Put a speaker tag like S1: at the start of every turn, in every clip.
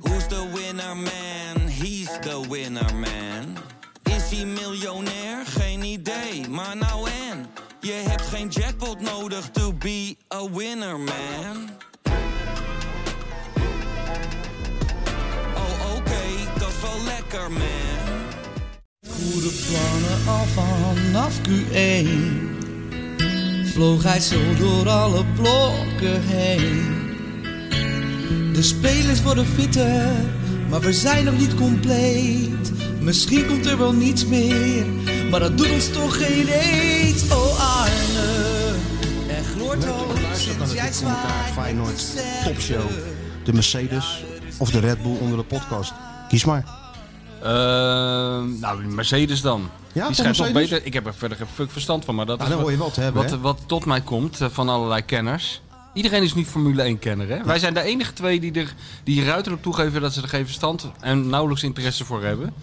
S1: Who's the winner man? He's the winner man. Is hij miljonair? Geen idee, maar nou en. Je hebt geen jackpot nodig to be a winner man. Oh oké, dat is wel lekker man.
S2: Goede plannen al vanaf Q1 Vloog hij zo door alle blokken heen De spelers worden fitter, maar we zijn nog niet compleet Misschien komt er wel niets meer, maar dat doet ons toch geen eet Oh Arne, er gloort al
S3: Luister dan
S2: sinds jij
S3: het commentaar
S2: zwaait
S3: Feyenoord
S2: met de
S3: topshow.
S2: sterren.
S3: De Mercedes of de Red Bull onder de podcast. Kies maar.
S4: Ehm, nou, die Mercedes dan.
S3: Ja,
S4: die
S3: toch
S4: schijnt toch
S3: Mercedes?
S4: beter. Ik heb er verder geen fuck verstand van, maar dat
S3: Ah,
S4: is
S3: dan
S4: wat-
S3: hoor je wel te hebben,
S4: wat,
S3: hè?
S4: wat tot mij komt eh, van allerlei kenners. Iedereen is nu Formule 1 kenner, hè? Wij zijn de enige twee die, er, die ruiterlijk toegeven dat ze er geen verstand en nauwelijks interesse voor hebben.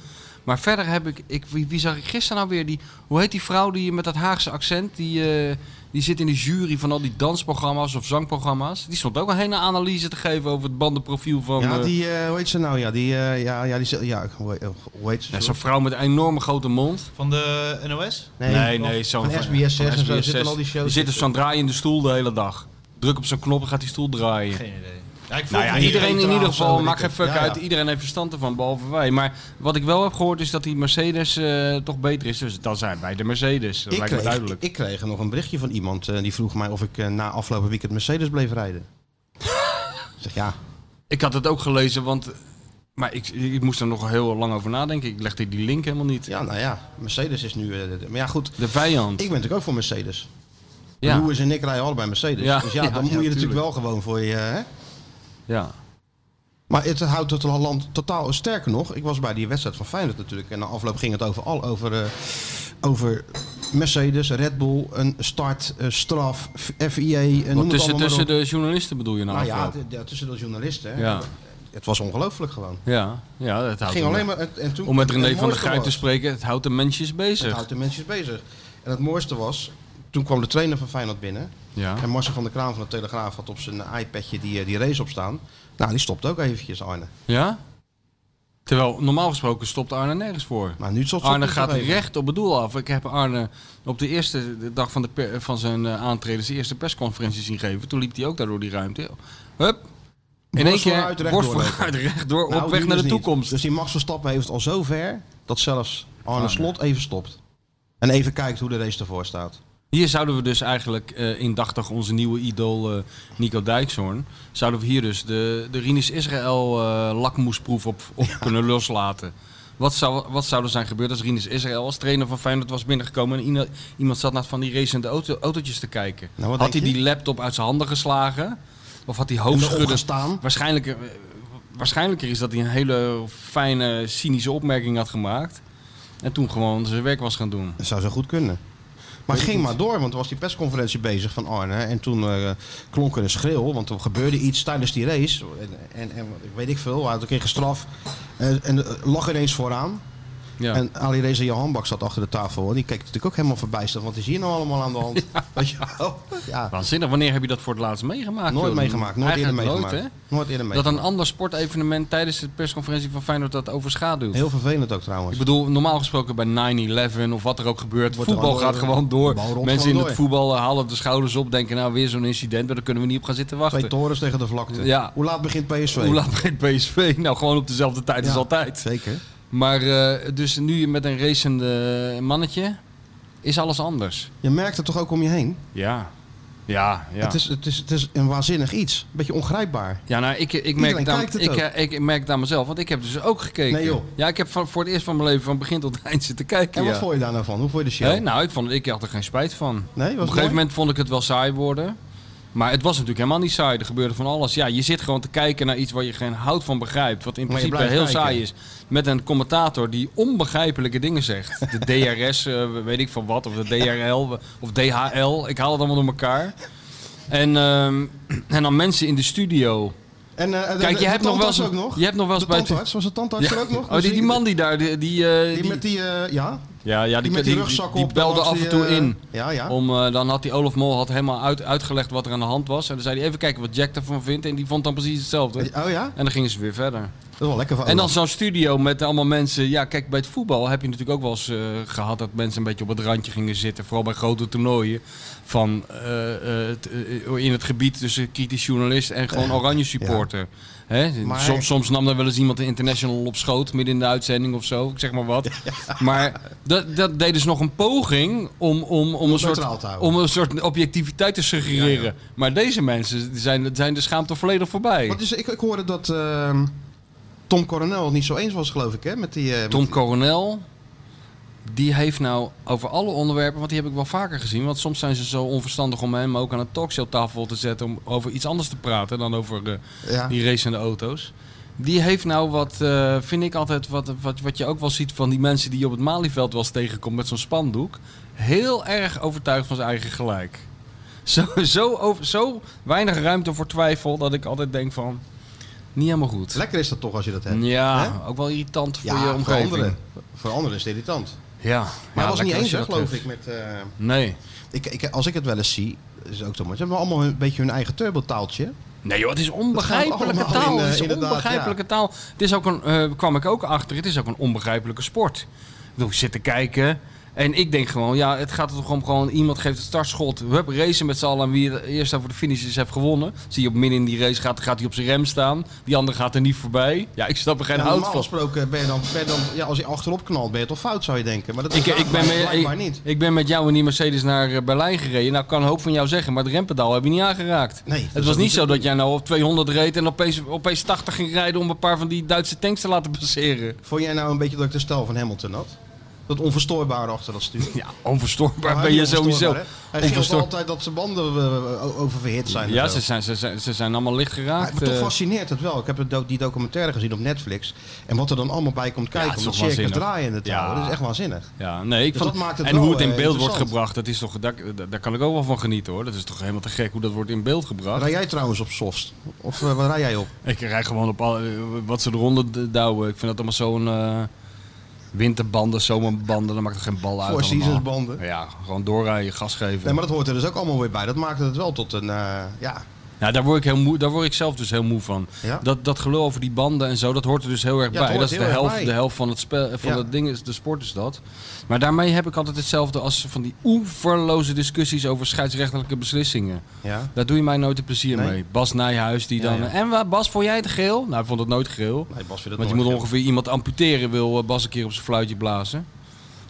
S4: Maar verder heb ik, ik wie, wie zag ik gisteren nou weer? Die, hoe heet die vrouw die met dat Haagse accent, die, eh, die zit in de jury van al die dansprogramma's of zangprogramma's. Die stond ook een hele analyse te geven over het bandenprofiel van...
S3: Ja,
S4: eh,
S3: die, eh, hoe heet ze nou? Ja, die, eh, ja, ja, die, ze- ja, hoe heet- hoe heet ze?
S4: ja, Zo'n vrouw met een enorme grote mond.
S5: Van de NOS?
S4: Nee, nee, zo'n
S3: van SBS6 en zo
S4: SBS6.
S3: zitten al die shows.
S4: Die zitten zo'n draaiende stoel de hele dag. Druk op zo'n knop en gaat die stoel draaien.
S5: Geen idee. Ja, ik
S4: nou ja, iedereen in ieder geval, maakt geen
S3: ik
S4: fuck
S3: het. Ja,
S4: uit.
S3: ja.
S4: Iedereen heeft verstand ervan, behalve wij. Maar wat ik wel heb gehoord is dat die Mercedes eh, toch beter is. Dus dan zijn wij de Mercedes. Dat
S3: ik,
S4: lijkt me
S3: kreeg,
S4: duidelijk.
S3: ik kreeg nog een berichtje van iemand eh, die vroeg mij of ik eh, na afgelopen weekend Mercedes bleef rijden. ik zeg ja.
S4: Ik had het ook gelezen, want... Maar ik, ik moest er nog heel lang over nadenken. Ik legde die link helemaal niet.
S3: Ja, nou ja, Mercedes is nu. eh, de- maar ja, goed.
S4: De vijand.
S3: Ik ben natuurlijk ook voor Mercedes.
S4: ja.
S3: Louis en ik rijden allebei Mercedes.
S4: Ja,
S3: Dus ja,
S4: ja,
S3: dan
S4: ja,
S3: moet je natuurlijk
S4: tuurlijk.
S3: wel gewoon voor je. Hè?
S4: ja.
S3: Maar het houdt het land totaal sterker nog. Ik was bij die wedstrijd van Feyenoord natuurlijk. En na afloop ging het over, al, over, eh, over Mercedes, Red Bull, een start, eh, straf, F- FIA. en noem
S4: Want
S3: het
S4: tussen,
S3: allemaal maar
S4: tussen
S3: op.
S4: de journalisten bedoel je nou?
S3: Nou ja,
S4: afloop?
S3: t- ja, tussen de journalisten. hè.
S4: ja.
S3: Het was ongelooflijk gewoon.
S4: Ja, ja, dat
S3: Het
S4: houdt
S3: ging
S4: hem-
S3: alleen maar... En, en toen,
S4: Om met
S3: het
S4: René van der
S3: mooiste
S4: Grijp te
S3: was-
S4: spreken, het houdt de mensjes
S3: Het
S4: bezig.
S3: houdt de mensen bezig. En het mooiste was, toen kwam de trainer van Feyenoord binnen.
S4: Ja.
S3: En Marcel van der Kraan van de Telegraaf had op zijn iPadje die, eh, die race op staan. Nou, die stopt ook eventjes Arne.
S4: ja? Terwijl normaal gesproken stopt Arne nergens voor.
S3: Maar nu stopt
S4: Arne
S3: stopt
S4: gaat
S3: hij even.
S4: recht op het doel af. Ik heb Arne op de eerste de dag van, de per- van zijn eh, aantreden, zijn eerste persconferentie zien geven. Toen liep hij ook daar door die ruimte. Hup. In één
S3: Borst
S4: keer
S3: vooruit, recht
S4: borst
S3: doorlopen.
S4: vooruit, rechtdoor,
S3: Nou,
S4: op
S3: die
S4: weg naar de
S3: dus niet.
S4: toekomst.
S3: Dus die Max Verstappen heeft het al zo ver dat zelfs Arne
S4: Arne.
S3: Slot even stopt. En even kijkt hoe de race ervoor staat.
S4: Hier zouden we dus eigenlijk eh, indachtig onze nieuwe idool eh, Nico Dijkshoorn... zouden we hier dus de, de Rinus Israël eh, lakmoesproef op, op kunnen loslaten. Wat zou, wat zou er zijn gebeurd als Rinus Israël als trainer van Feyenoord was binnengekomen... en iena- iemand zat naar van die racende auto, autootjes te kijken?
S3: Nou, wat
S4: had hij
S3: denk je?
S4: die laptop uit zijn handen geslagen? Of had hij
S3: En
S4: hoofdschudden...
S3: erop gestaan?
S4: Waarschijnlijk, eh, waarschijnlijker is dat hij een hele fijne, cynische opmerking had gemaakt... en toen gewoon zijn werk was gaan doen.
S3: Dat zou zo goed kunnen. Maar het ging maar door, want er was die persconferentie bezig van Arne. En toen eh, klonk er een schreeuw, want er gebeurde iets tijdens die race. En, en, en weet ik veel, hij had een keer gestraft. En, en eh, lag ineens vooraan.
S4: Ja.
S3: En Ali Reza Johanbak zat achter de tafel. En die keek natuurlijk ook helemaal verbijsterd. Wat is hier nou allemaal aan de hand? Weet je wel? Ja,
S4: Waanzinnig. Wanneer heb je dat voor het laatst meegemaakt?
S3: nooit
S4: Wilde?
S3: meegemaakt. Nooit eerder
S4: Eigenlijk
S3: meegemaakt.
S4: nooit,
S3: nooit eerder
S4: hè? Dat
S3: meegemaakt.
S4: een ander sportevenement tijdens de persconferentie van Feyenoord dat overschaduwt.
S3: Heel vervelend ook trouwens.
S4: Ik bedoel, normaal gesproken bij 9-11 of wat er ook gebeurt.
S3: Wordt
S4: voetbal
S3: er al-
S4: gaat gewoon door.
S3: bal rolt
S4: Mensen in
S3: gewoon
S4: het
S3: door.
S4: voetbal eh, halen de schouders op. Denken, nou weer zo'n incident. maar Daar kunnen we niet op gaan zitten wachten.
S3: Twee torens tegen de vlakte.
S4: Ja.
S3: Hoe laat begint PSV?
S4: Hoe laat begint PSV? Nou, gewoon op dezelfde tijd
S3: Ja.
S4: als altijd.
S3: Zeker.
S4: Maar eh, dus nu met een racende mannetje is alles anders.
S3: Je merkt het toch ook om je heen?
S4: Ja. Ja, ja.
S3: Het, is, het, is, het is een waanzinnig iets. Een beetje ongrijpbaar.
S4: Ja, nou, ik, ik, merk
S3: Iedereen
S4: het aan,
S3: kijkt het
S4: ik, eh, ik merk het aan mezelf, want ik heb dus ook gekeken.
S3: Nee, joh.
S4: Ja, ik heb van, voor het eerst van mijn leven van begin tot eind zitten kijken.
S3: En
S4: ja.
S3: wat vond je daar nou van? Hoe vond je de show?
S4: Nee, nou, ik, vond, ik had er geen spijt van. Op
S3: Nee, was
S4: een
S3: het
S4: gegeven
S3: mooi?
S4: moment vond ik het wel saai worden. Maar het was natuurlijk helemaal niet saai. Er gebeurde van alles. Ja, je zit gewoon te kijken naar iets waar je geen hout van begrijpt. Wat in
S3: Maar je
S4: principe heel
S3: blijft kijken.
S4: saai is. Met een commentator die onbegrijpelijke dingen zegt. De DRS, eh, weet ik van wat. Of de DRL. Of DHL. Ik haal het allemaal door elkaar. En, ehm, en dan mensen in de studio.
S3: En, eh, de-
S4: Kijk,
S3: de-
S4: je
S3: de
S4: hebt nog wel eens,
S3: tandarts ook nog.
S4: Je hebt nog wel
S3: de
S4: eens bij
S3: tandarts, was de tandarts
S4: Ja.
S3: er ook nog? Dus
S4: Oh, die, die man die daar, die, eh,
S3: Die,
S4: die-
S3: met die, eh, ja.
S4: Ja, ja die,
S3: met
S4: die,
S3: die rugzak
S4: die
S3: op, dan
S4: belde
S3: langs
S4: af
S3: die,
S4: en toe
S3: eh,
S4: in.
S3: ja, ja.
S4: Om, eh, dan had die Olaf Mol had helemaal uit, uitgelegd wat er aan de hand was. En dan zei hij even kijken wat Jack ervan vindt. En die vond dan precies hetzelfde.
S3: Oh ja?
S4: En dan gingen ze weer verder.
S3: Dat is wel lekker van
S4: En dan
S3: Olaf.
S4: zo'n studio met allemaal mensen. Ja, kijk, bij het voetbal heb je natuurlijk ook wel eens eh, gehad dat mensen een beetje op het randje gingen zitten. Vooral bij grote toernooien. Van eh, eh, t- eh, in het gebied tussen kritisch journalist en gewoon oranje supporter. Hè?
S3: Maar-
S4: Soms, soms nam daar wel eens iemand een international op schoot midden in de uitzending of zo. Ik zeg maar wat. Maar dat, dat deden ze nog een poging om, om, om, een soort,
S3: neutraal te houden.
S4: om een soort objectiviteit te suggereren. Maar deze mensen die zijn, zijn de schaamte volledig voorbij.
S3: Want dus, ik, ik hoorde dat ehm, Tom Coronel het niet zo eens was, geloof ik, hè? Met die, eh,
S4: Tom
S3: met-
S4: Coronel, die heeft nou over alle onderwerpen, want die heb ik wel vaker gezien. Want soms zijn ze zo onverstandig om hem ook aan een talkshowtafel te zetten om over iets anders te praten dan over eh,
S3: ja.
S4: die race en de auto's. Die heeft nou wat, eh, vind ik altijd, wat, wat, wat je ook wel ziet van die mensen die je op het Malieveld wel eens tegenkomt met zo'n spandoek. Heel erg overtuigd van zijn eigen gelijk. Zo, zo, over, zo weinig ruimte voor twijfel dat ik altijd denk van, niet helemaal goed.
S3: Lekker is dat toch als je dat hebt.
S4: Ja,
S3: Hè?
S4: ook wel irritant voor
S3: Ja,
S4: je omgeving.
S3: Voor anderen. Voor anderen is het irritant.
S4: Ja,
S3: Maar
S4: ja,
S3: hij was niet
S4: lekker als
S3: eens,
S4: je
S3: hè,
S4: dat
S3: geloof
S4: hebt.
S3: ik, met... eh,
S4: Nee.
S3: ik, ik. Als ik het wel eens zie, is ook zo mooi. Ze hebben allemaal een beetje hun eigen turbotaaltje.
S4: Nee joh, het is onbegrijpelijke
S3: allemaal in,
S4: taal.
S3: eh,
S4: Het is
S3: inderdaad,
S4: onbegrijpelijke taal. Het is ook een, eh, kwam ik ook achter, het is ook een onbegrijpelijke sport. Ik bedoel, ik zit te kijken en ik denk gewoon, ja, het gaat er toch om gewoon, iemand geeft het startschot. We hebben racen met z'n allen en wie het eerst over de finish is, heeft gewonnen. Zie je op midden in die race gaat, gaat hij op zijn rem staan. Die ander gaat er niet voorbij. Ja, ik snap er geen
S3: Ja,
S4: hout
S3: normaal
S4: van.
S3: gesproken ben je dan, ben je dan ja, als je achterop knalt, ben je toch fout, zou je denken. Maar dat is
S4: Ik, ik, ben
S3: blijkbaar-
S4: met,
S3: blijkbaar
S4: ik,
S3: niet.
S4: ik ben met jou in die Mercedes naar eh, Berlijn gereden. Nou, ik kan een hoop van jou zeggen, maar het rempedaal heb je niet aangeraakt.
S3: Nee, dat
S4: het
S3: is
S4: was
S3: ook
S4: niet
S3: niet
S4: zo dat jij nou op 200 reed en opeens, opeens 80 ging rijden om een paar van die Duitse tanks te laten passeren.
S3: Vond jij nou een beetje dat ik de stijl van Hamilton had? Dat onverstoorbare achter dat stuur.
S4: Ja, onverstoorbaar
S3: Maar
S4: ben
S3: niet
S4: je sowieso.
S3: onverstoorbaar, hè? Hij zegt
S4: Onverstoor-
S3: altijd dat zijn banden eh, o- oververhit zijn. en
S4: Ja,
S3: zo.
S4: ze zijn, ze, zijn, ze zijn allemaal licht
S3: Maar
S4: geraakt.
S3: toch
S4: eh.
S3: fascineert het wel. Ik heb het do- die documentaire gezien op Netflix. En wat er dan allemaal bij komt kijken
S4: het is
S3: om het
S4: toch
S3: circus
S4: waanzinnig.
S3: draaiende te
S4: Ja.
S3: houden. Dat is echt waanzinnig.
S4: Ja, nee, ik
S3: Dus
S4: vond,
S3: dat maakt het
S4: en
S3: wel,
S4: hoe het in
S3: eh,
S4: beeld wordt
S3: interessant.
S4: gebracht, dat is toch, daar, daar- daar kan ik ook wel van genieten hoor. Dat is toch helemaal te gek hoe dat wordt in beeld gebracht.
S3: Rij jij trouwens op softs? Of eh, waar waar rij jij op?
S4: Ik rijd gewoon op al, wat ze eronder d- douwen. Ik vind dat allemaal zo'n eh, winterbanden, zomerbanden. Dan maakt er geen bal uit.
S3: Four Seasons
S4: allemaal.
S3: banden.
S4: Ja, gewoon doorrijden, gas geven.
S3: Nee, maar dat hoort er dus ook allemaal weer bij. Dat maakt het wel tot een... eh, ja,
S4: ja, daar, word ik heel moe, daar word ik zelf dus heel moe van.
S3: Ja?
S4: Dat, dat gelul over die banden en zo, dat hoort er dus heel
S3: Ja,
S4: erg
S3: dat
S4: bij.
S3: hoort
S4: Dat is de
S3: heel erg
S4: helft,
S3: bij.
S4: de helft van het spel, van
S3: Ja.
S4: dat ding, is, de sport is dat. Maar daarmee heb ik altijd hetzelfde als van die oeverloze discussies over scheidsrechtelijke beslissingen.
S3: ja.
S4: Daar doe je mij nooit een plezier
S3: Nee?
S4: mee. Bas Nijhuis die
S3: Ja,
S4: dan...
S3: ja.
S4: En wa- Bas, vond jij het geel? Nou, ik vond het nooit geel.
S3: Nee, Bas vindt het
S4: Want je
S3: nooit
S4: moet
S3: gek.
S4: ongeveer iemand amputeren, wil eh, Bas een keer op zijn fluitje blazen.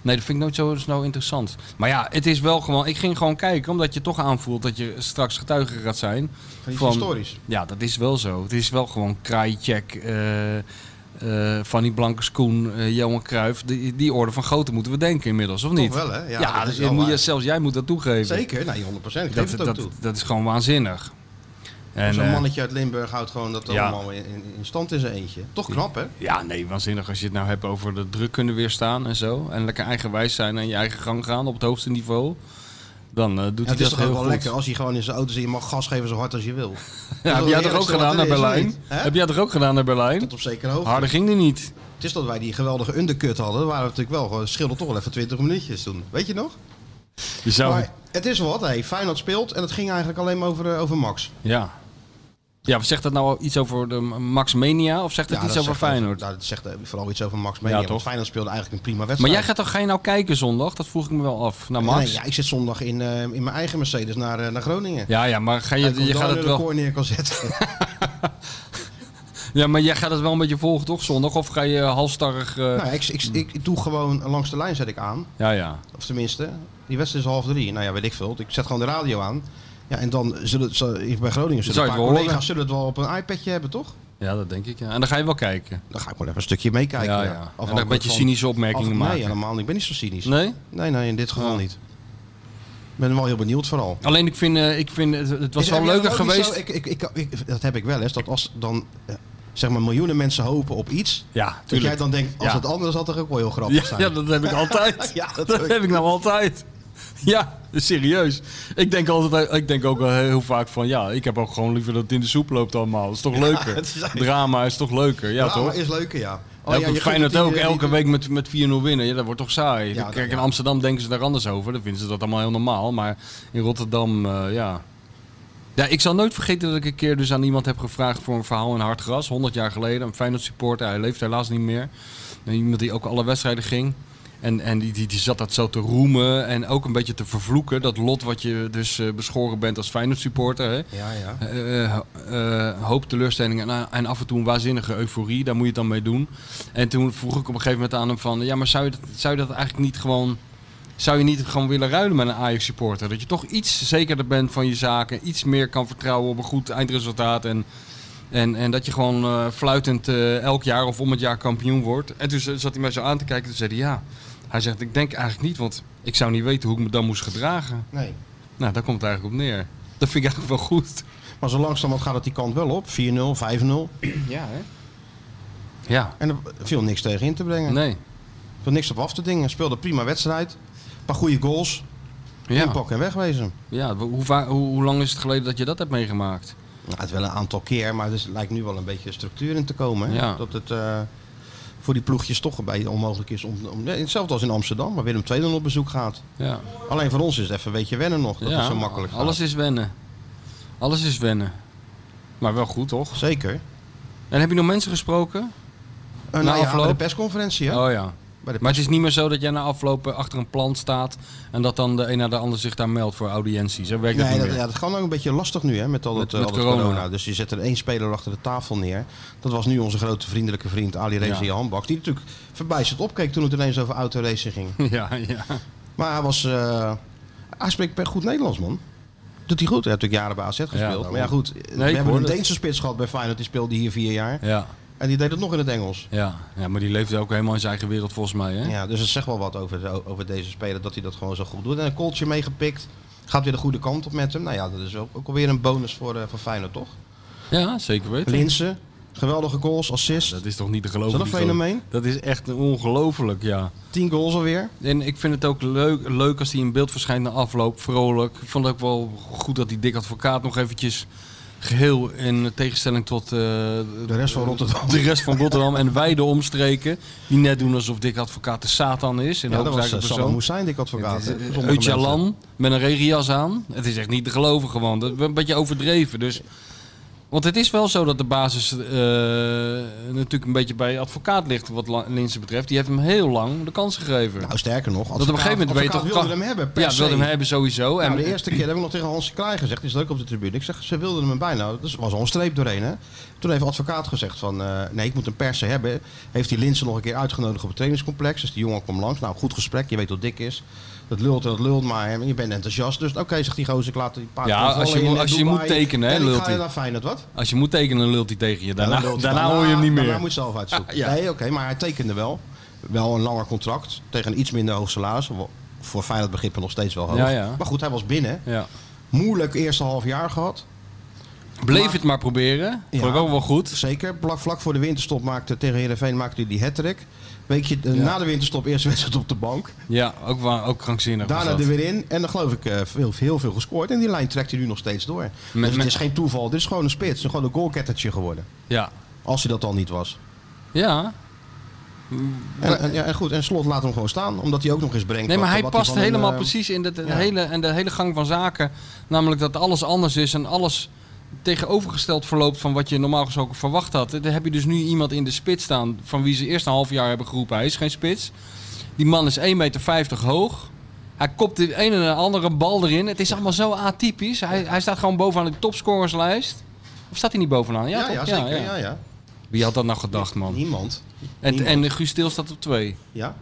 S4: Nee, dat vind ik nooit zo snel interessant. Maar ja, het is wel gewoon. Ik ging gewoon kijken, omdat je toch aanvoelt dat je straks getuige gaat zijn.
S3: Van iets historisch.
S4: Ja, dat is wel zo. Het is wel gewoon Krajicek, eh eh Fanny Blankers-Koen, eh, Johan Cruijff. Die, die orde van grootte moeten we denken inmiddels, of niet?
S3: Toch wel, hè? Ja,
S4: Ja, dus
S3: dat is
S4: je
S3: wel
S4: moet je-
S3: waar.
S4: zelfs jij moet dat toegeven.
S3: Zeker, nee, 100 procent.
S4: Dat,
S3: Geef het ook
S4: dat,
S3: toe.
S4: dat is gewoon waanzinnig. En,
S3: Zo'n
S4: eh,
S3: mannetje uit Limburg houdt gewoon dat
S4: ja.
S3: allemaal in, in- in stand in zijn eentje. Toch knap, hè?
S4: Ja, nee, waanzinnig als je het nou hebt over de druk kunnen weerstaan en zo. En lekker eigenwijs zijn en je eigen gang gaan op het hoogste niveau. Dan eh, doet
S3: Ja,
S4: hij
S3: het is
S4: dat
S3: toch
S4: heel
S3: ook wel
S4: goed.
S3: lekker als hij gewoon in zijn auto zit. Je mag gas geven zo hard als je wil.
S4: Ja, heb
S3: Dat
S4: jij
S3: is
S4: toch ook
S3: het
S4: gedaan naar
S3: eerste wat er is,
S4: Berlijn?
S3: hè?
S4: Heb jij toch ook gedaan naar Berlijn?
S3: Tot op zekere hoogte.
S4: Harder ging die niet.
S3: Het is dat wij die geweldige undercut hadden. Waar we natuurlijk wel gewoon scheelde toch wel even 20 minuutjes toen. Weet je nog?
S4: Je zou...
S3: Maar het is wat. Hey, Feyenoord speelt en het ging eigenlijk alleen maar over, eh, over Max.
S4: Ja. Ja, zegt dat nou iets over de Max Mania of zegt het
S3: Ja,
S4: iets
S3: dat
S4: over
S3: zegt-
S4: Feyenoord?
S3: nou, dat zegt eh, vooral iets over Max Menia.
S4: Ja, toch?
S3: Want Feyenoord speelde eigenlijk een prima
S4: maar
S3: wedstrijd.
S4: jij gaat toch, ga je nou kijken zondag? Dat vroeg ik me wel af. Naar Max?
S3: Nee, ja, ik zit zondag in, eh, in mijn eigen Mercedes naar, eh, naar Groningen.
S4: ja, ja, maar ga
S3: Kijk
S4: je,
S3: of
S4: je
S3: daar
S4: gaat
S3: een
S4: het wel...
S3: record neer kan zetten.
S4: Ja, maar jij gaat het wel een beetje volgen toch zondag? Of ga je halstarrig... eh,
S3: Nou, ja, ik, ik, ik, ik doe gewoon langs de lijn zet ik aan.
S4: Ja, ja.
S3: Of tenminste, die wedstrijd is half drie. Nou ja, weet ik veel. Ik zet gewoon de radio aan. Ja, en dan zullen ze, bij Groningen
S4: Zou
S3: zullen een paar
S4: je het wel
S3: collega's
S4: horen?
S3: zullen het wel op een iPadje hebben, toch?
S4: Ja, dat denk ik. Ja. En dan ga je wel kijken.
S3: Dan ga ik gewoon even een stukje meekijken.
S4: Ja, ja. En dan een beetje cynische opmerkingen
S3: Af-
S4: maken.
S3: Nee, helemaal niet. Ik ben niet zo cynisch. Nee,
S4: Nee?
S3: nee, in dit geval niet. Ik ben wel heel benieuwd vooral.
S4: Alleen ik vind, eh, ik vind het, het was
S3: Is-
S4: wel
S3: heb jij
S4: leuker
S3: dat ook niet
S4: geweest.
S3: zo? Ik, ik, ik, ik- dat heb ik wel eens. Dat als dan eh, zeg maar miljoenen mensen hopen op iets.
S4: Ja,
S3: Dat jij dan denkt, als
S4: Ja.
S3: het anders had, had het ook wel heel grappig
S4: Ja,
S3: zijn.
S4: ja, dat heb ik altijd.
S3: Ja,
S4: dat
S3: dat ook.
S4: heb ik nou altijd. Ja, serieus. Ik denk, altijd, eh, ik denk ook wel heel vaak van ja, ik heb ook gewoon liever dat het in de soep loopt allemaal. Dat is toch leuker?
S3: het is eigenlijk-
S4: Drama is toch leuker? Ja,
S3: Ja,
S4: toch?
S3: maar is leuker, ja.
S4: Oh,
S3: ja, je gunt
S4: Feyenoord
S3: het die-
S4: ook
S3: die-
S4: elke week met, met 4-0 winnen. Ja, dat wordt toch saai.
S3: Ja,
S4: Kijk,
S3: dat-
S4: in
S3: ja.
S4: Amsterdam denken ze daar anders over. Dan vinden ze dat allemaal heel normaal. Maar in Rotterdam, eh, ja. Ja, ik zal nooit vergeten dat ik een keer dus aan iemand heb gevraagd voor een verhaal in Hartgras. 100 jaar geleden. Een Feyenoord supporter. Hij leeft helaas niet meer. En iemand die ook alle wedstrijden ging. En, en die, die, die zat dat zo te roemen en ook een beetje te vervloeken. Dat lot wat je dus eh, beschoren bent als Feyenoord supporter. Hè?
S3: Ja, ja.
S4: eh eh, hoop teleurstellingen en, en af en toe een waanzinnige euforie. Daar moet je het dan mee doen. En toen vroeg ik op een gegeven moment aan hem van... Ja, maar zou je dat, zou je dat eigenlijk niet gewoon... Zou je niet gewoon willen ruilen met een Ajax supporter? Dat je toch iets zekerder bent van je zaken. Iets meer kan vertrouwen op een goed eindresultaat. En, en, en dat je gewoon eh, fluitend eh, elk jaar of om het jaar kampioen wordt. En toen z- zat hij mij zo aan te kijken. Toen zei hij ja. Hij zegt, ik denk eigenlijk niet. Want ik zou niet weten hoe ik me dan moest gedragen.
S3: Nee.
S4: Nou, daar komt het eigenlijk op neer. Dat vind ik eigenlijk wel goed.
S3: Maar zo langzamerhand gaat het die kant wel op. 4-0, 5-0.
S4: Ja, hè? Ja.
S3: En er viel niks tegen in te brengen.
S4: Nee.
S3: Er viel niks op af te dingen. Speelde prima wedstrijd. Een paar goede goals.
S4: Ja.
S3: Inpakken en wegwezen.
S4: ja. Hoe, va- hoe, hoe lang is het geleden dat je dat hebt meegemaakt?
S3: Nou, het is wel een aantal keer, maar er is- lijkt nu wel een beetje structuur in te komen. hè?
S4: Ja.
S3: Dat het eh, voor die ploegjes toch bij onmogelijk is om, om- ja, Hetzelfde als in Amsterdam, waar Willem II dan op bezoek gaat.
S4: Ja.
S3: Alleen voor ons is het even een beetje wennen nog. Dat
S4: ja.
S3: is zo makkelijk.
S4: Alles is wennen. Alles is wennen. Maar wel goed, toch?
S3: gaat. Zeker.
S4: En heb je nog mensen gesproken?
S3: Eh, nou ja,
S4: afloop?
S3: bij de persconferentie, hè?
S4: Oh ja.
S3: Bij de
S4: Maar het is niet meer zo dat jij na aflopen achter een plan staat en dat dan de een naar de ander zich daar meldt voor audiënties. Zo werkt dat
S3: Nee,
S4: niet
S3: dat,
S4: meer.
S3: ja, dat gaat ook een beetje lastig nu hè, met al dat,
S4: Met-
S3: eh,
S4: met
S3: al dat corona.
S4: corona.
S3: Dus je zet er één speler achter de tafel neer. Dat was nu onze grote vriendelijke vriend Ali Reza
S4: Ja.
S3: Handbak. Die natuurlijk verbijsterd opkeek toen het ineens over autoracen ging.
S4: Ja, ja.
S3: Maar hij was... eh, hij spreekt per goed Nederlands, man. Doet hij goed. Hij heeft natuurlijk jaren bij AZ gespeeld.
S4: daarom.
S3: maar ja, goed. we
S4: nou, ik
S3: hebben
S4: hoor
S3: een
S4: dat.
S3: Deense spits gehad bij Feyenoord. Die speelde hier vier jaar.
S4: Ja,
S3: En die deed het nog in het Engels.
S4: ja. ja maar die leefde ook helemaal in zijn eigen wereld volgens mij. Hè?
S3: Ja, dus het zegt wel wat over, over deze speler dat hij dat gewoon zo goed doet. En een kooltje meegepikt. Gaat weer de goede kant op met hem. Nou ja, dat is ook, ook alweer een bonus voor, eh, voor Feyenoord, toch?
S4: ja zeker weten.
S3: Linsen, geweldige goals, assist.
S4: Dat is toch niet te geloven?
S3: Is dat een
S4: die
S3: fenomeen?
S4: gozer. Dat is echt ongelooflijk, ja.
S3: 10 goals alweer.
S4: En ik vind het ook leuk, leuk als hij in beeld verschijnt na afloop, vrolijk. Ik vond het ook wel goed dat die dik advocaat nog eventjes geheel in tegenstelling tot eh,
S3: De rest van Rotterdam.
S4: de rest van Rotterdam en wijde omstreken. Die net doen alsof dik advocaat de Satan is. En
S3: Ja,
S4: ook
S3: dat was eh,
S4: eigenlijk
S3: Saddam Hussein, dik advocaat. hè, voor sommige mensen.
S4: Eh, Öcalan met een regenjas aan. Het is echt niet te geloven gewoon. Dat is een beetje overdreven. Dus, want het is wel zo dat de basis eh, natuurlijk een beetje bij advocaat ligt wat La- Linsen betreft. Die heeft hem heel lang de kans gegeven.
S3: Nou, sterker nog.
S4: Dat op een gegeven moment weet je
S3: advocaat
S4: toch...
S3: wilde
S4: kan-
S3: hem hebben, per
S4: Ja,
S3: se.
S4: wilde hem hebben sowieso.
S3: Nou,
S4: en,
S3: de eerste keer heb ik nog tegen Hans Kraai gezegd, die is leuk op de tribune. Ik zeg, ze wilden hem bijna. Dus was al een streep doorheen. Hè? Toen heeft advocaat gezegd van, eh, nee, ik moet een persen hebben. Heeft die Linsen nog een keer uitgenodigd op het trainingscomplex. Dus die jongen kwam langs. Nou, goed gesprek. Je weet hoe dik is. Dat lult en dat lult, maar hè, je bent enthousiast. Dus oké, zegt die gozer, ik laat die paar
S4: Ja,
S3: keer vallen
S4: als je
S3: in,
S4: moet-
S3: eh,
S4: als je
S3: Dubai.
S4: moet tekenen, hè,
S3: En ik
S4: lult
S3: ga
S4: hij.
S3: naar Feyenoord, wat?
S4: Als je moet tekenen, lult hij tegen je. Daarna,
S3: Ja, dan lult hij.
S4: daarna hoor je hem niet meer.
S3: Daarna moet je zelf uitzoeken.
S4: Ja.
S3: Nee, oké, maar hij tekende wel. Wel een langer contract tegen een iets minder hoog salaris. Wel- Voor Feyenoord begrippen nog steeds wel hoog.
S4: Ja, ja.
S3: Maar goed, hij was binnen.
S4: ja.
S3: Moeilijk eerste half jaar gehad.
S4: Bleef
S3: Maar-
S4: het maar proberen.
S3: Ja.
S4: Vond ik ook wel goed.
S3: Zeker. Vlak, vlak voor de winterstop maakte tegen Heerenveen maakte hij die hat-trick. Weekje eh,
S4: Ja.
S3: na de winterstop eerste wedstrijd op de bank.
S4: Ja, ook, wa- ook krankzinnig was
S3: Daarna
S4: dat.
S3: er weer in. En dan geloof ik eh, veel, heel veel gescoord. En die lijn trekt hij nu nog steeds door. dus het
S4: met-
S3: is geen toeval. Dit is gewoon een spits. Gewoon een goalkettertje geworden.
S4: Ja.
S3: Als hij dat al niet was.
S4: Ja.
S3: En, en- ja, en goed, en Slot laat hem gewoon staan. Omdat hij ook nog eens brengt.
S4: Nee, maar
S3: wat-
S4: hij
S3: wat
S4: past
S3: van een,
S4: helemaal
S3: eh,
S4: precies in de,
S3: ja.
S4: hele, en de hele gang van zaken. Namelijk dat alles anders is en alles tegenovergesteld verloopt van wat je normaal gesproken verwacht had. Dan heb je dus nu iemand in de spits staan van wie ze eerst een half jaar hebben geroepen. Hij is geen spits. Die man is 1,50 meter hoog. Hij kopt de een en de andere bal erin. Het is allemaal zo atypisch. Hij, hij staat gewoon bovenaan de topscorerslijst. Of staat hij niet bovenaan? Ja,
S3: Ja, ja,
S4: toch?
S3: zeker. Ja, ja.
S4: Wie had dat nou gedacht, man?
S3: Niemand.
S4: En,
S3: niemand.
S4: en Guus Stil staat op twee.
S3: Ja.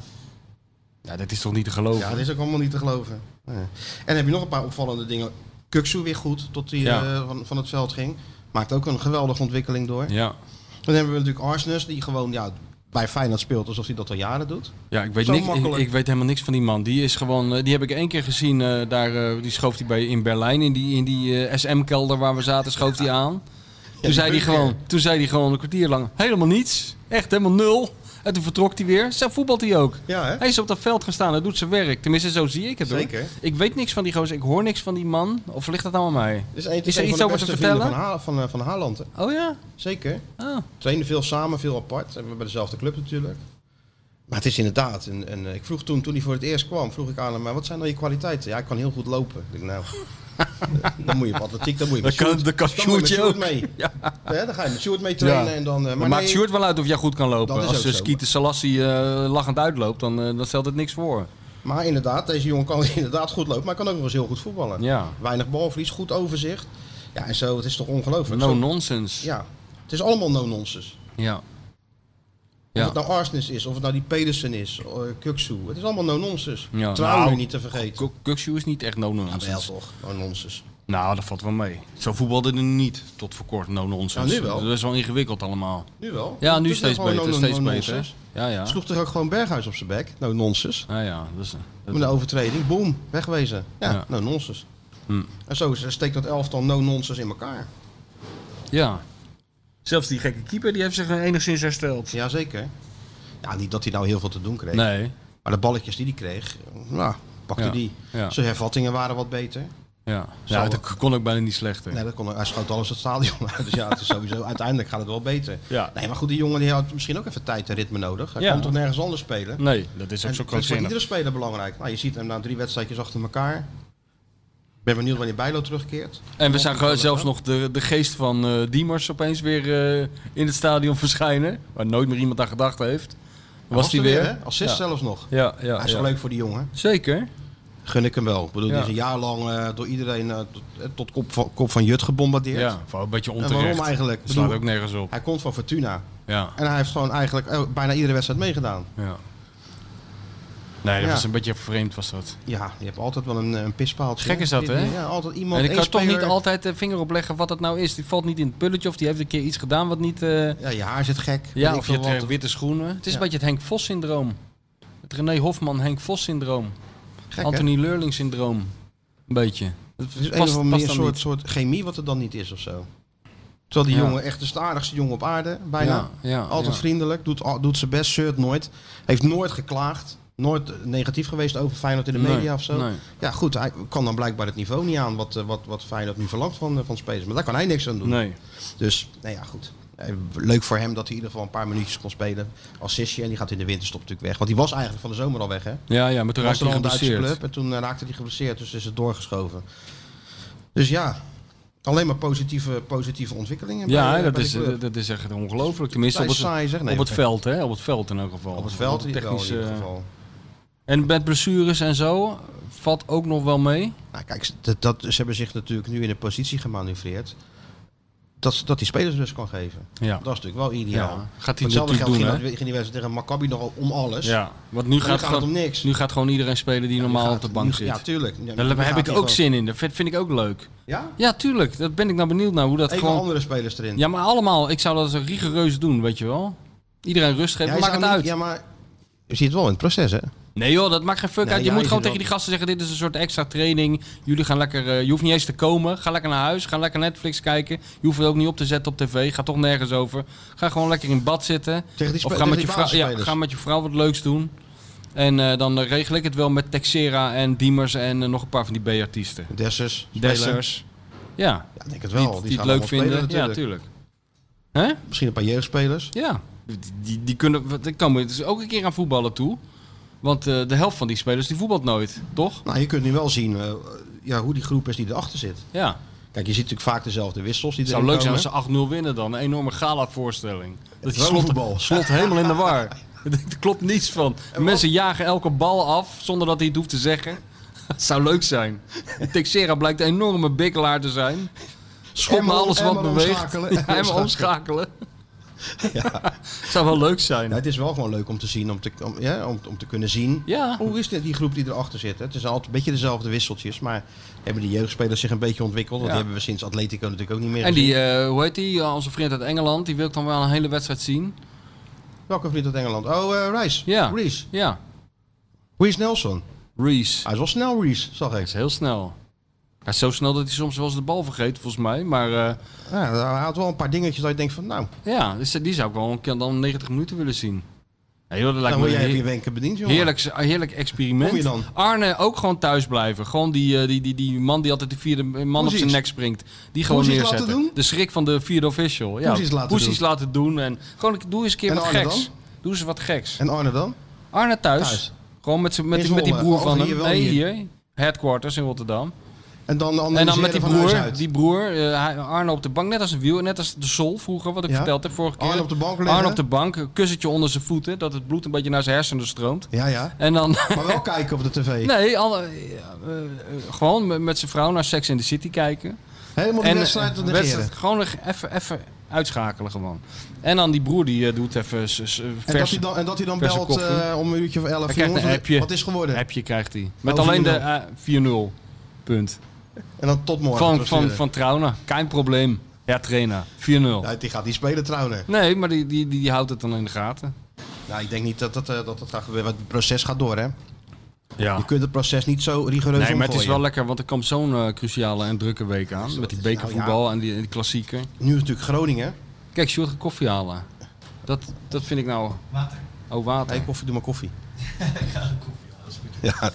S4: Ja, dat is toch niet te geloven?
S3: Ja, dat is ook allemaal niet te geloven. Nee. En heb je nog een paar opvallende dingen. Kuksu weer goed, tot hij
S4: Ja.
S3: eh, van, van het veld ging. Maakt ook een geweldige ontwikkeling door.
S4: ja.
S3: Dan hebben we natuurlijk Arsnes, die gewoon ja, bij Feyenoord speelt alsof hij dat al jaren doet.
S4: Ja, ik weet,
S3: Zo
S4: niks, ik,
S3: makkelijk.
S4: ik weet helemaal niks van die man. Die is gewoon, eh, die heb ik één keer gezien. eh, daar, eh, die schoof hij bij in Berlijn in die, in die SM-kelder waar we zaten, schoof hij aan. Toen
S3: die
S4: zei hij
S3: bunker.
S4: gewoon, toen zei hij gewoon een kwartier lang helemaal niets, echt helemaal nul. En toen vertrok hij weer. Zo voetbalt hij ook.
S3: Ja, hè?
S4: Hij is op dat veld gaan staan. Hij doet zijn werk. Tenminste, zo zie ik het. hoor.
S3: Zeker.
S4: Ik weet niks van die gozer. Ik hoor niks van die man. Of ligt dat nou aan mij?
S3: Is, een,
S4: Is er
S3: een
S4: iets
S3: van de
S4: over
S3: beste
S4: te
S3: vrienden
S4: vertellen?
S3: Van, Ha- van, eh, van Haaland, hè?
S4: Oh ja?
S3: zeker.
S4: Oh.
S3: Trainen veel samen, veel apart. En we hebben dezelfde club natuurlijk. Maar het is inderdaad. En, en eh, ik vroeg toen, toen hij voor het eerst kwam, vroeg ik aan hem, maar wat zijn nou je kwaliteiten? Ja, ik kan heel goed lopen. Ik denk, nou, dan moet je op atletiek, dan moet je met
S4: kan-
S3: Sjoerd-
S4: dan kan
S3: moet je met
S4: Sjoerd je
S3: Sjoerd mee.
S4: Ja.
S3: Hè, dan ga je met Sjoerd mee trainen
S4: Ja.
S3: en dan... eh,
S4: Maar maakt
S3: nee,
S4: Sjoerd wel uit of jij goed kan lopen.
S3: Dat is
S4: Als
S3: ook
S4: uh,
S3: zo.
S4: Skeeter Salassi eh, lachend uitloopt, dan, eh, dan stelt het niks voor.
S3: maar inderdaad, deze jongen kan inderdaad goed lopen, maar hij kan ook nog eens heel goed voetballen.
S4: Ja.
S3: Weinig balverlies, goed overzicht. Ja, en zo, het is toch ongelooflijk.
S4: No
S3: Zo-
S4: nonsense.
S3: Ja, het is allemaal no-nonsense.
S4: Ja.
S3: Of
S4: Ja.
S3: het nou Arsenis is, of het nou die Pedersen is, eh, Kuksu. Het is allemaal no-nonsense.
S4: Ja.
S3: Trouwen
S4: Nou,
S3: niet te vergeten. Ah,
S4: Kuk- Kukshoe is niet echt no nonsense.
S3: Wel toch, no-nonsense.
S4: Nou, dat valt wel mee. Zo voetbalde er niet tot voor kort no nonsense.
S3: Ja, nu wel.
S4: Dat is wel ingewikkeld allemaal.
S3: Nu wel.
S4: Ja,
S3: Het
S4: nu
S3: is
S4: steeds
S3: gewoon
S4: beter,
S3: no- no-
S4: steeds
S3: no-nonsense.
S4: beter. Ja, ja.
S3: Sloeg toch ook gewoon Berghuis op zijn bek? No-nonsense.
S4: Ja, ja. Dus, eh, dat-
S3: Met een overtreding, boom, wegwezen. Ja,
S4: Ja.
S3: no-nonsense.
S4: Hm.
S3: En zo is- steekt dat elftal no-nonsense in elkaar.
S4: ja. Zelfs die gekke keeper, die heeft zich eh, enigszins hersteld.
S3: Jazeker. Ja, niet dat hij nou heel veel te doen kreeg.
S4: Nee.
S3: Maar de balletjes die hij kreeg, nou, pakte
S4: Ja.
S3: die.
S4: Ja.
S3: Zijn hervattingen waren wat beter.
S4: Ja.
S3: Zal-
S4: ja, dat kon ook bijna niet slechter.
S3: Nee, dat kon, hij schoot alles het stadion uit. Dus ja, het is sowieso, uiteindelijk gaat het wel beter.
S4: Ja.
S3: Nee, maar goed, die jongen die had misschien ook even tijd en ritme nodig. Hij
S4: Ja.
S3: kan toch nergens anders spelen?
S4: Nee, dat is ook
S3: En
S4: zo
S3: dat is voor
S4: krankzinnig.
S3: iedere speler belangrijk. Nou, je ziet hem na drie wedstrijdjes achter elkaar. Ik ben benieuwd wanneer Bijlo terugkeert.
S4: En we zagen zelfs nog de, de geest van eh, Diemers opeens weer eh, in het stadion verschijnen. Waar nooit meer iemand aan gedacht heeft. Was hij
S3: er
S4: weer?
S3: hè? Assist
S4: Ja.
S3: zelfs nog.
S4: Ja, ja.
S3: Hij is
S4: ja.
S3: wel leuk voor die jongen.
S4: Zeker.
S3: Gun ik hem wel. Ik bedoel,
S4: Ja.
S3: die is een jaar lang eh, door iedereen eh, tot, eh, tot kop, van, kop van Jut gebombardeerd.
S4: Ja, vooral een beetje
S3: En
S4: onterecht.
S3: waarom eigenlijk? Ik
S4: Het slaat
S3: bedoel,
S4: ook nergens op.
S3: Hij komt van Fortuna.
S4: Ja,
S3: En hij heeft gewoon eigenlijk eh, bijna iedere wedstrijd meegedaan.
S4: ja. Nee, dat
S3: Ja.
S4: was een beetje vreemd was dat.
S3: Ja, je hebt altijd wel een, eh, een pispaaltje.
S4: Gek is dat, hè?
S3: Ja, altijd iemand.
S4: En ik
S3: één
S4: kan toch niet
S3: speler-
S4: altijd de vinger opleggen wat het nou is. Die valt niet in het pulletje of die heeft een keer iets gedaan wat niet... eh,
S3: Ja, je haar zit gek.
S4: ja,
S3: weet
S4: of
S3: ik
S4: je
S3: veel
S4: trekt
S3: wat.
S4: witte schoenen. Het is
S3: Ja.
S4: een beetje het Henk Vos syndroom. Het René Hofman Henk Vos syndroom.
S3: Gek, hè?
S4: Anthony Leurling syndroom. Een beetje. Dat
S3: Het is een
S4: past-
S3: of andere
S4: past
S3: manier een
S4: dan
S3: soort,
S4: niet.
S3: soort chemie wat er dan niet is of zo. Terwijl die
S4: Ja.
S3: jongen echt de stadigste jongen op aarde, bijna.
S4: Ja, ja,
S3: Altijd
S4: ja.
S3: vriendelijk, doet, al- doet zijn best, zeurt nooit. Heeft nooit geklaagd. Nooit eh, negatief geweest over Feyenoord in de media
S4: Nee,
S3: of zo.
S4: nee.
S3: Ja goed, hij kan dan blijkbaar het niveau niet aan wat, eh, wat, wat Feyenoord nu verlangt van, eh, van spelers. Maar daar kan hij niks aan doen.
S4: Nee.
S3: Dus, nou ja goed. Eh, Leuk voor hem dat hij in ieder geval een paar minuutjes kon spelen. Assistje, en die gaat in de winterstop natuurlijk weg. Want die was eigenlijk van de zomer al weg hè.
S4: Ja, ja, maar toen
S3: was er
S4: raakte hij
S3: al een Duitse
S4: geblesseerd.
S3: club en toen eh, raakte hij geblesseerd, dus is het doorgeschoven. Dus ja, alleen maar positieve, positieve ontwikkelingen.
S4: Ja,
S3: bij, eh,
S4: dat
S3: bij de
S4: is,
S3: club.
S4: dat is echt ongelooflijk. Tenminste,
S3: Bij
S4: op het,
S3: saai, zeg. Nee,
S4: op het
S3: oké.
S4: veld, hè? Op het veld in elk geval.
S3: op het veld
S4: Op
S3: in
S4: het
S3: ieder geval, in ieder
S4: eh,
S3: geval.
S4: En met blessures en zo valt ook nog wel mee.
S3: Nou, kijk, ze- dat, dat, ze hebben zich natuurlijk nu in een positie gemanoeuvreerd dat, ze- dat die spelers dus kan geven.
S4: Ja.
S3: Dat is natuurlijk wel ideaal.
S4: Ja, gaat
S3: Hetzelfde
S4: hij natuurlijk
S3: geldt
S4: doen,
S3: ging,
S4: hè?
S3: dat- ging die wedstrijd tegen Maccabi nogal om alles.
S4: Ja, want nu
S3: Maar
S4: gaat,
S3: nu gaat Dus het om niks.
S4: nu gaat gewoon iedereen spelen die
S3: Nu
S4: normaal
S3: gaat-
S4: op de bank
S3: nu-
S4: zit.
S3: Ja, tuurlijk. Ja, nu
S4: Daar
S3: gaat
S4: heb ik
S3: hij gewoon-
S4: ook zin in. Dat vind vind ik ook leuk.
S3: Ja?
S4: Ja, tuurlijk. Dat ben ik nou benieuwd naar hoe dat
S3: Even
S4: gewoon...
S3: andere spelers erin.
S4: Ja, maar allemaal. Ik zou dat zo rigoureus doen, weet je wel. Iedereen rust geven,
S3: Jij
S4: maakt
S3: zou
S4: het
S3: niet-
S4: uit.
S3: Ja, maar je ziet het wel in het proces, hè?
S4: Nee joh, dat maakt geen fuck
S3: Nee,
S4: uit. Je
S3: ja,
S4: moet
S3: je
S4: gewoon
S3: zit
S4: tegen die
S3: wel-
S4: gasten zeggen, dit is een soort extra training. Jullie gaan lekker, eh, je hoeft niet eens te komen. Ga lekker naar huis, ga lekker Netflix kijken. Je hoeft het ook niet op te zetten op tv, gaat toch nergens over. Ga gewoon lekker in bad zitten.
S3: Tegen die spe-
S4: of ga
S3: tegen
S4: met,
S3: die
S4: je vrouw, ja,
S3: basisspelers.
S4: ga met je vrouw wat leuks doen. En eh, dan eh, regel ik het wel met Texera en Diemers en eh, nog een paar van die B-artiesten.
S3: Dessers. spelen.
S4: Dessers. Ja,
S3: Ja, ik denk het
S4: die,
S3: wel. gaan
S4: die, het leuk
S3: allemaal spelen
S4: vinden. ja,
S3: natuurlijk.
S4: tuurlijk. Hè?
S3: Misschien een paar jeugdspelers.
S4: Ja, die, die, die kunnen, die komen dus ook een keer aan voetballen toe. Want eh, de helft van die spelers die voetbalt nooit, toch?
S3: Nou, je kunt nu wel zien eh, ja, hoe die groep is die erachter zit.
S4: Ja.
S3: Kijk, je ziet natuurlijk vaak dezelfde wissels die
S4: Het
S3: erin
S4: zou leuk zijn
S3: komen.
S4: als ze 8-0 winnen dan. Een enorme gala-voorstelling. Dat je
S3: Droomvoetbal.
S4: slot, slot helemaal in de war. Er klopt niets van. Mensen jagen elke bal af zonder dat hij het hoeft te zeggen. Het zou leuk zijn. Die Texera blijkt een enorme bikkelaar te zijn. Schop
S3: Emmer-
S4: alles wat
S3: emmer
S4: beweegt.
S3: omschakelen.
S4: Ja, hem omschakelen. zou wel leuk zijn.
S3: Ja, Nou, het is wel gewoon leuk om te zien, om te, om, ja, om, om te kunnen zien.
S4: Ja.
S3: Hoe is dit, die groep die erachter zit? Hè? Het is altijd een beetje dezelfde wisseltjes, maar hebben die jeugdspelers zich een beetje ontwikkeld? Want
S4: Ja.
S3: die hebben we sinds Atletico natuurlijk ook niet meer
S4: En
S3: gezien.
S4: die, eh, hoe heet die, onze vriend uit Engeland, die wil ik dan wel een hele wedstrijd zien.
S3: Welke vriend uit Engeland? Oh, eh Rice.
S4: Ja.
S3: Reece.
S4: Ja,
S3: Reece Nelson.
S4: Reese.
S3: Hij is wel snel, Reece, zag
S4: Hij
S3: ik.
S4: is heel snel. Hij is zo snel dat hij soms wel eens de bal vergeet, volgens mij. Maar eh,
S3: Ja, hij had wel een paar dingetjes dat je denkt van, nou,
S4: Ja, dus die zou ik wel een keer dan 90 minuten willen zien. Nee, joh, dat lijkt
S3: Dan moet
S4: me
S3: Nou, jij
S4: een
S3: op je
S4: heer-
S3: wenken bediend, jongen.
S4: heerlijk, heerlijk experiment.
S3: Kom je dan?
S4: Arne ook gewoon thuis blijven. Gewoon die, eh, die, die, die man die altijd de vierde man op
S3: Poesies.
S4: zijn nek springt. Die gewoon
S3: Poesies
S4: neerzetten.
S3: laten doen?
S4: De schrik van de vierde official. Ja,
S3: Poesies laten
S4: poesies laten doen. En gewoon doe eens een keer
S3: En
S4: wat
S3: Arne
S4: geks.
S3: dan?
S4: Doe eens wat geks.
S3: En Arne dan?
S4: Arne thuis.
S3: Thuis.
S4: Gewoon met, z'n- met,
S3: In
S4: die- met die
S3: Zwolle.
S4: broer
S3: Oh,
S4: van
S3: hier
S4: hem.
S3: wel
S4: Nee,
S3: hier.
S4: hier. Headquarters in Rotterdam.
S3: En dan,
S4: En dan met die
S3: van huis
S4: broer,
S3: uit.
S4: die broer eh, hij- Arne op de bank, net als een wiel, net als de sol vroeger, wat ik
S3: Ja.
S4: verteld heb vorige keer.
S3: Arne op de bank liggen.
S4: Arne op de bank, een kussentje onder zijn voeten, dat het bloed een beetje naar zijn hersenen stroomt.
S3: Ja, ja.
S4: En dan,
S3: Maar wel kijken op de tv.
S4: nee, alle- eh, eh, gewoon met- met zijn vrouw naar Sex in the City kijken.
S3: Helemaal die
S4: eh,
S3: wedstrijd te
S4: wedstrijd-
S3: negeren.
S4: gewoon nog even, even uitschakelen gewoon. En dan die broer, die eh, doet even s- s-
S3: En dat,
S4: vers
S3: hij dan, en dat hij dan
S4: verse
S3: belt
S4: koffie.
S3: eh, om een uurtje of elf.
S4: Hij krijgt
S3: jongens,
S4: een
S3: wat-
S4: appje.
S3: Wat is geworden?
S4: appje krijgt hij. Met
S3: Oh,
S4: alleen de
S3: 4-0.
S4: eh, 4-0 punt.
S3: En dan tot morgen.
S4: Van, van,
S3: terugsturen.
S4: van Trauner, geen probleem. Ja, trainer, 4-0.
S3: Ja, die gaat niet spelen trouwen.
S4: Nee, maar die, die, die, die houdt het dan in de gaten.
S3: Nou, ik denk niet dat dat, eh, dat, dat gaat gebeuren. Het proces gaat door, hè?
S4: Ja.
S3: Je kunt het proces niet zo rigoureus
S4: Nee, maar het is wel
S3: omgooien.
S4: lekker, want er komt zo'n eh, cruciale en drukke week aan. Met die
S3: nou
S4: bekervoetbal en, die, en die klassieker.
S3: Nu natuurlijk Groningen.
S4: Kijk, Sjoerd gaat koffie halen. Dat, dat vind ik nou...
S5: Water.
S4: Oh, water.
S3: hey, koffie, doe maar koffie.
S5: Ik ga een koffie halen, dat is goed.
S3: Ja,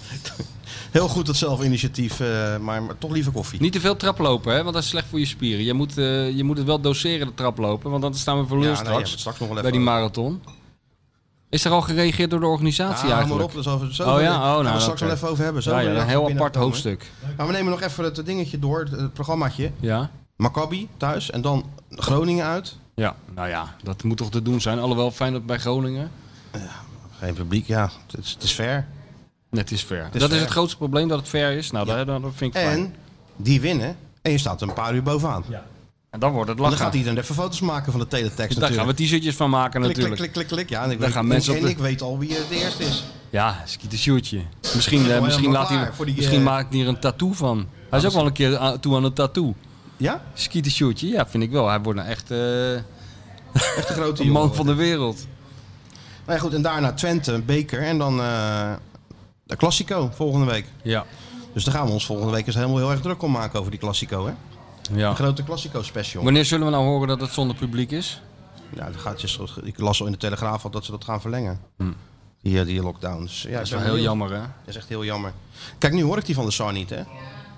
S3: heel goed dat zelfinitiatief, eh, maar, maar toch liever koffie.
S4: Niet te veel traplopen, hè, want dat is slecht voor je spieren. Je moet, eh, je moet het wel doseren, de traplopen, want dan staan we voor lul
S3: Ja, nee, hebben we
S4: straks.
S3: het straks nog wel
S4: bij die
S3: even
S4: marathon. Is er al gereageerd door de
S3: Ah,
S4: organisatie
S3: hang maar
S4: eigenlijk?
S3: op, dat is over, zo
S4: Oh ja, oh, nou,
S3: gaan we straks
S4: oké.
S3: wel even over hebben. Zo
S4: Ja, ja,
S3: wil je
S4: een
S3: daar
S4: heel
S3: binnen
S4: apart
S3: komen.
S4: hoofdstuk.
S3: Nou, we nemen nog even het dingetje door, het, het programmaatje.
S4: Ja?
S3: Maccabi thuis en dan Groningen uit.
S4: Ja, nou ja, dat moet toch te doen zijn. Alhoewel, fijn dat bij Groningen.
S3: Geen publiek, ja, het is, het is ver.
S4: Net is ver.
S3: is
S4: dat is
S3: ver.
S4: het grootste probleem, dat het ver is. Nou, dat, dat vind ik fijn.
S3: En die winnen en je staat een paar uur bovenaan.
S4: En dan wordt het
S3: Dan
S4: lachen.
S3: gaat iedereen even foto's maken van de teletext
S4: Daar gaan we
S3: natuurlijk.
S4: t-shirtjes van maken
S3: Klik, klik,
S4: natuurlijk.
S3: klik, klik, klik. Ja, en ik,
S4: Daar
S3: weet,
S4: gaan mensen
S3: en
S4: op de-
S3: ik weet al wie eh, de eerste is.
S4: Ja, Skeeter Sjoerdje. Misschien, eh,
S3: helemaal
S4: misschien, laat hij,
S3: klaar voor die,
S4: misschien
S3: eh,
S4: maakt hij er een tattoo van. Hij
S3: Ah,
S4: is ook wel een keer aan- toe aan een tattoo.
S3: Ja?
S4: Skeeter Sjoerdje, ja, vind ik wel. Hij wordt nou echt eh,
S3: Echt een grote
S4: een
S3: jongen.
S4: man van de wereld.
S3: Nou ja, goed, en daarna Twente, een beker en dan eh, de Classico volgende week.
S4: Ja.
S3: Dus daar gaan we ons volgende week eens helemaal heel erg druk om maken over die Classico, hè? Een
S4: ja.
S3: grote Classico special.
S4: Wanneer zullen we nou horen dat het zonder publiek is?
S3: Ja, dat gaat, dus- ik las al in de Telegraaf al dat ze dat gaan verlengen. Die, eh, die lockdowns. Ja,
S4: Hmm. Dat is wel heel jammer, hè?
S3: Dat is echt heel jammer. Kijk, nu hoor ik die van de Sar niet, hè?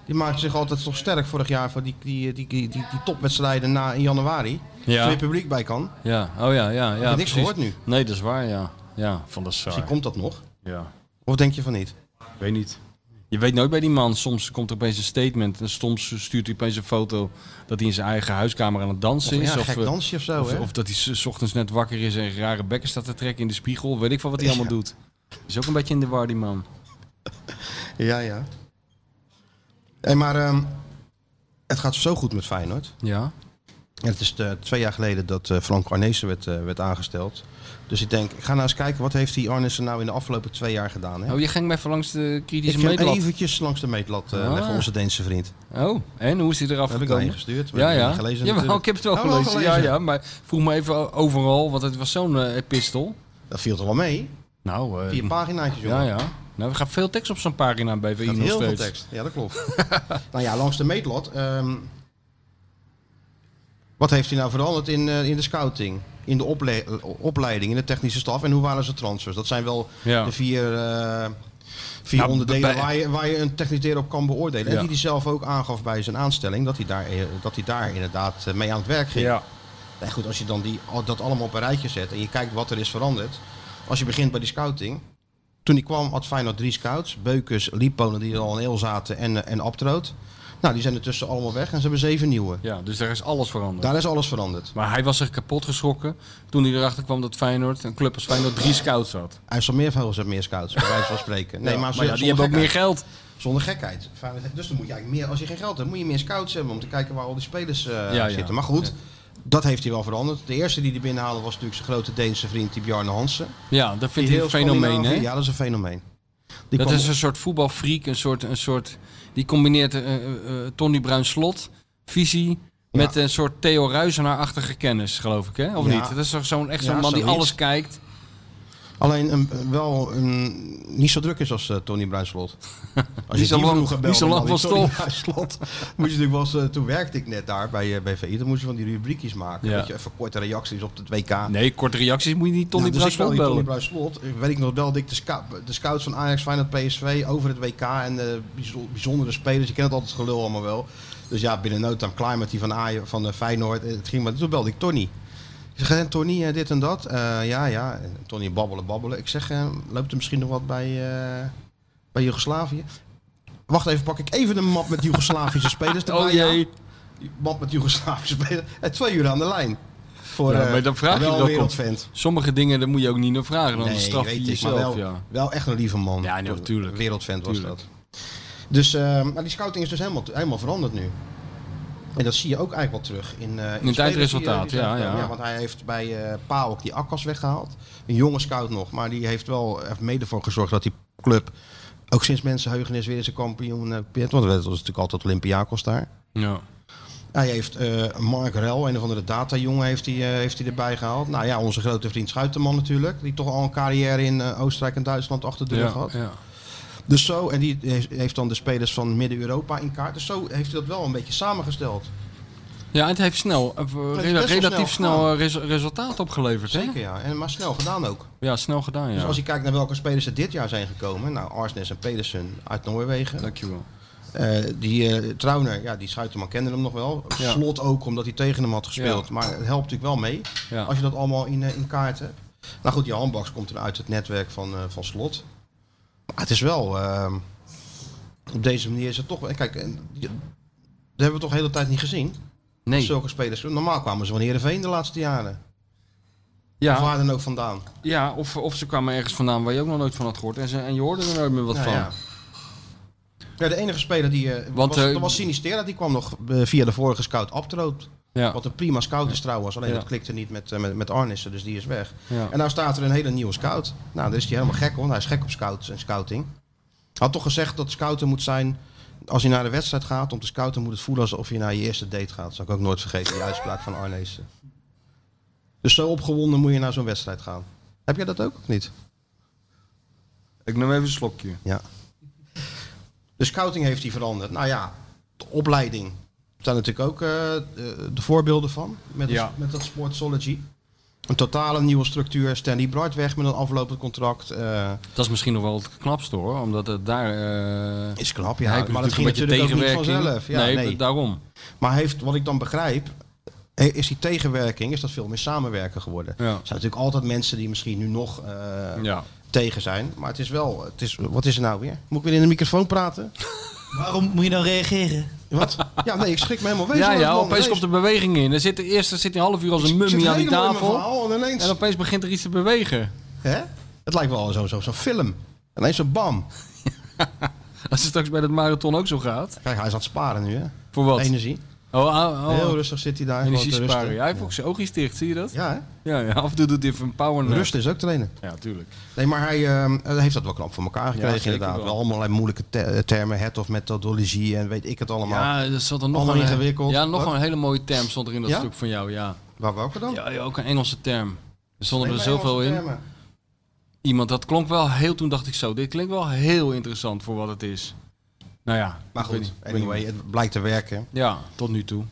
S3: Die maakte zich altijd toch sterk vorig jaar voor die, die, die, die, die, die topwedstrijden na in januari.
S4: Ja.
S3: Waar je publiek bij kan.
S4: Ja, oh ja, ja. ja
S3: niks
S4: precies.
S3: gehoord nu.
S4: Nee, dat is waar, ja. Ja, van de Sar.
S3: Misschien komt dat nog.
S4: Ja.
S3: Of denk je van niet?
S4: Ik weet niet. Je weet nooit bij die man. Soms komt er opeens een statement. En soms stuurt hij opeens een foto dat hij in zijn eigen huiskamer aan het dansen is.
S3: ja, gek
S4: eh,
S3: dansje of zo,
S4: of,
S3: hè?
S4: of dat hij s- 's ochtends net wakker is en rare bekken staat te trekken in de spiegel. Weet ik van wat hij
S3: Ja.
S4: allemaal doet. Is ook een beetje in de war, die man.
S3: Ja, ja. Hey, maar ehm, het gaat zo goed met Feyenoord.
S4: Ja.
S3: En het is eh, twee jaar geleden dat eh, Frank Arnezen werd, eh, werd aangesteld. Dus ik denk, ik ga nou eens kijken, wat heeft die Arnezen nou in de afgelopen twee jaar gedaan? Hè?
S4: Oh, je ging mij even langs de kritische
S3: ik ga
S4: meetlat.
S3: eventjes langs de meetlat eh,
S4: Ah.
S3: leggen, onze Deense vriend.
S4: Oh, en hoe is hij eraf
S3: Heb ik al
S4: gekomen?
S3: ingestuurd. maar
S4: Ja,
S3: heb je
S4: ja.
S3: niet Gelezen,
S4: Jawel,
S3: natuurlijk.
S4: ik heb het wel
S3: Oh,
S4: gelezen. Ja, ja, maar vroeg me even o- overal, want het was zo'n eh, epistel.
S3: Dat viel toch wel mee?
S4: Nou, eh,
S3: Vier paginaatjes, jongen.
S4: ja, ja. Nou, er gaat veel tekst op zo'n pagina bij VI
S3: Dat had
S4: nog
S3: heel veel
S4: steeds.
S3: tekst. Ja, dat klopt. nou ja, langs de meetlot. ehm, wat heeft hij nou veranderd in, eh, in de scouting? In de ople- opleiding, in de technische staf? En hoe waren zijn transfers? Dat zijn wel
S4: Ja.
S3: de vier, eh, vier
S4: Nou,
S3: onderdelen
S4: bij-
S3: waar, je, waar je een techniciteer op kan beoordelen.
S4: Ja.
S3: En die hij zelf ook aangaf bij zijn aanstelling. Dat hij daar, eh, dat hij daar inderdaad eh, mee aan het werk ging.
S4: Ja.
S3: Nou goed, als je dan die, al- dat allemaal op een rijtje zet en je kijkt wat er is veranderd. Als je begint bij die scouting. Toen die kwam had Feyenoord drie scouts. Beukers, Liponen die er al in heel zaten en, eh, en Abtroot. Nou, die zijn ertussen allemaal weg en ze hebben zeven nieuwe.
S4: Ja, dus daar is alles veranderd.
S3: Daar is alles veranderd.
S4: Maar hij was zich kapot geschrokken toen hij erachter kwam dat Feyenoord, een club als Feyenoord,
S3: Ah.
S4: drie scouts had.
S3: IJsselmeervogels hebben meer scouts, bij wijze van spreken. Nee,
S4: Ja,
S3: maar,
S4: ja,
S3: zonder,
S4: die hebben ook meer
S3: gekheid,
S4: geld.
S3: zonder gekheid. Feyenoord heeft- Dus dan moet je eigenlijk meer, als je geen geld hebt, moet je meer scouts hebben om te kijken waar al die spelers eh,
S4: ja.
S3: zitten. Maar goed, dat heeft hij wel veranderd. De eerste die hij binnenhaalde was natuurlijk zijn grote Deense vriend, die Bjarne Hansen.
S4: Ja, dat
S3: Die
S4: vindt hij een
S3: heel
S4: fenomeen,
S3: Scandinavië-
S4: hè?
S3: Ja, dat is een fenomeen. Die
S4: Dat
S3: kwam
S4: is een soort voetbalfreak, een soort, een soort... Die combineert eh eh, eh, Tony Bruin slot, visie... Met een soort Theo Ruizenaar-achtige kennis, geloof ik, hè? Of
S3: Ja.
S4: niet? Dat is toch zo'n echt zo'n
S3: Ja,
S4: man die
S3: zoiets.
S4: alles kijkt.
S3: Alleen een, wel een, niet zo druk is als eh, Tony Bruinslot. Als
S4: Niet zo
S3: die
S4: lang-
S3: vroeger
S4: niet
S3: belde,
S4: zo lang
S3: man, die
S4: van
S3: Tony
S4: stof.
S3: Bruinslot, moest je natuurlijk wel eens, eh, toen werkte ik net daar bij, eh, bij VI. Dan moest je van die rubriekjes maken.
S4: Ja.
S3: Dat je even korte reacties op het WK.
S4: Nee, korte reacties moet je niet Tony
S3: Nou, dus ik
S4: Bruinslot
S3: belde die Tony
S4: bellen.
S3: Bruinslot. Ik weet ik nog wel, ik de, scout, de scouts van Ajax, Feyenoord, PSV over het WK en de bijzo- bijzondere spelers. Je kent het altijd het gelul allemaal wel. Dus ja, binnen no time climate die van, Ajax, van eh, Feyenoord. Eh, Het ging maar, toen belde ik Tony. Ik zeg, eh, Tony, eh, dit en dat. Eh, ja, ja. En Tony babbelen, babbelen. Ik zeg, eh, loopt er misschien nog wat bij, eh, bij Joegoslavië? Wacht even, pak ik even de map met Joegoslavische spelers.
S4: Oh
S3: erbij, ja.
S4: jee.
S3: Map met Joegoslavische spelers. En twee uur aan de lijn. Voor
S4: Ja,
S3: eh,
S4: maar dan vraag je
S3: wel
S4: dat ook.
S3: wereldvent.
S4: Sommige dingen, daar moet je ook niet naar vragen. Dan
S3: Nee,
S4: straf je
S3: weet ik, maar
S4: jezelf,
S3: wel,
S4: ja.
S3: wel echt een lieve man.
S4: Ja, nee, natuurlijk.
S3: Wereldfan was
S4: Tuurlijk.
S3: dat. Dus, eh, maar die scouting is dus helemaal, helemaal veranderd nu. En dat zie je ook eigenlijk wel terug in, eh, in, de
S4: het
S3: spelers
S4: eindresultaat,
S3: die, eh, die zijn
S4: ja,
S3: gekomen.
S4: ja.
S3: Want hij heeft bij eh Paok die Akkas weggehaald. Een jonge scout nog, maar die heeft wel eh, heeft mede voor gezorgd dat die club ook sinds mensenheugenis weer eens een kampioen eh, werd. Want dat was natuurlijk altijd Olympiakos daar.
S4: ja.
S3: Hij heeft eh, Mark Rel, een of andere datajongen, heeft hij, eh, heeft hij erbij gehaald. Nou ja, onze grote vriend Schuiterman natuurlijk. Die toch al een carrière in eh, Oostenrijk en Duitsland achter de rug
S4: Ja,
S3: had.
S4: ja.
S3: Dus zo, en die heeft- heeft dan de spelers van Midden-Europa in kaart. Dus zo heeft hij dat wel een beetje samengesteld.
S4: ja, en het heeft snel, eh,
S3: is
S4: rela-
S3: best wel
S4: relatief
S3: snel
S4: snel eh, res- resultaat opgeleverd. Hè?
S3: Zeker ja, en maar snel gedaan ook.
S4: Ja, snel gedaan, ja.
S3: Dus als je kijkt naar welke spelers er dit jaar zijn gekomen. Nou, Arsnes en Pedersen uit Noorwegen.
S4: Dankjewel.
S3: Eh, die eh Trauner, ja, die Schuiterman kende hem nog wel.
S4: Ja.
S3: Slot ook, omdat hij tegen hem had gespeeld.
S4: Ja.
S3: Maar het helpt natuurlijk wel mee.
S4: Ja.
S3: Als je dat allemaal in, eh, in kaart hebt. Nou goed, die handbaks komt er uit het netwerk van, eh, van Slot. Maar het is wel... ehm, op deze manier is het toch... wel- Kijk, en die- dat hebben we toch de hele tijd niet gezien.
S4: Nee.
S3: Zulke spelers. Normaal kwamen ze van Heerenveen de laatste jaren. Of
S4: Ja,
S3: waar dan ook vandaan.
S4: ja of, of ze kwamen ergens vandaan waar je ook nog nooit van had gehoord. En, ze, en je hoorde er nooit meer wat
S3: Nou
S4: van.
S3: ja. Ja, de enige speler die... eh,
S4: Want,
S3: was,
S4: eh,
S3: dat was Sinistera, die kwam nog eh, via de vorige scout Abtroot.
S4: Ja.
S3: Wat een prima scout is trouwens. Alleen
S4: Ja.
S3: dat klikte niet met, eh, met, met Arnissen, dus die is weg.
S4: Ja.
S3: En nou staat er een hele nieuwe scout. Nou, daar is hij helemaal gek, hoor, want hij is gek op scouts en scouting. Had toch gezegd dat scouten moet zijn... Als je naar de wedstrijd gaat om te scouten, moet het voelen alsof je naar je eerste date gaat. Dat zal ik ook nooit vergeten, die uitspraak van Arnezen. Dus zo opgewonden moet je naar zo'n wedstrijd gaan. Heb jij dat ook of niet?
S4: Ik neem even een slokje.
S3: Ja. De scouting heeft die veranderd. Nou ja, de opleiding. Daar zijn natuurlijk ook eh, eh, de voorbeelden van. Met,
S4: Ja.
S3: met dat Sportsology. Een totale nieuwe structuur. Stanley Bright weg met een aflopend contract. eh,
S4: Dat is misschien nog wel het knapste hoor, omdat het daar... eh,
S3: is knap,
S4: hij
S3: ja.
S4: heeft
S3: Maar dat ging natuurlijk ook niet vanzelf. Ja,
S4: nee,
S3: nee,
S4: daarom.
S3: Maar heeft, wat ik dan begrijp, eh, is die tegenwerking is dat veel meer samenwerken geworden.
S4: Ja.
S3: Er zijn natuurlijk altijd mensen die misschien nu nog eh,
S4: Ja.
S3: tegen zijn. Maar het is wel, het is, wat is er nou weer? Moet ik weer in de microfoon praten?
S2: Waarom moet je dan reageren?
S3: Wat? Ja, nee, ik schrik me helemaal wezen.
S4: Ja,
S3: van dat
S4: ja,
S3: man.
S4: opeens
S3: Nee,
S4: komt er beweging in. Er zit, eerst er zit hij een half uur als een
S3: Ik zit
S4: mummie aan die
S3: helemaal in mijn
S4: tafel.
S3: verhaal En ineens,
S4: En opeens begint er iets te bewegen.
S3: hè? Het lijkt wel zo'n zo, zo'n film. En ineens zo bam.
S4: Als het straks bij dat marathon ook zo gaat.
S3: Kijk, hij is aan het sparen nu, hè?
S4: Voor wat?
S3: Energie.
S4: Oh, oh, oh.
S3: Heel rustig zit hij daar. gewoon
S4: energie
S3: te rusten.
S4: sparen. Ja, hij heeft ook zijn oogjes dicht, zie je dat?
S3: Ja, hè?
S4: Ja, ja. af en toe doet hij even een power nap.
S3: Rust is ook trainen.
S4: Ja, tuurlijk.
S3: Nee, maar hij ehm, hij heeft dat wel knap voor elkaar gekregen,
S4: zeker
S3: inderdaad.
S4: wel.
S3: Wel allemaal allerlei moeilijke te- eh, termen. Het of methodologie en weet ik het allemaal.
S4: Ja, dat zat er nog
S3: Allemaal
S4: een- eh,
S3: ingewikkeld.
S4: Ja, nog
S3: Wat?
S4: een hele mooie term stond er in dat
S3: Ja?
S4: stuk van jou, ja.
S3: Waar welke dan?
S4: Ja, ja, ook een Engelse term. Er stonden
S3: Nee,
S4: er
S3: maar
S4: zoveel
S3: Engelse
S4: in.
S3: termen.
S4: Iemand, dat klonk wel heel, toen dacht ik zo, dit klinkt wel heel interessant voor wat het is. Nou ja.
S3: Maar
S4: ik
S3: goed,
S4: weet niet, ik weet niet.
S3: anyway, het blijkt te werken.
S4: Ja, tot nu toe.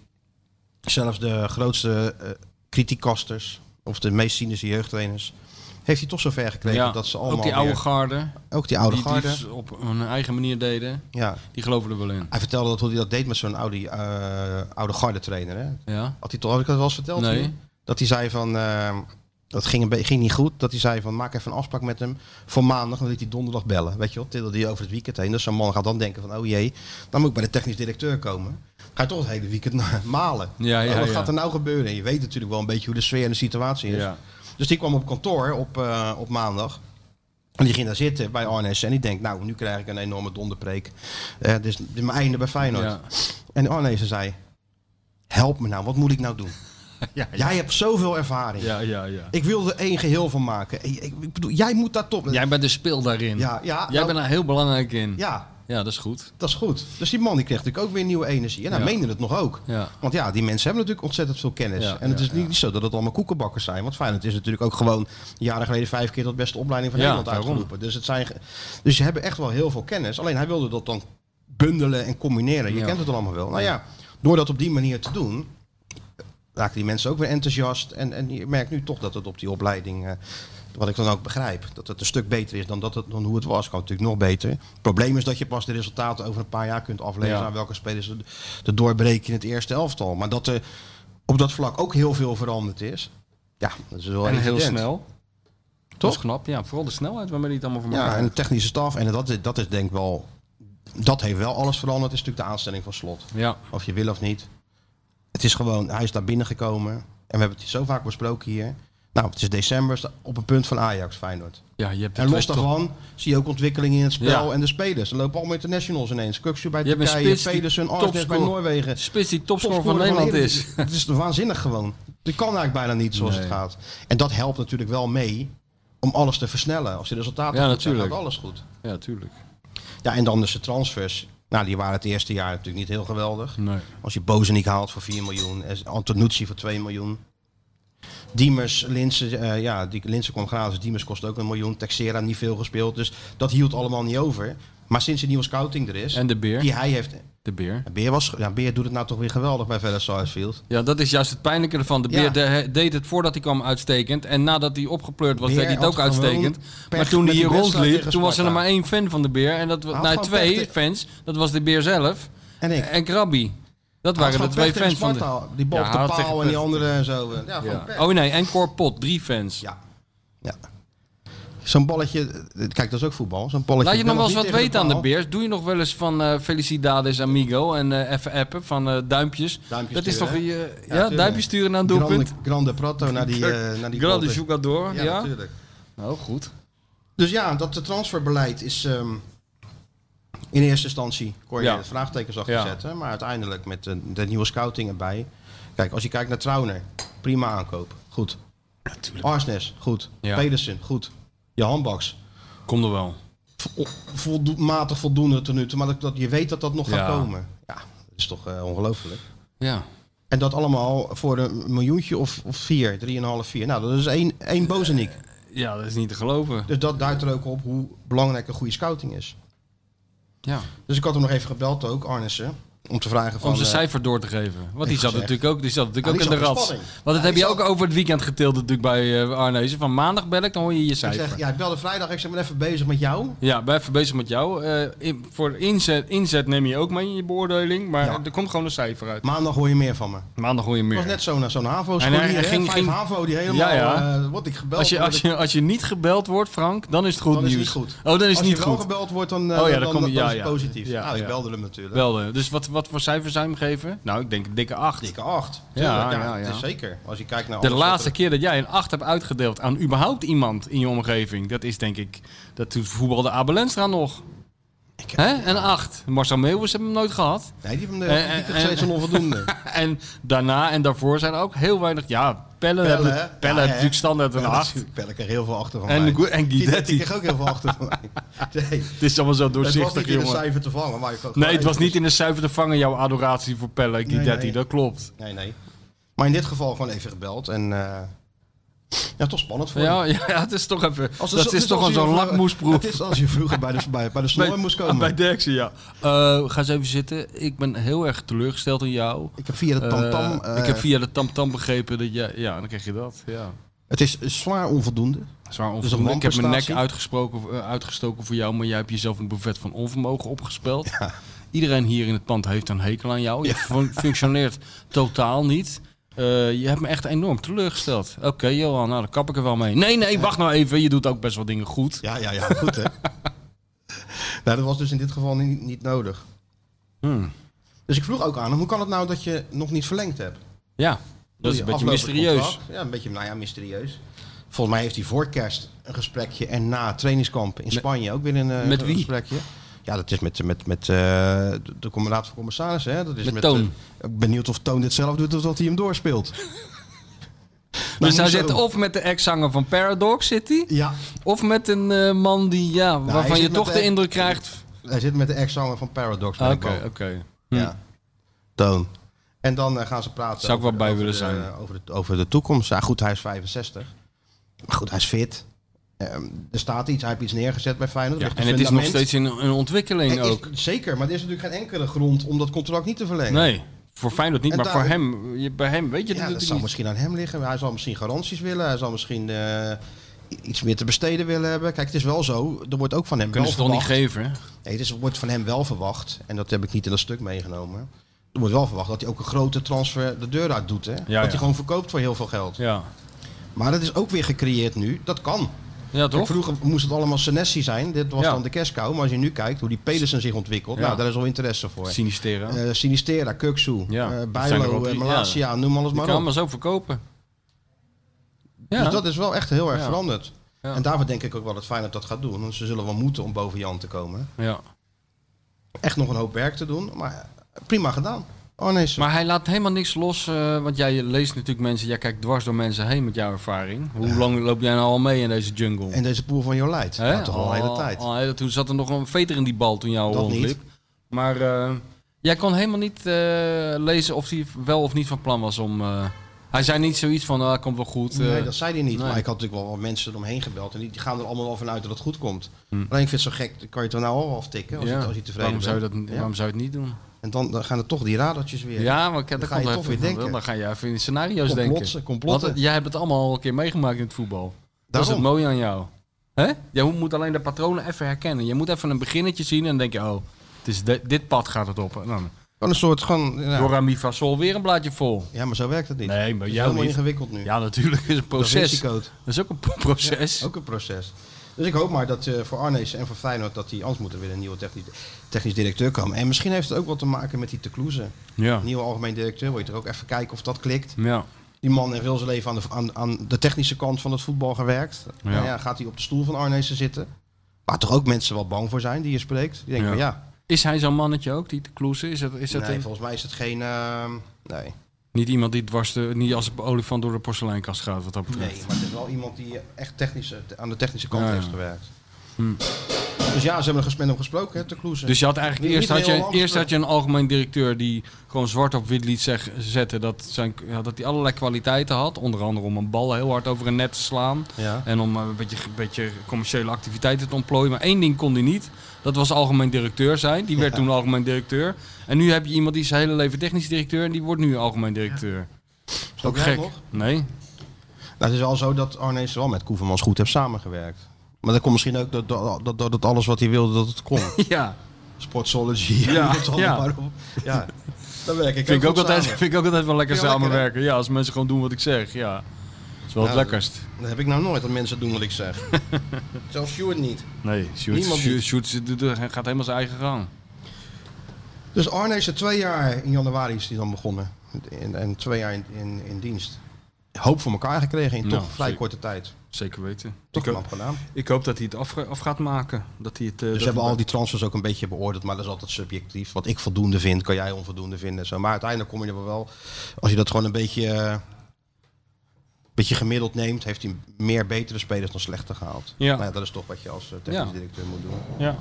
S3: Zelfs de grootste eh kritiekasters of de meest cynische jeugdtrainers... heeft hij toch zover gekregen
S4: Ja,
S3: dat ze allemaal
S4: ook die oude
S3: weer-
S4: garde,
S3: ook die oude
S4: die het
S3: garde.
S4: liefst op hun eigen manier deden,
S3: Ja.
S4: die geloven er wel in.
S3: Hij vertelde dat hoe hij dat deed met zo'n oude, eh, oude garde trainer. Hè?
S4: Ja,
S3: Had hij toch had ik dat wel eens verteld?
S4: Nee.
S3: hier? Dat hij zei van eh, dat ging, een be- ging niet goed. Dat hij zei van maak even een afspraak met hem voor maandag. Dan liet hij donderdag bellen. Weet je wel, tilde hij over het weekend heen. Dus zo'n man gaat dan denken van oh jee, dan moet ik bij de technisch directeur komen. Ga je toch het hele weekend naar malen.
S4: Ja, ja,
S3: Oh, wat
S4: ja.
S3: gaat er nou gebeuren? En je weet natuurlijk wel een beetje hoe de sfeer en de situatie is.
S4: ja.
S3: Dus die kwam op kantoor op, eh, op maandag. En die ging daar zitten bij Arnes. En die denkt, nou, nu krijg ik een enorme donderpreek. Eh dus dit is mijn einde bij Feyenoord.
S4: ja.
S3: En Arnes zei, help me nou, wat moet ik nou doen?
S4: Ja,
S3: Jij hebt zoveel ervaring.
S4: Ja, ja, ja.
S3: Ik wil er één geheel van maken. Ik, ik, ik bedoel, jij moet daar top...
S4: Jij bent de speel daarin.
S3: ja, ja,
S4: Jij
S3: nou,
S4: bent daar heel belangrijk in.
S3: ja,
S4: Ja, dat is goed.
S3: Dat is goed. Dus die man die kreeg natuurlijk ook weer nieuwe energie. En hij
S4: Ja.
S3: meende het nog ook.
S4: Ja.
S3: Want ja, die mensen hebben natuurlijk ontzettend veel kennis.
S4: Ja,
S3: en het
S4: ja,
S3: is niet zo dat het allemaal koekenbakkers zijn. Want Feyenoord is natuurlijk ook gewoon jaren geleden vijf keer tot beste opleiding van
S4: Ja,
S3: Nederland
S4: daarom.
S3: uitgeroepen. Dus, het zijn, ge- dus ze hebben echt wel heel veel kennis. Alleen hij wilde dat dan bundelen en combineren. Je
S4: Ja.
S3: kent het allemaal wel. Nou ja, door dat op die manier te doen, raken die mensen ook weer enthousiast. En, en je merkt nu toch dat het op die opleiding, eh, wat ik dan ook begrijp, dat het een stuk beter is dan, dat het, dan hoe het was. Kan natuurlijk nog beter. Het probleem is dat je pas de resultaten over een paar jaar kunt aflezen
S4: Ja.
S3: aan welke spelers er- er doorbreken in het eerste elftal. Maar dat er op dat vlak ook heel veel veranderd is. Ja, dat is wel
S4: en heel
S3: evident.
S4: snel. Toch?
S3: Toch?
S4: Dat is knap. Ja, vooral de snelheid waarmee die het allemaal voor elkaar
S3: Ja, en de
S4: krijgt.
S3: technische staf. En dat, is- dat is denk ik wel... Dat heeft wel alles veranderd. is natuurlijk de aanstelling van Slot.
S4: Ja,
S3: Of je wil of niet. Het is gewoon, hij is daar binnengekomen. En we hebben het hier zo vaak besproken hier. Nou, het is december, sta- op een punt van Ajax, Feyenoord.
S4: ja, je hebt de
S3: En
S4: twee
S3: los
S4: top-
S3: daarvan zie je ook ontwikkelingen in het spel
S4: Ja.
S3: en de spelers. Er lopen allemaal internationals ineens. Kuksu bij
S4: Je hebt een
S3: Turkije,
S4: spits die
S3: Pedersen, Arnes bij
S4: topscorer-
S3: Noorwegen.
S4: Spits die topscorer
S3: Topscorer
S4: van Nederland
S3: de
S4: is.
S3: Eredivisie. Het is waanzinnig gewoon. Je kan eigenlijk bijna niet zoals het
S4: Nee.
S3: gaat. En dat helpt natuurlijk wel mee om alles te versnellen. Als de resultaten
S4: Ja,
S3: goed zijn, gaat
S4: natuurlijk.
S3: alles goed.
S4: Ja, tuurlijk.
S3: Ja, en dan dus de transfers. Nou, die waren het eerste jaar natuurlijk niet heel geweldig.
S4: Nee.
S3: Als je Bozenik haalt voor 4 miljoen. en Antonucci voor 2 miljoen. Diemers, Linsen, eh, ja, die Linsen kwam gratis. Diemers kost ook een miljoen. Texera niet veel gespeeld. Dus dat hield allemaal niet over. Maar sinds de nieuwe scouting er is,
S4: En de beer.
S3: die hij heeft.
S4: De beer.
S3: Beer, was, ja, Beer doet het nou toch weer geweldig bij Vella Sarsfield.
S4: Ja, dat is juist het pijnlijke ervan. De
S3: Ja.
S4: beer de- he- deed het voordat hij kwam uitstekend. En nadat hij opgepleurd was,
S3: Beer
S4: deed hij het ook
S3: had gewoon
S4: uitstekend.
S3: pech
S4: Maar toen
S3: met
S4: hij hier
S3: die wedstrijd
S4: rondliep,
S3: tegen
S4: toen was er nog
S3: Sparta.
S4: maar één fan van de beer. En dat was
S3: had
S4: nou,
S3: gewoon
S4: twee
S3: pech te-
S4: fans. Dat was de beer zelf
S3: En ik.
S4: en Krabby. Dat waren de
S3: Had gewoon pech
S4: twee
S3: tegen
S4: fans van de...
S3: Sparta. Die bal
S4: Ja,
S3: op
S4: had
S3: de
S4: tegen
S3: paal en die
S4: Pech.
S3: andere en zo. eh, Ja, gewoon
S4: Ja.
S3: pech.
S4: Oh nee, en Corpot, drie fans.
S3: Ja. ja. Zo'n balletje, eh, kijk, dat is ook voetbal. Zo'n balletje.
S4: Laat je nog wel eens
S3: niet
S4: wat
S3: tegen
S4: weten aan de
S3: paal.
S4: Beers. Doe je nog wel eens van eh, Felicidades Amigo en eh, even appen van eh, duimpjes.
S3: Duimpjes
S4: Dat is toch...
S3: sturen,
S4: eh,
S3: hè?
S4: ja,
S3: tuurlijk.
S4: duimpjes sturen naar een doelpunt.
S3: Grande, grande Prato naar die, eh naar die
S4: Grande
S3: goal.
S4: Jugador, ja.
S3: Ja, natuurlijk.
S4: Nou, goed.
S3: Dus ja, dat de transferbeleid is ehm, in eerste instantie kon je
S4: Ja.
S3: het vraagtekens achter
S4: Ja.
S3: zetten. Maar uiteindelijk met de, de nieuwe scouting erbij. Kijk, als je kijkt naar Trauner, prima aankoop. Goed. Arsnes, goed.
S4: Ja.
S3: Pedersen, goed. Johan Baks,
S4: Kom er wel.
S3: vo- voldo- matig voldoende tot nu toe. Maar dat, dat, je weet dat dat nog gaat
S4: Ja.
S3: komen. Ja, dat is toch eh, ongelooflijk.
S4: Ja.
S3: En dat allemaal voor een miljoentje of, of vier, drieënhalf, vier. Nou, dat is één, één bozenik.
S4: Ja, dat is niet te geloven.
S3: Dus dat duidt er ook op hoe belangrijk een goede scouting is.
S4: Ja.
S3: Dus ik had hem nog even gebeld ook, Arnissen. Om te vragen van...
S4: Om zijn
S3: eh,
S4: cijfer door te geven. Want die
S3: gezegd.
S4: zat natuurlijk ook, die zat natuurlijk
S3: Ah,
S4: ook
S3: die
S4: in de
S3: zat in
S4: rat. Want
S3: spanning.
S4: dat
S3: Ja,
S4: heb
S3: die
S4: je
S3: zat-
S4: ook over het weekend getild natuurlijk bij eh Arnezen. Van maandag bel ik, dan hoor je je
S3: ik
S4: cijfer.
S3: zeg, ja, ik belde vrijdag. Ik zeg, ben even bezig met jou.
S4: Ja, wij even bezig met jou. Eh, in- voor inzet, inzet neem je ook mee in je beoordeling. Maar
S3: Ja.
S4: er komt gewoon een cijfer uit.
S3: Maandag hoor je meer van me.
S4: Maandag hoor je
S3: Het
S4: meer.
S3: was net zo'n zo'n havo
S4: En hij- hij ging-
S3: ging, Vijf
S4: ging-
S3: havo die helemaal...
S4: Ja,
S3: Ja,
S4: ja.
S3: word ik gebeld?
S4: Als je,
S3: word
S4: als,
S3: ik-
S4: je, als je niet gebeld wordt, Frank, dan is het goed
S3: dan is het
S4: nieuws.
S3: niet goed.
S4: Oh, dan is het
S3: als
S4: niet
S3: je wel
S4: goed.
S3: gebeld wordt, dan, eh,
S4: Oh ja,
S3: dan,
S4: dan
S3: dan,
S4: kom je-
S3: dan
S4: ja,
S3: is het
S4: ja.
S3: positief.
S4: Ja,
S3: nou, ik
S4: ja.
S3: belde hem natuurlijk.
S4: Belden. Dus wat, wat voor cijfer zou je hem geven? Nou, ik denk een dikke 8.
S3: Dikke acht.
S4: Ja,
S3: Tuurlijk,
S4: ja, ja.
S3: Het is zeker. Als je kijkt naar...
S4: De
S3: alles wat
S4: laatste
S3: er-
S4: keer dat jij een 8 hebt uitgedeeld aan überhaupt iemand in je omgeving, dat is denk ik, dat doet voetbalde Abel Lenstra nog. Hè? Een 8. Marcel Meeuwis hebben hem nooit gehad.
S3: Nee, die, van de,
S4: Eh,
S3: die
S4: eh,
S3: kreeg steeds een onvoldoende.
S4: En daarna en daarvoor zijn er ook heel weinig. Ja, Pelle,
S3: Pelle,
S4: hebben,
S3: hè?
S4: Pelle
S3: Ja,
S4: heeft
S3: hè?
S4: natuurlijk standaard een
S3: Ja,
S4: 8.
S3: natuurlijk. Pelle kreeg heel veel achter van
S4: En,
S3: mij.
S4: Gu- en
S3: Die
S4: Guidetti.
S3: kreeg ook heel veel achter van mij. Nee,
S4: Het is allemaal zo
S3: het was
S4: doorzichtig,
S3: niet in de
S4: jongen.
S3: cijfer te vangen. Maar ik had
S4: Nee,
S3: gelijk.
S4: het was niet in de cijfer te vangen, jouw adoratie voor Pelle en Guidetti.
S3: nee.
S4: Dat klopt.
S3: Nee, nee. Maar in dit geval gewoon even gebeld. En eh, ja, toch spannend voor
S4: Ja,
S3: hem.
S4: ja, het is toch even.
S3: Als het
S4: dat
S3: zo-
S4: is
S3: het
S4: toch
S3: als
S4: een
S3: je
S4: zo'n
S3: vroeger-
S4: lakmoesproef.
S3: Het is als je vroeger bij de, bij, bij de snor moest komen.
S4: Bij Derksen, ja. Eh, ga eens even zitten. Ik ben heel erg teleurgesteld in jou.
S3: ik heb via de
S4: Eh,
S3: tamtam... eh,
S4: ik heb via de tamtam begrepen dat jij... Ja, dan krijg je dat. Ja.
S3: Het is zwaar onvoldoende.
S4: Zwaar
S3: is een
S4: onvoldoende. ik heb mijn nek
S3: wanprestatie.
S4: uitgesproken, eh, uitgestoken voor jou, maar jij hebt jezelf een buffet van onvermogen opgespeld. Iedereen hier in het pand heeft een hekel aan jou. Je fun- functioneert totaal niet. Eh, je hebt me echt enorm teleurgesteld. Oké, Johan, nou, dan kap ik er wel mee. Nee, nee, wacht nou even. Je doet ook best wel dingen goed.
S3: Ja, ja, ja. Goed, hè? nou, dat was dus in dit geval niet, niet nodig.
S4: Hmm.
S3: Dus ik vroeg ook aan hem, hoe kan het nou dat je nog niet verlengd hebt?
S4: Ja, dat is een beetje mysterieus.
S3: Ja, een beetje, nou ja, mysterieus. Volgens mij heeft hij voor kerst een gesprekje en na het trainingskamp in Spanje ook weer een, eh,
S4: met
S3: een
S4: wie?
S3: gesprekje. Ja, dat is met, met, met eh, de- de commandant van commissarissen. Hè? Dat is
S4: Met
S3: eh,
S4: Toon.
S3: ik ben benieuwd of Toon dit zelf doet of dat hij hem doorspeelt. Nou,
S4: dus hij
S3: hoezo?
S4: zit of met de ex-zanger van Paradox City,
S3: Ja,
S4: of met een eh, man die, ja,
S3: Nou, hij
S4: waarvan
S3: zit
S4: je
S3: met eh,
S4: toch
S3: de-
S4: de indruk krijgt
S3: Hij zit met de ex-zanger van Paradox.
S4: Oké,
S3: bij de
S4: oké.
S3: boom. Ja. Toon. En dan eh, gaan ze praten.
S4: Hm. Zou ik wel
S3: over-
S4: bij
S3: over
S4: willen
S3: de-
S4: zijn.
S3: Over de, over de toekomst. Ja, goed, hij is 65. Maar goed, hij is fit. Ehm, er staat iets, hij heeft iets neergezet bij Feyenoord.
S4: Ja,
S3: Er ligt
S4: en
S3: een
S4: het is nog
S3: fundament.
S4: steeds in, in ontwikkeling
S3: En
S4: ook.
S3: Is, zeker, maar er is natuurlijk geen enkele grond om dat contract niet te verlengen.
S4: Nee, voor Feyenoord niet,
S3: En
S4: maar voor
S3: daar-
S4: hem, je- bij hem weet je
S3: Ja,
S4: dat
S3: dat
S4: het
S3: zou
S4: niet.
S3: misschien aan hem liggen. Hij zal misschien garanties willen. Hij zal misschien eh, i- iets meer te besteden willen hebben. Kijk, het is wel zo. Er wordt ook van hem
S4: Kunnen
S3: wel
S4: ze toch niet
S3: verwacht-
S4: geven? hè?
S3: Nee, het is, er wordt van hem wel verwacht. En dat heb ik niet in dat stuk meegenomen. Er wordt wel verwacht dat hij ook een grote transfer de deur uit doet. Hè? dat
S4: ja.
S3: hij gewoon verkoopt voor heel veel geld.
S4: Ja.
S3: Maar dat is ook weer gecreëerd nu. Dat kan.
S4: Ja,
S3: Kijk,
S4: toch?
S3: vroeger moest het allemaal Senesi zijn. Dit was
S4: Ja.
S3: dan de kerstkou. Maar als je nu kijkt hoe die Pedersen zich ontwikkelt.
S4: Ja.
S3: Nou, daar is al interesse voor.
S4: Sinistera.
S3: Eh, Sinistera, Kuksu,
S4: Ja,
S3: eh,
S4: dat zijn er wel
S3: Bijlo, eh,
S4: drie.
S3: Malasia, noem alles
S4: Je
S3: maar
S4: kan
S3: op.
S4: maar zo verkopen. Ja,
S3: Dus dat is wel echt heel erg
S4: Ja.
S3: veranderd.
S4: Ja.
S3: En daarvoor denk ik ook wel dat Feyenoord dat gaat doen. Want ze zullen wel moeten om boven Jan te komen.
S4: ja.
S3: Echt nog een hoop werk te doen, maar prima gedaan. Oh nee, ze-
S4: Maar hij laat helemaal niks los, eh, want jij leest natuurlijk mensen, jij kijkt dwars door mensen heen met jouw ervaring. Hoe lang loop jij nou al mee in deze jungle?
S3: en deze pool van Jolijt.
S4: Hè? Oh,
S3: Nou, toch al een hele tijd.
S4: al een hele- toen zat er nog een veter in die bal toen jou
S3: Dat
S4: rondliep. Maar eh, jij kon helemaal niet eh, lezen of hij wel of niet van plan was om... eh, hij zei niet zoiets van, ah, komt wel goed. eh,
S3: Nee, dat zei hij niet.
S4: nee.
S3: Maar ik had natuurlijk wel wat mensen eromheen gebeld. En die, die gaan er allemaal wel vanuit dat het goed komt. Alleen ik vind het zo gek, dan kan je het er nou al aftikken als,
S4: Hm. ja.
S3: je, als je tevreden
S4: waarom zou je,
S3: bent.
S4: dat, niet-
S3: Ja.
S4: waarom zou je het niet doen?
S3: En dan, dan gaan er toch die radertjes weer.
S4: Ja, maar ik- dat
S3: Dan
S4: kan
S3: ga je
S4: toch
S3: toch
S4: even
S3: weer
S4: van,
S3: denken.
S4: Dan ga je even in scenario's
S3: Complotsen,
S4: denken.
S3: complotten.
S4: Want het- jij hebt het allemaal al een keer meegemaakt in het voetbal. Dat is
S3: Daarom.
S4: het mooie aan jou. Hè? Jij moet alleen de patronen even herkennen. Je moet even een beginnetje zien en dan denk je, oh, het is de- dit pad gaat het op. En dan
S3: Gewoon een soort gewoon. ja.
S4: Dora Mi van Sol weer een blaadje vol.
S3: Ja, maar zo werkt het niet.
S4: Nee, maar
S3: Het is
S4: jou
S3: helemaal
S4: niet.
S3: ingewikkeld nu.
S4: Ja, natuurlijk is een
S3: dat is
S4: proces. Dat
S3: risico's.
S4: is ook een pro- proces.
S3: Ook een proces. Dus ik hoop maar dat eh, voor Arnees en voor Feyenoord dat die anders moet er weer een nieuwe technisch, technisch directeur komen. En misschien heeft het ook wat te maken met die Tecluze.
S4: Ja.
S3: Nieuwe algemeen directeur, wil je er ook even kijken of dat klikt.
S4: Ja.
S3: Die man heeft heel zijn leven aan de, aan, aan de technische kant van het voetbal gewerkt.
S4: Ja.
S3: Nou ja, gaat hij op de stoel van Arnees zitten? Waar toch ook mensen wel bang voor zijn die je spreekt. Die denken
S4: Ja.
S3: van ja,
S4: Is hij zo'n mannetje ook, die te kloesen? Is dat, is dat
S3: nee,
S4: een-
S3: volgens mij is het geen... eh, nee.
S4: niet iemand die dwars de, niet als een olifant door de porseleinkast gaat, wat dat betreft?
S3: Nee, maar het is wel iemand die echt technische, aan de technische kant
S4: Ja, ja.
S3: heeft gewerkt. Dus ja, ze hebben er ges- met hem gesproken, hè, Tecluze.
S4: Dus je had eigenlijk
S3: Niet
S4: eerst, had
S3: heel
S4: je,
S3: anders.
S4: eerst had je een algemeen directeur die gewoon zwart op wit liet zeg- zetten dat, zijn, ja, dat hij allerlei kwaliteiten had. Onder andere om een bal heel hard over een net te slaan.
S3: Ja.
S4: En om eh, een beetje, een beetje commerciële activiteiten te ontplooien. Maar één ding kon hij niet. Dat was algemeen directeur zijn. Die werd toen algemeen directeur. En nu heb je iemand die is zijn hele leven technisch directeur. En die wordt nu algemeen directeur.
S3: Snap
S4: Ook
S3: jij het
S4: gek.
S3: nog?
S4: Nee.
S3: Nou, het is wel zo dat Arnees wel met Koevermans goed heeft samengewerkt. Maar dat komt misschien ook dat, dat, dat, dat alles wat hij wilde, dat het kon.
S4: Ja.
S3: Sportsology.
S4: Ja,
S3: dat allemaal
S4: ja.
S3: maar op. ja. Daar werk ik
S4: Vind ik, ook
S3: goed
S4: altijd,
S3: samen.
S4: vind ik ook altijd wel lekker
S3: Vind je wel
S4: samenwerken. ja, als mensen gewoon doen wat ik zeg. Ja. Dat is wel het
S3: Ja, dat-
S4: lekkerst.
S3: Dat heb ik nou nooit, dat mensen doen wat ik zeg. Zelfs Stuart niet.
S4: Nee,
S3: Niemand
S4: Sjoerd-
S3: niet.
S4: Sjoerd zit- doet- gaat helemaal zijn eigen gang.
S3: Dus Arnees er twee jaar in januari is hij dan begonnen. En, en twee jaar in, in, in dienst. Hoop voor elkaar gekregen in
S4: Ja,
S3: toch vrij
S4: Nou, zeker. eh, dus
S3: korte tijd.
S4: Zeker weten.
S3: Toch
S4: ik,
S3: knap gedaan.
S4: ik hoop dat hij het af, af gaat maken. Dat hij het, eh,
S3: Dus
S4: dat
S3: ze hebben
S4: hij-
S3: al die transfers ook een beetje beoordeeld, maar dat is altijd subjectief. Wat ik voldoende vind, kan jij onvoldoende vinden. en Zo. Maar uiteindelijk kom je er wel wel. Als je dat gewoon een beetje, eh, beetje gemiddeld neemt, heeft hij meer betere spelers dan slechte gehaald.
S4: Ja.
S3: Nou ja, dat is toch wat je als eh, technisch
S4: Ja.
S3: directeur moet doen.
S4: Ja.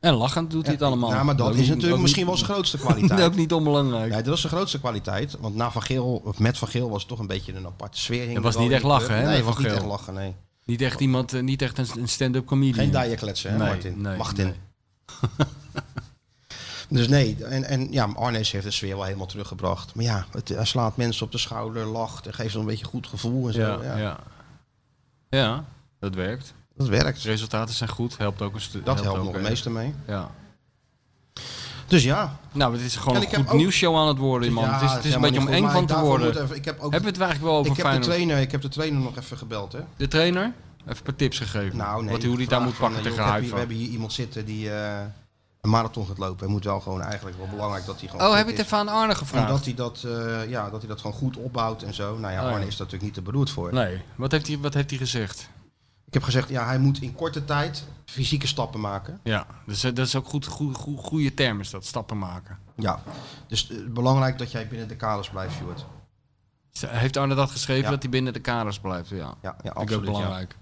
S4: En lachend doet hij het allemaal.
S3: Ja, maar dat is
S4: niet-
S3: natuurlijk
S4: ook
S3: misschien wel
S4: niet-
S3: zijn grootste kwaliteit.
S4: Ook niet onbelangrijk.
S3: Nee, dat is zijn grootste kwaliteit. Want na Van Geel, of met Van Geel, was het toch een beetje een aparte sfeer. hing
S4: Het was
S3: er wel
S4: niet
S3: in
S4: echt
S3: de club.
S4: lachen, hè,
S3: Nee,
S4: met
S3: het was
S4: Van
S3: niet echt
S4: Geel.
S3: lachen, nee.
S4: Niet echt iemand, eh, niet echt een, een stand-up comedian.
S3: Geen dijen kletsen, hè,
S4: Nee,
S3: Martin?
S4: nee,
S3: Martin.
S4: nee.
S3: dus nee, en, en ja, Arnees heeft de sfeer wel helemaal teruggebracht. Maar ja, het, hij slaat mensen op de schouder, lacht en geeft ze een beetje een goed gevoel en zo.
S4: Ja,
S3: Ja,
S4: ja. ja. Ja, dat werkt.
S3: Dat werkt.
S4: Resultaten zijn goed, helpt ook een stuk.
S3: Dat helpt nog
S4: ook,
S3: het
S4: eh,
S3: meeste mee.
S4: Ja.
S3: Dus ja.
S4: Nou, het is gewoon
S3: En
S4: een
S3: ik heb
S4: goed
S3: ook-
S4: nieuwsshow aan het worden, man.
S3: Ja,
S4: het is, het is een
S3: helemaal
S4: beetje om
S3: niet
S4: eng
S3: goed,
S4: van
S3: maar
S4: te
S3: daarvoor
S4: worden.
S3: moet even- ik heb ook
S4: Hebben we het eigenlijk wel over
S3: ik heb, de
S4: Feyenoord?
S3: trainer, ik heb de trainer nog even gebeld, hè.
S4: De trainer? Even een paar tips gegeven.
S3: Nou, nee.
S4: Wat, hoe die
S3: ik
S4: daar
S3: vraag
S4: moet pakken
S3: van, eh,
S4: tegen
S3: joh, ik heb hier- We
S4: Haifa.
S3: hebben hier iemand zitten die eh, een marathon gaat lopen. Het moet wel gewoon eigenlijk wel belangrijk dat hij gewoon
S4: Oh,
S3: fit
S4: heb ik
S3: is.
S4: het even aan Arne gevraagd?
S3: Omdat hij dat, eh, ja, dat hij dat gewoon goed opbouwt en zo. Nou ja,
S4: Oh, ja.
S3: Arne is daar natuurlijk niet te beroerd voor.
S4: Nee. Wat heeft, hij, wat heeft hij gezegd?
S3: Ik heb gezegd, ja, hij moet in korte tijd fysieke stappen maken.
S4: Ja, dus eh, dat is ook goed, goed, goed, goede term is dat, stappen maken.
S3: Ja. Dus eh, belangrijk dat jij binnen de kaders blijft, Stuart.
S4: Heeft Arne dat geschreven,
S3: Ja.
S4: dat hij binnen de kaders blijft? Ja,
S3: Ja, ja
S4: ik ook
S3: absoluut. ja.
S4: belangrijk.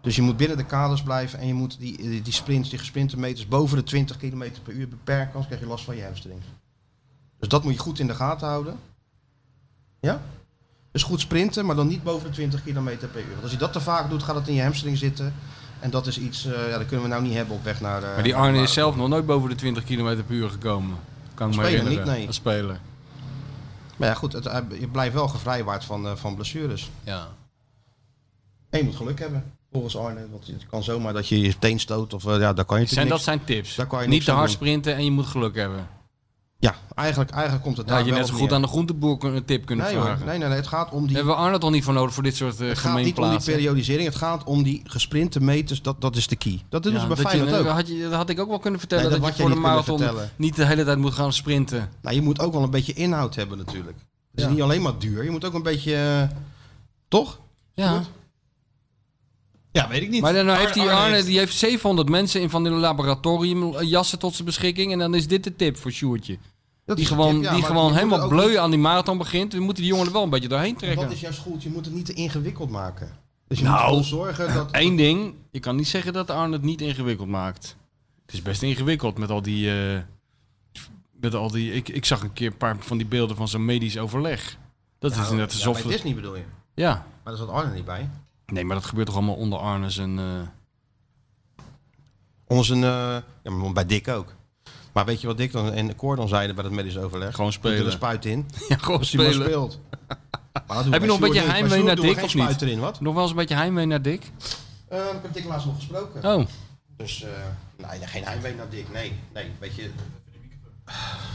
S3: Dus je moet binnen de kaders blijven en je moet die, die, die sprints, die gesprinte meters boven de 20 km per uur beperken, anders krijg je last van je hamstrings. Dus dat moet je goed in de gaten houden. Ja? Dus goed sprinten, maar dan niet boven de 20 km per uur. Want als je dat te vaak doet, gaat het in je hamstring zitten. En dat is iets, eh, ja, dat kunnen we nou niet hebben op weg naar de.
S4: Maar die Arne is zelf nog nooit boven de 20 km per uur gekomen. Kan ik me
S3: Als speler
S4: herinneren.
S3: niet, nee.
S4: Als speler.
S3: Maar ja, goed, het, eh, je blijft wel gevrijwaard van, eh, van blessures.
S4: Ja.
S3: En je moet geluk hebben, volgens Arne. Want het kan zomaar dat je je teen stoot. Of eh, ja, daar kan je
S4: Zijn
S3: natuurlijk
S4: dat
S3: niks-
S4: zijn tips?
S3: Daar kan je
S4: niet
S3: niks
S4: te
S3: aan
S4: hard
S3: doen.
S4: sprinten en je moet geluk hebben.
S3: Ja, eigenlijk, eigenlijk komt het
S4: Dan had je
S3: wel
S4: net zo
S3: op
S4: goed
S3: neer.
S4: aan de groenteboer kun- een tip kunnen
S3: nee, hoor,
S4: vragen.
S3: nee, nee, nee, het gaat om die...
S4: Daar hebben we Arne toch niet voor nodig voor dit soort eh
S3: Het gaat niet om die
S4: gemeenplaatsen?
S3: periodisering, het gaat om die gesprinte meters, dat, dat is de key. Dat doen ze bij
S4: dat, je,
S3: Feyenoord ook.
S4: dat had je, dat had ik ook wel kunnen vertellen.
S3: Nee, dat
S4: dat,
S3: had
S4: je
S3: je
S4: voor de
S3: niet kunnen
S4: marathon
S3: vertellen.
S4: niet de hele tijd moet gaan sprinten.
S3: Nou, je moet ook wel een beetje inhoud hebben natuurlijk. Het is
S4: Ja.
S3: niet alleen maar duur, je moet ook een beetje... eh, toch?
S4: Ja.
S6: Ja, weet ik niet.
S4: Maar dan nou
S6: Arne-
S4: heeft die
S6: Arne
S4: Arne,
S6: heeft-
S4: die heeft 700 mensen in van die laboratoriumjassen tot zijn beschikking. En dan is dit de tip voor Sjoertje.
S3: Dat
S4: Die
S3: is de
S4: gewoon,
S3: tip, ja,
S4: die
S3: maar
S4: gewoon
S3: je moet het
S4: helemaal
S3: ook
S4: bleu
S3: niet-
S4: aan die marathon begint. We moeten die jongen er wel een beetje doorheen trekken.
S3: Dat is juist goed, je moet het niet te ingewikkeld maken. Dus je
S4: Nou,
S3: moet ervoor zorgen dat...
S4: Eén ding, je kan niet zeggen dat Arne het niet ingewikkeld maakt. Het is best ingewikkeld met al die... eh, met al die ik, ik zag een keer een paar van die beelden van zo'n medisch overleg. Dat is inderdaad
S3: Nou, ja,
S4: alsof...
S3: bij Disney bedoel je.
S4: ja.
S3: Maar daar zat Arne niet bij.
S4: Nee, maar dat gebeurt toch allemaal onder Arne zijn... eh,
S3: Onder zijn, eh, ja, maar bij Dick ook. Maar weet je wat Dick dan en Cor dan zeiden bij dat medisch overleg?
S4: Gewoon spelen.
S3: Doe er een spuit in.
S4: ja, gewoon
S3: Als hij maar
S4: spelen.
S3: speelt.
S4: Heb je nog een beetje heimwee naar Dick of niet?
S3: Erin, wat?
S4: Nog wel eens een beetje heimwee naar Dick?
S3: Eh, ik heb Dick laatst nog gesproken.
S4: Oh.
S3: Dus eh, nee, geen heimwee naar Dick, nee. Nee, weet je...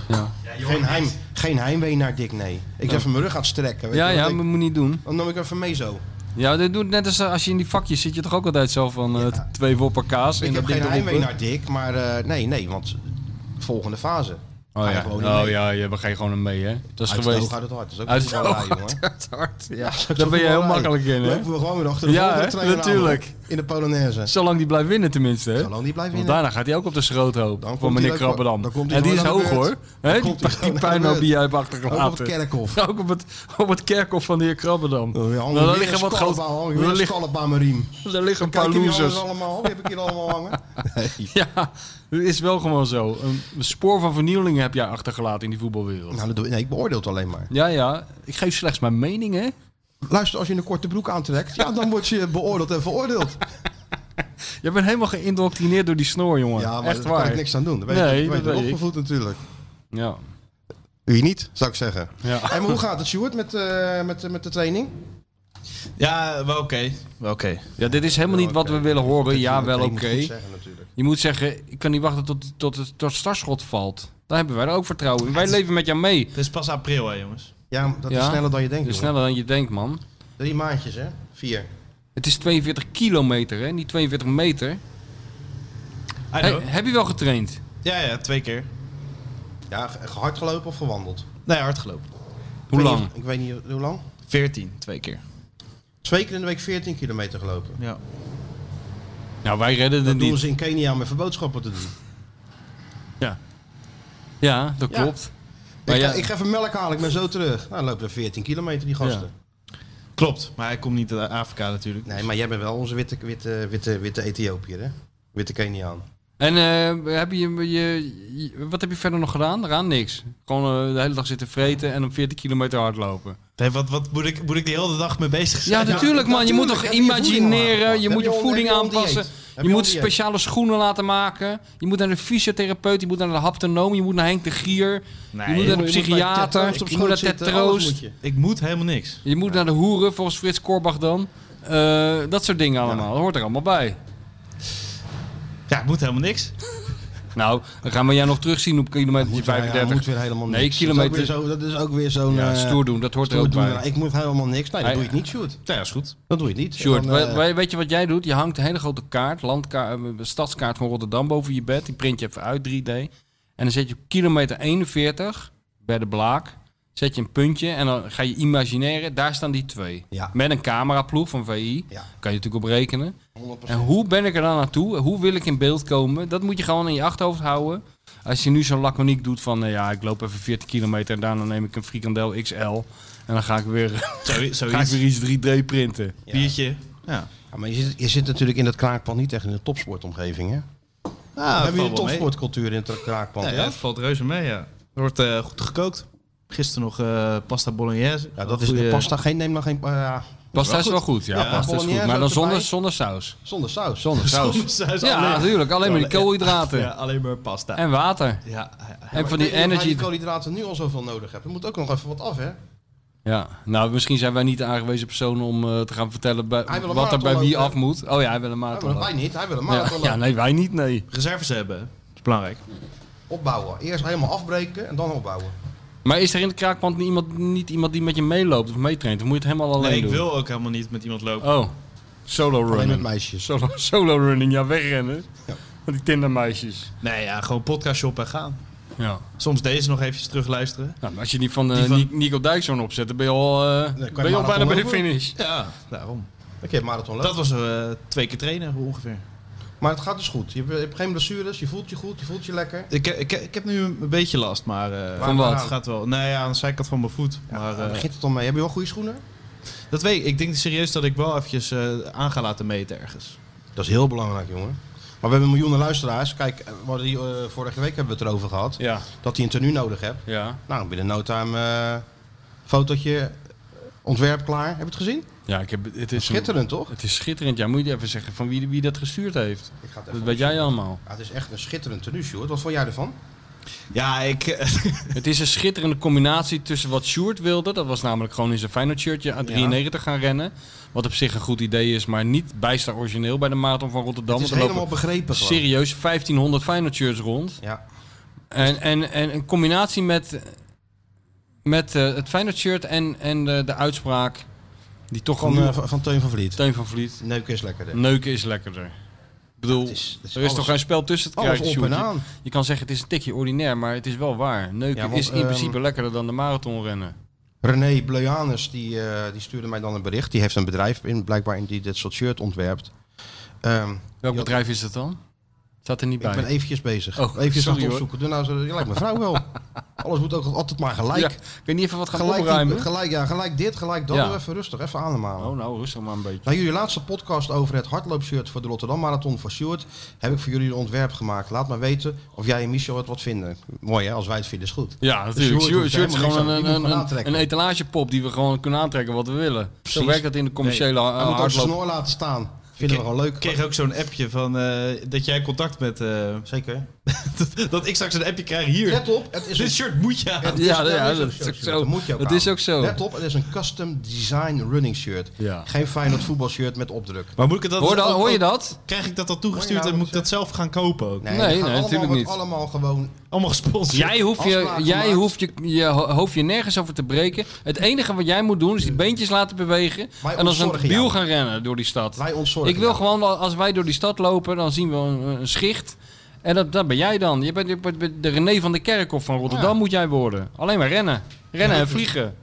S4: Ja,
S3: Geen, heim, geen heimwee naar Dick, nee. Ik even mijn rug aan het strekken. Weet
S4: ja,
S3: je,
S4: ja
S3: want
S4: maar
S3: ik-
S4: moet niet doen.
S3: Dan nam ik even mee zo.
S4: Ja, dit doet net als eh, als je in die vakjes zit, je toch ook altijd zo van eh,
S3: Ja.
S4: twee woppen kaas. en
S3: ik heb
S4: dat
S3: geen
S4: ding
S3: heimwee
S4: erop.
S3: naar Dick, maar eh, nee, nee, want volgende fase.
S4: Oh
S3: Ga je
S4: ja,
S3: gewoon niet mee.
S4: oh, ja je, we gaan gewoon een mee, hè? Dat is
S3: Uit het
S4: geweest.
S3: oog, uit het hart. Dat is ook
S4: Uit
S3: uit
S4: het oog,
S3: jongen.
S4: uit het hart.
S3: Ja,
S4: Daar ben je heel makkelijk in, hè?
S3: Lopen we gewoon weer achter de
S4: Ja,
S3: volgende
S4: hè?
S3: trainer aan,
S4: Natuurlijk.
S3: hoor. In de Polonaise.
S4: Zolang die blijft winnen, tenminste, hè?
S3: Zolang die blijft
S4: Want
S3: winnen.
S4: daarna gaat hij ook op de schroothoop
S3: Dan
S4: van
S3: komt
S4: meneer
S3: hij ook-
S4: Krabbedam.
S3: dan komt hij
S4: En die is
S3: gewoon aan de
S4: hoog, hoor.
S3: beurt. Dan
S4: hè die
S3: komt hij gewoon
S4: die
S3: aan de
S4: puinhoop
S3: beurt.
S4: die jij hebt
S3: Ook op het
S4: achtergelaten.
S3: kerkhof.
S4: Ook op het, op het kerkhof van de heer Krabbedam.
S3: Dan hangen
S4: Nou,
S3: weer
S4: daar
S3: een
S4: liggen wat
S3: scalp
S4: groot-
S3: aan, hangen
S4: daar
S3: weer een
S4: liggen-
S3: scalp aan mijn riem.
S4: Er liggen een paar
S3: Kijk je die alles
S4: losers.
S3: allemaal op? Die heb ik hier allemaal hangen.
S4: Ja, dat is wel gewoon zo. Een spoor van vernieuwing heb jij achtergelaten in die voetbalwereld.
S3: Nou, dat doe ik, nee, ik beoordeel het alleen maar.
S4: Ja, ja. Ik geef slechts mijn mening, hè.
S3: Luister, als je een korte broek aantrekt, ja, dan word je beoordeeld en veroordeeld.
S4: Je bent helemaal geïndoctrineerd door die snor, jongen.
S3: Ja, maar
S4: Echt
S3: daar kan
S4: waar.
S3: ik niks aan doen. Dan ben je,
S4: Nee,
S3: ben je
S4: dat
S3: door
S4: weet ik.
S3: opgevoed natuurlijk.
S4: Ja.
S3: Wie niet, zou ik zeggen.
S4: Ja.
S3: Hey, maar hoe gaat het, Sjoerd, met, eh, met, eh, met de training?
S6: Ja, wel oké. Wel oké.
S4: ja, dit is helemaal niet wat we willen horen. Ja, wel oké.
S3: Ik moet goed zeggen natuurlijk.
S4: Je moet zeggen, ik kan niet wachten tot, tot het tot het startschot valt. Daar hebben wij er ook vertrouwen in. Wij leven met jou mee.
S6: Het is pas april, hè, jongens.
S3: Ja, maar dat is
S4: Ja?
S3: sneller dan je denkt.
S4: Dus
S3: jongen.
S4: sneller dan je denkt, man.
S3: Drie maandjes, hè? Vier.
S4: Het is 42 kilometer, hè? Niet 42 meter.
S6: I
S4: He-
S6: know.
S4: heb je wel getraind?
S6: Ja, ja, twee keer.
S3: Ja, ge- hard gelopen of gewandeld?
S6: Nee, hard gelopen.
S4: Hoe
S3: Ik weet
S4: lang?
S3: niet- Ik weet niet hoe lang.
S6: 14, twee keer.
S3: Twee keer in de week 14 kilometer gelopen.
S6: Ja.
S4: Nou, wij redden
S3: Dat
S4: het
S3: doen
S4: niet.
S3: ze in Kenia met verboodschappen te doen.
S4: Ja, dat
S3: Ja.
S4: klopt. Maar
S3: Ik,
S4: ja,
S3: ga, ik ga even melk halen, ik ben zo terug. Nou, dan lopen we 14 kilometer, die gasten.
S6: Klopt, maar hij komt niet uit Afrika natuurlijk.
S3: Nee, maar jij bent wel onze witte, witte, witte, witte Ethiopiër, hè? Witte Keniaan.
S4: En eh, heb je, je, je- wat heb je verder nog gedaan? Daaraan niks. Gewoon eh, de hele dag zitten vreten en om 40 kilometer hardlopen.
S6: Nee, wat, wat moet, ik, moet ik de hele dag mee bezig
S4: Ja,
S6: zijn?
S4: natuurlijk man. Je moet
S3: natuurlijk. Heb
S4: toch
S3: je je voeding
S4: imagineren.
S3: aangepast?
S4: Je moet
S3: Heb je
S4: je
S3: al-
S4: voeding
S3: heb je al een
S4: aanpassen.
S3: dieet? Heb je
S4: Je
S3: al
S4: moet
S3: een dieet?
S4: speciale schoenen laten maken. Je moet naar de fysiotherapeut. Je moet naar de haptonoom. Je moet naar Henk de Gier. Je moet naar de
S3: Je moet bij
S4: psychiater.
S3: Ted Troost op
S4: Je moet naar
S3: schoot
S4: Ted
S3: zitten, alles
S4: Troost.
S3: moet je.
S6: Ik moet helemaal niks.
S4: Je moet naar de hoeren, volgens Frits Korbach dan. Eh, dat soort dingen allemaal. Dat hoort er allemaal bij.
S6: Ja, ik moet helemaal niks.
S4: Nou, dan gaan we jou nog terugzien op kilometer
S3: Ja, ja, moet
S4: 35.
S3: weer helemaal
S4: Nee,
S3: niks.
S4: kilometer-
S3: Dat is ook weer zo- dat is ook weer zo'n...
S4: Ja,
S3: eh,
S4: stoer doen. Dat hoort er ook
S3: stoer doen.
S4: bij.
S3: Ik moet helemaal niks. Nee, dat
S4: Ah,
S3: doe
S4: ja.
S3: je niet, Sjoerd.
S6: Nou ja, is goed.
S3: Dat doe je niet.
S4: Sjoerd,
S3: En dan, eh,
S4: wij- wij- weet je wat jij doet? Je hangt een hele grote kaart, landkaart, stadskaart van Rotterdam boven je bed. Die print je even uit 3D. En dan zet je op kilometer 41 bij de Blaak. Zet je een puntje en dan ga je imagineren. Daar staan die twee.
S3: Ja.
S4: Met een cameraploeg van VI.
S3: Ja.
S4: Kan je natuurlijk op rekenen.
S3: 100%.
S4: En hoe ben ik er dan naartoe? Hoe wil ik in beeld komen? Dat moet je gewoon in je achterhoofd houden. Als je nu zo laconiek doet van... eh, ja, ik loop even 40 kilometer en daarna neem ik een frikandel XL. En dan ga ik weer,
S6: Zo,
S4: ga ik
S6: zoiets.
S4: weer iets 3D printen.
S3: Ja.
S6: Biertje. Ja.
S3: Ja, maar je zit, je zit natuurlijk in dat kraakpand niet echt in de topsportomgeving, hè?
S6: Ah,
S3: Hebben jullie een
S6: valt wel mee.
S3: topsportcultuur in het kraakpand?
S6: Ja,
S3: Ja,
S6: ja, het valt reuze mee, ja. Er wordt eh, goed gekookt. Gisteren nog eh, pasta bolognese.
S3: Ja, dat is de
S6: Goeie-
S3: pasta. Geen, neem nog geen... eh, ja,
S4: Pasta is wel goed, ja.
S3: Ja,
S4: pasta is
S3: bolognese
S4: goed. Maar dan
S3: ook
S4: zonder,
S3: erbij.
S4: zonder saus.
S3: zonder saus.
S4: Zonder saus.
S6: Saus
S4: Ja,
S6: alleen.
S4: natuurlijk. Alleen maar die koolhydraten.
S6: Ja, alleen maar pasta.
S4: En water.
S6: Ja, ja, ja.
S4: en van die
S3: energie...
S4: energy.
S3: die koolhydraten nu al zoveel nodig hebt. Er moet ook nog even wat af, hè?
S4: Ja, nou, misschien zijn wij niet de aangewezen persoon om eh, te gaan vertellen bij,
S3: Hij wil een
S4: wat er bij
S3: marathon
S4: wie
S3: lopen,
S4: af moet. Oh ja, hij wil een
S3: Hij
S4: marathon.
S3: wil, wij
S4: lopen.
S3: niet. Hij wil een
S4: Ja,
S3: marathon
S4: ja, nee, wij niet, nee.
S6: Reserves hebben, hè. dat is belangrijk.
S3: opbouwen. Eerst helemaal afbreken en dan opbouwen.
S4: Maar is er in de kraakpand niet iemand, niet iemand die met je meeloopt of meetraint? Of moet je het helemaal alleen
S6: nee, ik
S4: doen?
S6: wil ook helemaal niet met iemand lopen.
S4: Oh, solo
S3: Alleen met
S4: running.
S3: meisjes.
S4: Solo, solo running, ja, wegrennen. Van die tindermeisjes.
S6: Nee, ja, gewoon podcast shoppen en gaan.
S4: Ja.
S6: Soms deze nog eventjes terugluisteren.
S4: Nou, maar als je die van, eh,
S6: Die van-
S4: Ni- Nico Dijkshoorn opzet, dan ben je al, eh,
S3: je
S4: ben je al
S3: marathon
S4: bijna bij de
S3: lopen.
S4: finish.
S6: Ja, daarom.
S3: Oké, marathon lopen.
S6: Dat was eh, twee keer trainen ongeveer.
S3: Maar het gaat dus goed. Je hebt, je hebt geen blessures, je voelt je goed, je voelt je lekker.
S6: Ik, eh, ik, ik heb nu een beetje last, maar... eh,
S4: Van
S6: Het
S4: wat?
S6: gaat wel. Nou ja, aan de zijkant van mijn voet. maar,
S3: Daar
S6: eh,
S3: begint het dan mee. Heb je wel goede schoenen?
S6: dat weet ik. Ik denk serieus dat ik wel eventjes eh, aan ga laten meten ergens.
S3: Dat is heel belangrijk, jongen. Maar we hebben miljoenen luisteraars. Kijk, eh, we hadden die, eh, vorige week hebben we het erover gehad.
S4: Ja,
S3: Dat die een tenue nodig hebt.
S4: ja.
S3: Nou, binnen no time eh, fotootje, ontwerp klaar. Heb je het gezien?
S4: Ja, ik heb, het is een-
S3: Schitterend, toch?
S4: Het is schitterend. Ja, moet je even zeggen van wie, wie dat gestuurd heeft.
S3: Ik ga het
S4: Dat
S3: even
S4: weet jij allemaal.
S3: ja, het is echt een schitterend tenue, Sjoerd. Wat vond jij ervan?
S6: Ja, ik... eh,
S4: Het is een schitterende combinatie tussen wat Sjoerd wilde. Dat was namelijk gewoon in zijn Feyenoord shirtje aan 93 gaan rennen. Wat op zich een goed idee is, maar niet bijster origineel bij de Marathon van Rotterdam.
S3: het is
S4: Want er
S3: helemaal begrepen gewoon.
S4: serieus 1500 Feyenoord shirts rond.
S3: Ja.
S4: En, en, en een combinatie met, met eh, het Feyenoord shirt en, en de, de uitspraak die toch
S3: Van,
S4: een
S3: eh, van, van Teun van Vliet.
S4: Teun van Vliet.
S3: Neuken is lekkerder.
S4: Neuken is lekkerder. Ik bedoel,
S3: Het is- het is
S4: er is
S3: alles-
S4: toch geen spel tussen te
S3: Alles
S4: krijgen,
S3: op en
S4: Sjoerd? Je-
S3: aan.
S4: Je kan zeggen het is een tikje ordinair, maar het is wel waar. Neuken
S3: Ja, want,
S4: is in principe
S3: ehm,
S4: lekkerder dan de marathonrennen.
S3: René Bleuanus die, eh, die stuurde mij dan een bericht. Die heeft een bedrijf in, blijkbaar in die dit soort shirt ontwerpt. Ehm,
S4: Welk
S3: had-
S4: bedrijf is dat dan? Staat er niet bij.
S3: ik ben eventjes bezig.
S4: Oh,
S3: eventjes aan
S4: sorry,
S3: het
S4: hoor.
S3: opzoeken. Doe nou, zo- je lijkt mijn vrouw wel. Alles moet ook altijd maar gelijk.
S4: Ja, ik weet niet even wat gaan
S3: gelijk,
S4: opruimen.
S3: die- gelijk, ja, gelijk dit, gelijk dat.
S4: Ja.
S3: Doe Even rustig, even ademhalen.
S4: Oh, nou, rustig maar een beetje.
S3: Na jullie laatste podcast over het hardloopshirt voor de Rotterdam Marathon voor Sjoerd... heb ik voor jullie een ontwerp gemaakt. Laat me weten of jij en Michel het wat vinden. Mooi hè, als wij het vinden is goed.
S4: Ja, natuurlijk.
S3: Sjoerd hoeft
S4: Sjoerd Sjoerd is
S3: helemaal
S4: gewoon
S3: niks aan- die
S4: een,
S3: moet
S4: een,
S3: gewoon
S4: een,
S3: aantrekken.
S4: een etalagepop die we gewoon kunnen aantrekken wat we willen. Zo
S3: Precies.
S4: werkt dat in de commerciële
S3: Hij
S4: eh,
S3: moet ook
S4: hardloop.
S3: snor laten staan. Vinden we gewoon
S6: Ik
S3: leuk.
S6: kreeg ook zo'n appje van eh, dat jij contact met. eh,
S3: Zeker.
S6: dat, dat ik straks een appje krijg hier.
S3: Let op, het is een
S6: Dit shirt moet je aan.
S3: Het
S4: Ja,
S3: is-
S4: ja,
S3: dat is
S4: dat
S3: ook
S4: is ook zo.
S3: Dat moet je ook
S4: Dat is
S3: aan.
S4: ook zo.
S3: Let op, het is een custom design running shirt.
S4: Ja.
S3: Geen Feyenoord voetbalshirt met opdruk.
S6: Maar moet ik het dan
S4: Hoor, dat,
S6: ook-
S4: hoor je
S6: ook-
S4: dat?
S6: Krijg ik dat dan toegestuurd
S3: Hoor je nou
S6: en moet
S3: wat
S6: ik dat zelf gaan kopen ook?
S4: Nee,
S3: die
S4: nee,
S3: gaan allemaal,
S4: natuurlijk
S3: wordt
S4: niet.
S3: allemaal gewoon...
S6: Allemaal gesponsord.
S4: Jij hoeft, je,
S3: Afspraak
S4: jij
S3: gemaakt.
S4: hoeft je, je ho- hoofd je nergens over te breken. Het enige wat jij moet doen is die beentjes laten bewegen.
S3: Wij
S4: en als een
S3: ontzorgen
S4: biel
S3: jou.
S4: gaan rennen door die stad.
S3: Wij ontzorgen
S4: Ik wil
S3: jou.
S4: gewoon, wel- als wij door die stad lopen, dan zien we een, een schicht. En dat, dat ben jij dan. Je bent, je bent de René van de Kerkhof van Rotterdam moet jij worden. Alleen maar rennen. Rennen en vliegen.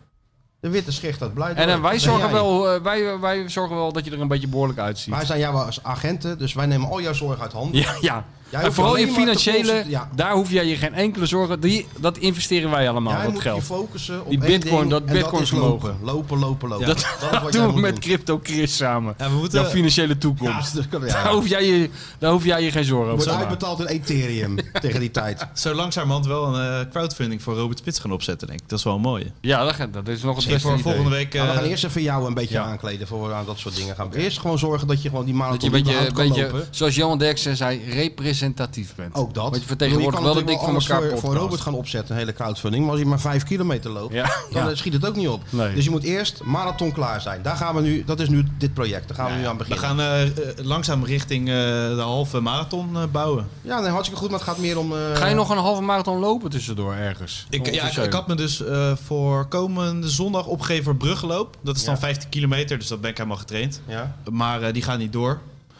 S3: De witte schicht, dat blijft.
S4: En, eh, wij,
S3: Ben
S4: zorgen
S3: jij.
S4: wel, eh, wij, wij zorgen wel dat je er een beetje behoorlijk uitziet.
S3: Wij zijn jouw agenten, dus wij nemen al jouw zorg uit handen.
S4: Ja, ja.
S3: Jij
S4: en
S3: hoeft
S4: vooral je
S3: alleen maar te
S4: financiële,
S3: concentre- ja.
S4: daar hoef jij je geen enkele zorgen... Die, dat investeren wij allemaal,
S3: Jij
S4: dat
S3: moet
S4: geld.
S3: je focussen op
S4: Die
S3: één
S4: bitcoin,
S3: ding
S4: dat
S3: en
S4: bitcoin
S3: is
S4: vermogen.
S3: lopen, lopen, lopen, lopen.
S4: Dat,
S3: is
S4: dat
S3: wat jij
S4: doen we
S3: moet
S4: met
S3: doen.
S4: Crypto Chris samen.
S6: Ja, we moeten.
S4: Jouw financiële toekomst.
S3: Ja, dat-
S4: Daar,
S3: ja.
S4: hoef jij je, daar hoef jij je geen zorgen over
S3: Wordt
S4: te maken.
S3: uitbetaald in Ethereum tegen die tijd.
S6: zo langzamerhand wel een eh, crowdfunding voor Robert Spits gaan opzetten, denk ik. Dat is wel een mooie.
S4: Ja, dat, gaat- dat is nog het
S6: Misschien
S4: beste
S6: voor
S4: idee.
S6: volgende week.
S3: Ja, Nou, we
S6: eh,
S3: gaan eerst even jou een beetje
S4: ja.
S3: aankleden voor we aan dat soort dingen gaan. Eerst gewoon zorgen dat je gewoon die
S4: Dat je
S3: marathon
S4: een beetje,
S3: überhaupt kan
S4: beetje,
S3: lopen.
S4: zoals Johan Derksen zei, representatief bent.
S3: Ook dat.
S4: Want je
S3: Ik
S4: vertegenwoordigt
S3: bedoel,
S4: wel
S3: je
S4: dat
S3: kan
S4: dik
S3: natuurlijk
S4: van
S3: wel
S4: elkaar
S3: alles
S4: podcast.
S3: voor, voor Robert gaan opzetten, een hele crowdfunding. Maar als hij maar vijf kilometer loopt,
S4: Ja,
S3: dan
S4: ja.
S3: schiet het ook niet op.
S4: Nee.
S3: Dus je moet eerst marathon klaar zijn. Daar gaan we nu, dat is nu dit project. Daar gaan we nu aan
S6: we
S3: beginnen.
S6: gaan eh, eh, langzaam richting eh, de halve marathon eh, bouwen.
S3: Ja, nee, hartstikke goed, maar het gaat meer om... eh,
S4: Ga je nog een halve marathon lopen tussendoor ergens?
S6: Ik, ja, ik,
S4: Onofficieel.
S6: ik had me dus eh, voor komende zondag opgegeven voor bruggeloop. Dat is dan
S3: Ja.
S6: 15 kilometer, dus dat ben ik helemaal getraind.
S3: Ja.
S6: Maar eh, die gaat niet door.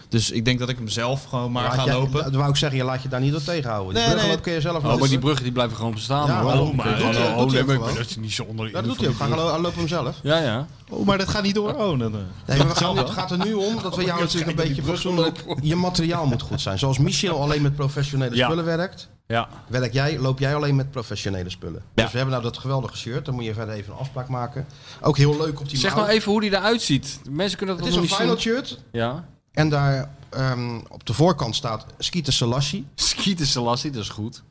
S6: Dus ik denk dat ik hem zelf gewoon maar
S3: Laat
S6: ga
S3: jij-
S6: lopen.
S3: Dat wou ik zeggen, je laat je daar niet door tegenhouden. Die
S6: Nee,
S3: bruggen
S6: nee.
S3: loop kun je zelf
S4: Oh, maar die
S3: lopen.
S4: bruggen die blijven gewoon bestaan.
S3: Ja,
S4: hoor.
S3: oh, maar-
S4: Hallo,
S3: dat doet hij- dat doet
S4: hallo,
S3: hij
S4: nee,
S3: ook
S4: maar
S3: gewoon.
S4: dat is niet zo onder de
S3: Dat
S4: invloed
S3: doet hij ook.
S4: van
S3: Ga
S4: die
S3: gaan lopen hem zelf.
S4: bruggen. Ja, ja.
S6: Oh, maar dat gaat niet door. Oh, dan, eh.
S3: Nee, maar we
S6: Zelf
S3: gaan, het
S6: wel.
S3: gaat er nu om dat we jou natuurlijk een beetje
S4: brug
S3: fatsoenlijk... Je materiaal moet goed zijn. Zoals Michel alleen met professionele
S4: Ja.
S3: spullen werkt.
S4: Ja.
S3: werk jij, loop jij alleen met professionele spullen.
S6: Ja.
S3: Dus we hebben nou dat geweldige shirt. Dan moet je verder even een afspraak maken. Ook heel leuk op die
S4: Zeg
S3: mouw.
S4: nou even hoe die eruit ziet. De mensen kunnen dat
S3: Het is
S4: nog
S3: een
S4: niet
S3: final
S4: zien.
S3: shirt.
S4: Ja.
S3: En daar ehm, op de voorkant staat Skeeter Selassie.
S4: Skieten Selassie, dat is goed.
S3: En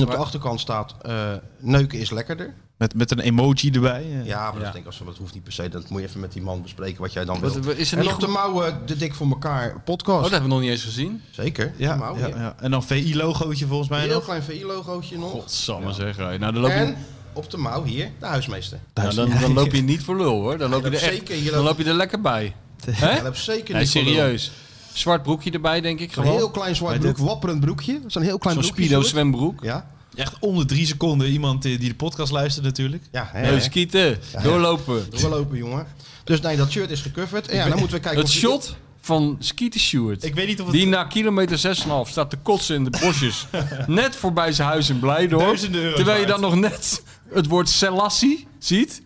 S3: op de
S4: Maar-
S3: achterkant staat eh, neuken is lekkerder.
S6: Met, met een emoji erbij. eh.
S3: Ja, maar
S4: Ja.
S3: dat denk ik als dat hoeft niet per se. Dat moet je even met die man bespreken wat jij dan
S4: Wat-
S3: wilt.
S4: is er
S3: En
S4: niet
S3: op de
S4: goed-
S3: mouwen eh, de dik voor elkaar
S4: Oh,
S3: podcast.
S4: dat hebben we nog niet eens gezien.
S3: Zeker.
S6: Ja,
S3: de mouw,
S6: ja,
S3: ja.
S6: ja. En dan VI-logootje volgens mij
S3: Een heel
S6: nog.
S3: klein VI-logootje nog.
S4: Godsamme zeg. hé. Nou, dan loop, je,
S3: En op de mouw hier de huismeester.
S4: nou, dan, dan loop je niet voor lul hoor. Dan loop je
S3: dat
S4: er, echt,
S3: zeker, je
S4: dan
S3: loopt-
S4: loop je er lekker bij. Hè?
S3: Ja, dat is zeker
S4: Nee,
S3: niet voor lul.
S4: serieus. Zwart broekje erbij, denk ik.
S3: Zo'n
S4: Gewoon.
S3: heel klein zwart
S6: Maar
S3: broek,
S6: dit-
S3: wapperend broekje. Zo'n heel klein
S4: Zo'n
S3: broekje.
S4: Speedo
S3: soort.
S4: zwembroek.
S3: Ja,
S6: Echt onder drie seconden iemand eh, die de podcast luistert natuurlijk.
S3: ja. Hè,
S4: Nee,
S3: hè.
S4: Nou, skieten. Doorlopen.
S3: Doorlopen, jongen. Dus nee, dat shirt is gecoverd. En ja, dan moeten we kijken
S4: Het
S3: of die-
S4: shot van Skeeter Stewart.
S6: Ik weet niet of het
S4: Die na kilometer 6,5 staat te kotsen in de bosjes. net voorbij zijn huis in Blijdorp.
S6: Duizenden euro's
S4: Terwijl je dan
S6: waard.
S4: nog net het woord Selassie ziet.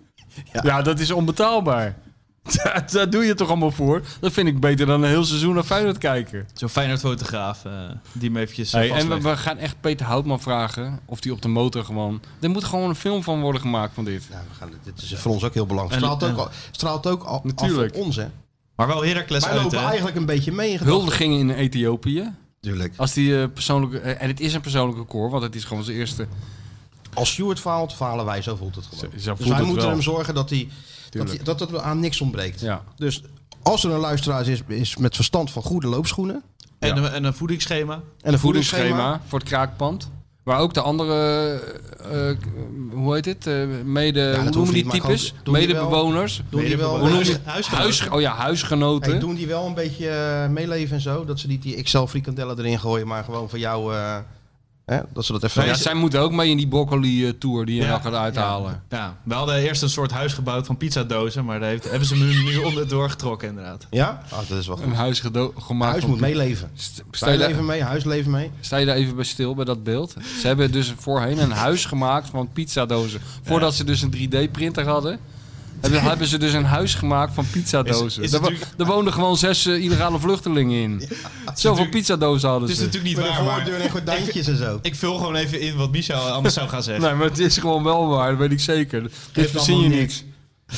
S4: Ja, dat is onbetaalbaar. Daar- Daar doe je toch allemaal voor? Dat vind ik beter dan een heel seizoen naar Feyenoord kijken.
S6: Zo'n Feyenoord-fotograaf eh, die hem eventjes eh,
S4: Hey, en we,
S6: vastlegt.
S4: we gaan echt Peter Houtman vragen of die op de motor gewoon... Er moet gewoon een film van worden gemaakt van dit.
S3: Nou, we gaan, dit is voor ons ook heel belangrijk.
S6: En-
S3: Straalt ook,
S6: en-
S3: al, straalt ook al,
S4: Natuurlijk.
S3: af op ons, hè.
S6: Maar wel Heracles
S3: Wij
S6: uit,
S3: lopen
S6: hè?
S3: eigenlijk een beetje mee in gedachten.
S4: Huldigingen in Ethiopië.
S3: Natuurlijk.
S4: Als die eh, persoonlijke... eh, en het is een persoonlijk record, want het is gewoon zijn eerste...
S3: Als Stuart faalt, falen wij. Zo voelt het gewoon.
S4: Zo- zo voelt
S3: dus wij
S4: het
S3: moeten
S4: wel.
S3: hem zorgen dat, hij, dat, hij,
S4: Tuurlijk.
S3: dat het aan niks ontbreekt.
S4: Ja.
S3: Dus als er een luisteraar is, is met verstand van goede loopschoenen...
S6: En, een, en een voedingsschema.
S3: En een voedingsschema.
S4: voedingsschema voor het kraakpand. Waar ook de andere, eh, eh, hoe heet het, eh, mede, hoe
S3: hoeft
S4: noemen
S3: niet,
S4: die
S3: maar
S4: types?
S3: gewoon doen die wel.
S4: Medebewoners.
S3: Doen die wel,
S6: Hoe noem je
S3: Hey,
S6: het?
S4: Huis, oh ja, huisgenoten.
S3: doen die wel een beetje eh, meeleven en zo? Dat ze niet die XL frikandellen erin gooien, maar gewoon van jou... eh, hè? Dat ze dat even...
S4: Nou ja, zij moeten ook mee in die broccoli-tour die je
S6: Ja.
S4: nou gaat uithalen.
S6: Ja, we hadden eerst een soort huis gebouwd van pizzadozen, maar daar heeft, hebben ze hem nu onderdoor getrokken inderdaad.
S3: Ja? Ah, dat is wel goed.
S4: Een huis gedo- gemaakt.
S3: Huis
S4: van-
S3: moet meeleven.
S4: St- Sta je, daar,
S3: Stijleven mee, huisleven mee.
S4: sta je daar even bij stil bij dat beeld? Ze hebben dus voorheen een huis gemaakt van pizzadozen. Voordat ze dus een 3D-printer hadden. Hebben, hebben ze dus een huis gemaakt van pizzadozen.
S6: Is- is
S4: daar, wo-
S6: natuurlijk-
S4: daar woonden gewoon zes eh, illegale vluchtelingen in. Zoveel
S6: natuurlijk-
S4: pizzadozen hadden
S6: Het
S4: ze.
S6: is natuurlijk niet
S3: Met een
S6: waar, maar
S3: voordeur en gordijntjes en zo.
S6: ik vul gewoon even in wat Michel anders zou gaan zeggen.
S4: Nee, maar het is gewoon wel waar, dat weet ik zeker. Dit verzin je
S3: allemaal
S4: niet.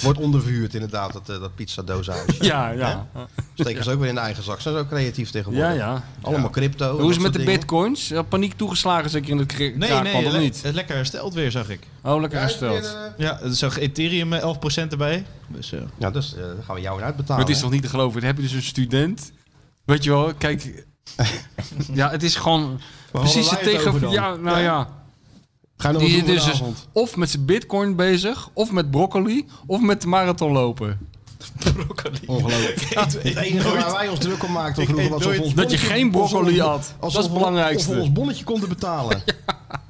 S3: Wordt onderverhuurd inderdaad, dat, eh, dat pizzadozenhuis.
S4: Ja, ja.
S3: Steken ze ook weer in de eigen zak. Ze zijn ook creatief tegenwoordig.
S4: ja, ja.
S3: Allemaal crypto. en
S4: Hoe is
S3: dat
S4: het met de
S3: soort dingen.
S4: bitcoins? Eh, Paniek toegeslagen zeker in het kra-
S6: Nee,
S4: kraakpand,
S6: nee,
S4: of
S6: le-
S4: niet?
S6: het lekker hersteld weer, zag ik.
S4: Oh, lekker hersteld.
S6: Ja, er zag Ethereum eh, 11% erbij. Dus, eh,
S3: Ja, dus eh, dan gaan we jou weer
S4: Maar
S3: uitbetalen.
S4: het is
S3: hè?
S4: toch niet te geloven? Dan heb je dus een student. Weet je wel, kijk. ja, het is
S3: Oh,
S4: gewoon precies
S3: hadden
S4: het
S3: wij het over
S4: tegen...
S3: dan?
S4: Ja, nou ja.
S3: Ga je nog
S4: Die
S3: wat
S4: is
S3: doen
S4: dus
S3: vanavond?
S4: of met zijn bitcoin bezig, of met broccoli, of met de marathon lopen.
S3: Ongelooflijk. Het enige waar wij ons druk om maakten
S6: Ik
S3: vroeger
S6: eet
S3: was of we
S6: nooit-
S3: ons
S4: Dat je
S3: bonnetje-
S4: geen broccoli
S3: of we-
S4: had. Dat
S3: of
S4: is
S3: we-
S4: het belangrijkste.
S3: Of we ons bonnetje konden betalen.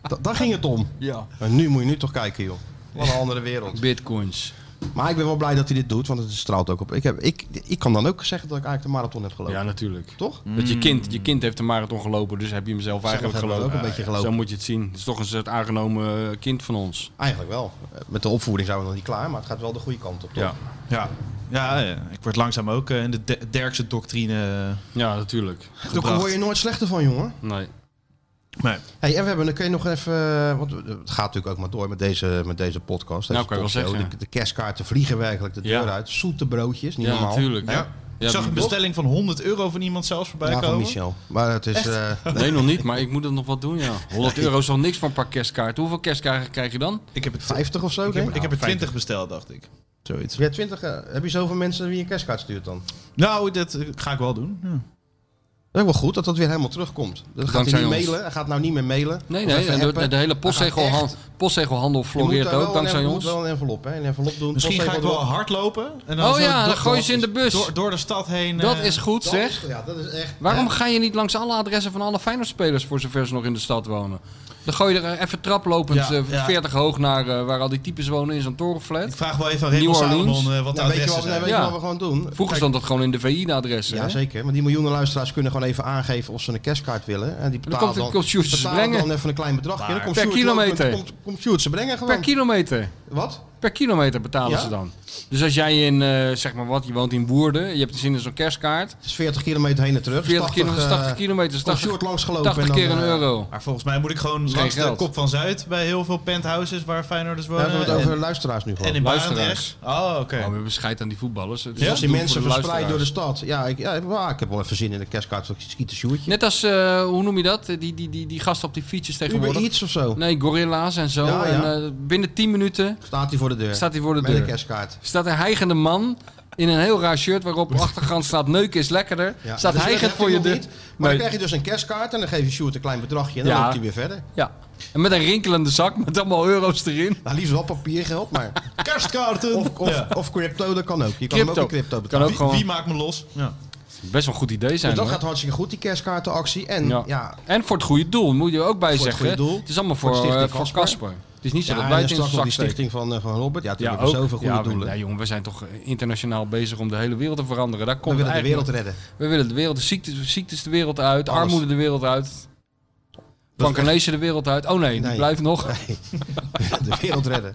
S3: Da- daar ging het om.
S4: Ja.
S3: Maar nu moet je nu toch kijken, joh. Wat een andere wereld.
S4: Bitcoins.
S3: Maar ik ben wel blij dat hij dit doet, want het straalt ook op. Ik, heb, ik, ik kan dan ook zeggen dat ik eigenlijk de marathon heb gelopen.
S4: Ja, natuurlijk.
S3: Toch?
S4: Dat je kind, je kind heeft de marathon gelopen, dus heb je hem zelf eigenlijk
S3: hebben we
S4: gelopen.
S3: ook een beetje gelopen.
S4: Zo moet je het zien. Het is toch een soort aangenomen eh, kind van ons.
S3: Eigenlijk wel. Met de opvoeding zijn we nog niet klaar, maar het gaat wel de goede kant op, toch?
S4: Ja,
S6: ja. Ja, ja, ik word langzaam ook eh, in de Der- Derkse doctrine eh,
S4: ja natuurlijk.
S3: Daar
S6: gebracht.
S3: word je nooit slechter van, jongen.
S4: Nee.
S6: Nee.
S3: Hey, en we hebben, dan kun je nog even, eh, want het gaat natuurlijk ook maar door met deze, met deze podcast.
S4: Nou,
S3: deze
S4: kan je wel
S3: talkshow.
S4: zeggen,
S3: De, de kerstkaarten vliegen werkelijk de deur
S4: Ja.
S3: uit. Zoete broodjes, niet
S4: Ja,
S3: normaal.
S4: natuurlijk.
S3: Hè?
S4: Ja.
S6: ik zag een
S4: die-
S6: bestelling van 100 euro van iemand zelfs voorbij
S3: Ja, van
S6: komen.
S3: Michel. Maar het is, eh,
S4: Nee, nog niet, maar ik moet er nog wat doen, ja. 100 euro is nog niks voor een paar kerstkaarten. Hoeveel kerstkaarten krijg je dan?
S6: Ik heb het
S3: 50 of zo,
S6: Ik heb,
S3: denk
S6: ik heb er 20 besteld, dacht ik. Zoiets.
S3: Ja, 20. eh, heb je zoveel mensen wie een kerstkaart stuurt dan?
S6: Nou, dat eh, ga ik wel doen. Ja.
S3: Dat is ook wel goed dat dat weer helemaal terugkomt. Dat gaat hij
S4: Dankzij
S3: niet
S4: ons.
S3: mailen. Hij gaat nou niet meer mailen.
S4: Nee,
S3: Of
S4: nee,
S3: even
S4: en de,
S3: appen.
S4: de hele
S3: Hij
S4: postzegelhandel,
S3: gaat
S4: postzegelhandel
S3: Je moet
S4: floreert
S3: daar wel
S4: ook,
S3: een
S4: dankzij
S3: envelop-
S4: ons.
S3: wel een envelop, hè? Een envelop doen.
S6: Misschien ga ik
S3: postzegel
S6: wel hardlopen. En dan
S4: Oh
S6: zo
S4: ja,
S6: door-
S4: dan gooi je ze in de bus.
S6: Door, door de stad heen.
S4: Dat
S6: eh,
S4: is goed,
S3: doen.
S4: zeg.
S3: Ja, dat is echt.
S4: Waarom ga je niet langs alle adressen van alle Feyenoord-spelers voor zover ze nog in de stad wonen? Dan gooi je er eh, even traplopend
S6: Ja,
S4: eh,
S6: ja.
S4: 40 hoog naar eh, waar al die types wonen in zo'n torenflat.
S6: Ik vraag wel even aan
S4: New
S6: Raymond
S4: Orleans.
S6: Salomon eh, wat de
S3: Nou, weet
S6: adressen
S3: je wat, nee,
S6: zijn.
S3: weet je
S4: Ja.
S3: wat we gewoon doen?
S4: Vroeger stond dat gewoon in de VI-adressen.
S3: Ja, zeker. Maar die miljoenen luisteraars kunnen gewoon even aangeven of ze een cashkaart willen. En die betalen
S4: komt-
S3: dan,
S4: komt Sjoerd ze
S3: betalen
S4: brengen.
S3: dan even een klein bedragje. Dan komt
S4: Per
S3: Sjoerd ook met-
S4: kilometer.
S3: Komt, komt Sjoerd ze brengen gewoon.
S4: per kilometer.
S3: Wat?
S4: Per kilometer betalen
S3: Ja?
S4: ze dan. Dus als jij in, eh, zeg maar wat, je woont in Woerden, je hebt zin in zo'n kerstkaart.
S3: Het is 40 kilometer heen en terug.
S4: 40
S3: 80,
S4: kilometer,
S3: eh,
S4: 80
S3: Kom
S4: kilometer, 80,
S3: short langs gelopen.
S4: 80
S3: en dan,
S4: keer een
S3: eh,
S4: euro.
S6: Maar volgens mij moet ik gewoon
S4: geen
S6: langs de
S4: geld.
S6: kop van Zuid bij heel veel penthouses waar Feyenoorders
S3: We
S6: wonen.
S3: hebben het over
S6: en,
S3: luisteraars nu gewoon.
S6: en in
S4: Luisteraars.
S6: Barendrecht. Oh, oké.
S4: Oh, we hebben scheid aan die voetballers. Het is
S3: Dus
S4: een
S3: als die
S4: doel
S3: mensen
S4: voor de
S3: verspreid door de
S4: luisteraars.
S3: stad. Ja, ik, ja, maar ik heb wel even zin in een kerstkaart van Skieten Sjoertje.
S4: Net als, eh, hoe noem je dat? Die, die, die, die gasten op die fietsjes
S3: Uber
S4: tegenwoordig.
S3: iets of zo.
S4: Nee, gorilla's en zo.
S3: Ja, ja.
S4: En, eh, binnen 10 minuten
S3: Staat hij voor de deur.
S4: staat hij voor de
S3: Met een
S4: deur.
S3: kerstkaart.
S4: Staat een hijgende man in een heel raar shirt waarop op de achtergrond staat neuken is lekkerder.
S3: Ja,
S4: staat
S3: dus dat
S4: hijgend
S3: heb
S4: voor
S3: ik
S4: je
S3: nog
S4: deur.
S3: niet. Maar dan
S4: Nee.
S3: krijg je dus een kerstkaart en dan geef je Sjoerd een klein bedragje. En dan
S4: Ja.
S3: loopt hij weer verder.
S4: Ja. En met een rinkelende zak met allemaal euro's erin.
S3: Nou, liefst wel papiergeld, maar...
S6: Kerstkaarten!
S3: Of, of,
S6: Ja.
S3: of crypto, dat kan ook. Je kan hem ook
S4: Crypto.
S3: in crypto
S4: Kan
S3: betalen.
S4: ook
S6: Wie,
S4: gewoon
S6: wie maakt me los? Ja.
S4: best wel een goed idee zijn.
S3: Dus dat
S4: hoor.
S3: gaat hartstikke goed, die kerstkaartenactie. En
S4: Ja.
S3: ja,
S4: En voor het goede doel, moet je er ook bij
S3: Voor het
S4: zeggen.
S3: goede doel.
S4: Het is allemaal
S3: Voor
S4: voor,
S3: de stichting
S4: eh, voor
S3: Casper.
S4: Casper. Het is niet zo
S3: ja,
S4: dat
S3: en
S4: wij
S3: dan
S4: het in
S3: straks
S4: onze
S3: nog
S4: zak
S3: die
S4: steken.
S3: stichting van, eh, van Robert. Ja,
S4: Ja,
S3: natuurlijk
S4: ook.
S3: zoveel goede
S4: ja, we-
S3: doelen.
S4: ja, jongen, we zijn toch eh, internationaal bezig om de hele wereld te veranderen. Daar
S3: we
S4: komt
S3: willen de
S4: eigenlijk-
S3: wereld redden.
S4: We willen de wereld, de ziektes, ziektes de wereld uit,
S3: Alles.
S4: armoede de wereld uit. Plankenlezen de wereld uit. Oh nee,
S3: Nee.
S4: die blijft nog.
S3: de wereld redden.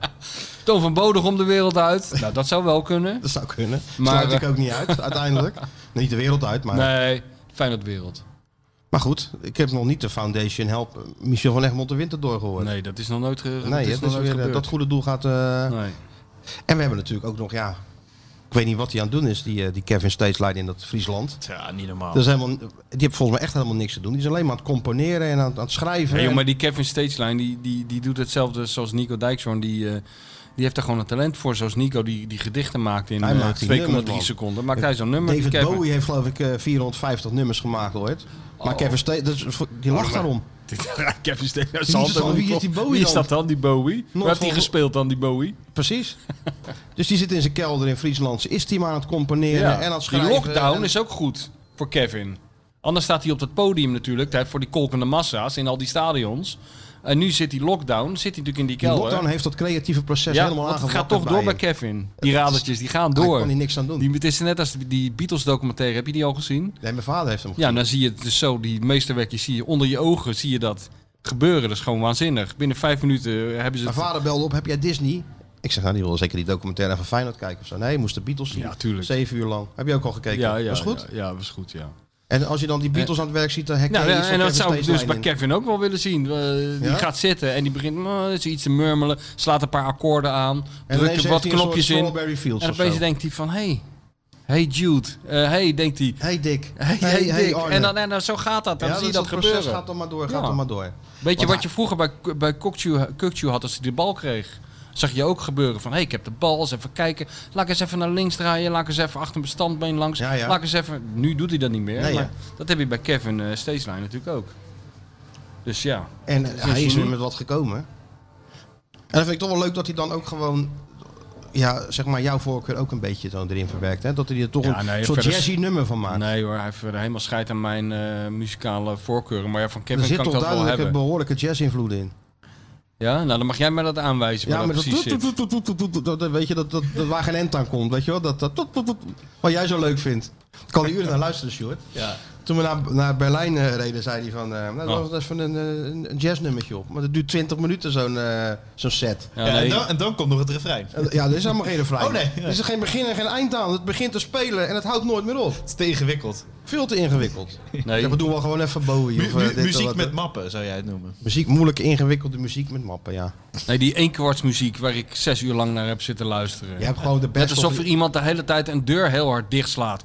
S4: Toon van Bodegom de wereld uit. Nou, dat zou wel kunnen.
S3: Dat zou kunnen.
S4: Maar,
S3: Sluit ik
S4: eh,
S3: ook niet uit, uiteindelijk. Niet de wereld uit, maar...
S4: Nee, Feyenoord wereld.
S3: Maar goed, ik heb nog niet de Foundation Help eh, Michel van Egmond de Winter doorgehoord.
S4: Nee, dat is nog nooit, ge nee,
S3: Nee,
S4: dat is
S3: het
S4: nog
S3: is
S4: nooit
S3: weer, eh,
S4: gebeurd.
S3: dat goede doel gaat... eh,
S4: nee.
S3: En we hebben natuurlijk ook nog, ja... Ik weet niet wat hij aan het doen is, die, eh, die Kevin Steeslijn in dat Friesland.
S6: Ja, niet normaal.
S3: Dat is helemaal, die heeft volgens mij echt helemaal niks te doen. Die is alleen maar aan het componeren en aan, aan het schrijven.
S4: Nee, joh,
S3: En-
S4: maar die Kevin Stageline, die, die, die doet hetzelfde zoals Nico Dijkshoorn. Die, eh, die heeft daar gewoon een talent voor. Zoals Nico die, die gedichten maakt in
S3: Hij
S4: eh,
S3: maakt die nummers,
S4: 2,3
S3: man.
S4: seconden. Maakt hij zo'n nummer. die
S3: David
S4: Kevin.
S3: Bowie heeft geloof ik eh, 450 nummers gemaakt ooit. Maar
S4: Oh.
S3: Kevin Ste- dat is voor- die lacht daarom.
S4: Kevin Stageline.
S3: is
S4: zal
S3: dan-
S4: toch
S3: wie
S4: niet
S3: is die
S4: vol-
S3: Bowie
S4: Wie is
S3: dan?
S4: dat dan, die Bowie? Waar heeft hij
S3: vol-
S4: gespeeld dan, die Bowie?
S3: Precies. dus die zit in zijn kelder in Friesland. Is die maar aan het componeren en aan het
S4: die
S3: schrijven.
S4: lockdown
S3: en-
S4: is ook goed voor Kevin. Anders staat hij op dat podium natuurlijk. tijd Voor die kolkende massa's in al die stadions. En nu zit die lockdown, zit hij natuurlijk in die
S3: Die
S4: kelder.
S3: lockdown heeft dat creatieve proces
S4: ja,
S3: helemaal
S4: want het
S3: aangepakt.
S4: gaat toch door bij Kevin. Die radertjes, die gaan
S3: Daar
S4: door.
S3: Ah, kan hij niks aan doen.
S4: Die, het is net als die Beatles documentaire, heb je die al gezien?
S3: Nee, mijn vader heeft hem
S4: Ja, dan zie je het dus zo, die meesterwerkjes zie je onder je ogen, zie je dat gebeuren. Dat is gewoon waanzinnig. Binnen vijf minuten hebben ze
S3: Mijn
S4: het...
S3: vader belde op, heb jij Disney? Ik zeg, nou die wil zeker die documentaire van Feyenoord kijken of zo. Nee, je moest de Beatles zien.
S4: Ja, tuurlijk.
S3: Zeven uur lang. Heb je ook al gekeken?
S4: ja, ja,
S3: was goed?
S4: Ja, ja, was goed, ja.
S3: En als je dan die Beatles aan het werk ziet, dan herken
S4: Nou,
S3: je
S4: ja,
S3: iets van
S4: en dat
S3: Kevin
S4: zou ik dus
S3: Steeslijn
S4: bij
S3: in.
S4: Kevin ook wel willen zien. Eh, die
S3: Ja?
S4: gaat zitten en die begint mm, is iets te murmelen, slaat een paar akkoorden aan,
S3: En ineens
S4: drukt er
S3: heeft
S4: wat
S3: hij een soort
S4: knopjes in.
S3: Strawberry Fields
S4: En
S3: of zo.
S4: opeens denkt hij van, hey, hey Jude, Eh, hey, denkt hij,
S3: Hey Dick.
S4: hey, hey, Dick.
S3: Arne.
S4: en, dan, en dan zo gaat dat, dan
S3: Ja,
S4: zie je
S3: dus
S4: dat, gebeuren.
S3: proces gaat dan maar door, gaat
S4: Ja.
S3: dan maar door.
S4: Weet je
S3: Want
S4: wat je vroeger bij, bij Kokju- Kukju had als hij de bal kreeg? Zag je ook gebeuren van, hé, hey, ik heb de bal, eens even kijken. Laat ik eens even naar links draaien, laat ik eens even achter mijn standbeen langs.
S3: Ja, ja.
S4: Laat ik eens even... Nu doet hij dat niet meer,
S3: Nee,
S4: maar
S3: ja.
S4: dat heb je bij Kevin uh, Steeslijn natuurlijk ook. Dus ja.
S3: En hij is
S4: genie.
S3: weer met wat gekomen. En dat vind ik toch wel leuk dat hij dan ook gewoon... Ja, zeg maar jouw voorkeur ook een beetje zo erin verwerkt. Hè? Dat hij er toch
S4: Ja,
S3: een
S4: nee,
S3: soort
S4: verder-
S3: jazzy nummer van maakt.
S4: Nee hoor, hij heeft verder helemaal scheid aan mijn eh, muzikale voorkeuren. Maar ja, van
S3: er
S4: Kevin
S3: zit
S4: kan ik
S3: toch
S4: dat wel
S3: duidelijk een
S4: hebben.
S3: behoorlijke jazz-invloed in.
S4: Ja, nou dan mag jij mij dat aanwijzen waar
S3: Ja, maar
S4: dat
S3: dat,
S4: precies
S3: toet,
S4: zit.
S3: toet, toet, toet, toet, toet, toet, dat- dat- weet je, dat, dat, dat waar geen end aan komt, weet je wel? Dat, dat, toet, toet, toet, wat jij zo leuk vindt. Ik kan die uren naar luisteren, Sjoerd.
S4: Ja.
S3: Toen we naar, naar Berlijn eh, reden, zei hij van, eh, nou, dat
S4: Oh.
S3: was dat is van een, eh, een, een jazznummertje op. Maar dat duurt 20 minuten, zo'n eh, zo'n set.
S4: Ja,
S6: Ja, en,
S4: nee.
S6: dan, en dan komt nog het refrein.
S3: En- Ja, er is helemaal geen refrein.
S6: Oh, nee.
S3: Er is geen begin en geen eind aan. Het begint te spelen en het houdt nooit meer op.
S6: Het is te ingewikkeld.
S3: Veel te ingewikkeld.
S4: nee.
S3: Ja, we doen wel gewoon even Bowie.
S6: Mu-
S3: of,
S6: mu-
S3: eh, dit of
S6: muziek
S3: dat.
S6: met mappen zou jij het noemen.
S3: Muziek, moeilijke, ingewikkelde muziek met mappen, ja.
S4: nee, die eenkwartsmuziek waar ik zes uur lang naar heb zitten luisteren.
S3: Je hebt gewoon de
S4: Net
S3: best
S4: alsof er
S3: of...
S4: iemand de hele tijd een deur heel hard dichtslaat.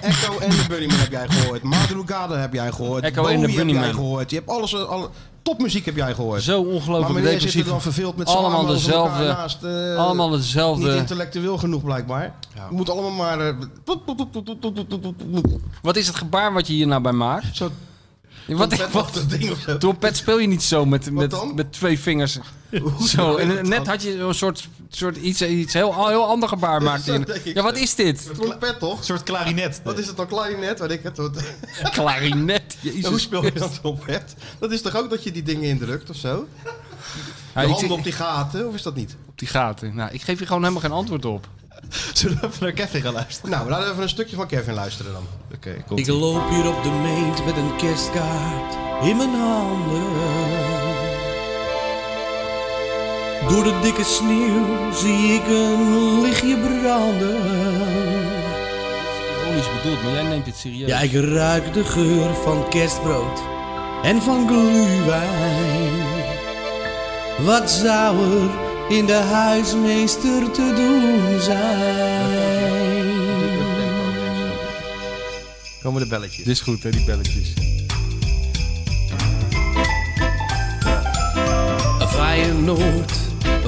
S3: Echo en de Bunnyman heb jij gehoord. Madrugada heb jij gehoord.
S4: Echo en de
S3: Bowie heb
S4: Bunnyman.
S3: jij gehoord. Je hebt alles, alle, topmuziek heb jij gehoord.
S4: Zo
S3: maar
S4: ongelooflijk
S3: meneer zit er
S4: depressief.
S3: dan verveeld met
S4: Allemaal
S3: z'n allen over elkaar
S4: dezelfde-
S3: Naast, eh,
S4: Allemaal
S3: Niet
S4: hetzelfde.
S3: intellectueel genoeg blijkbaar. Je moet allemaal maar... eh,
S4: Wat is het gebaar wat je hier nou bij maakt?
S3: Zo
S4: Wat,
S3: trompet
S4: wat,
S3: op dat ding of zo.
S4: trompet speel je niet zo met, met,
S3: dan?
S4: met twee vingers.
S3: Hoe
S4: Zo,
S3: doe je
S4: en
S3: dat
S4: net
S3: dan?
S4: had je een soort, soort iets, iets heel, heel ander gebaar maakte.
S3: Zo
S4: in.
S3: denk ik
S4: Ja, wat
S3: zo.
S4: is dit?
S3: Trompet toch?
S6: Een soort klarinet.
S3: Wat is het dan klarinet? Weet ik het. Wat-
S4: Klarinet. Jezus.
S3: Hoe speel je dan trompet? Dat is toch ook dat je die dingen indrukt of zo? De
S4: Ja, ik-
S3: handen op die gaten, of is dat niet?
S4: op die gaten. Nou, ik geef je gewoon helemaal geen antwoord op.
S6: Zullen we even naar Kevin gaan luisteren?
S3: Nou, laten we even een stukje van Kevin luisteren dan.
S6: Oké, komt
S2: Ik loop hier op de meent met een kerstkaart in mijn handen. Door de dikke sneeuw zie ik een lichtje branden.
S4: Ironisch bedoeld, maar jij neemt dit serieus.
S2: Ja, ik ruik de geur van kerstbrood en van glühwein. Wat zou er in de huismeester te doen zijn?
S3: Komen de belletjes.
S4: Dit is goed, hè, die belletjes.
S2: Een Feyenoord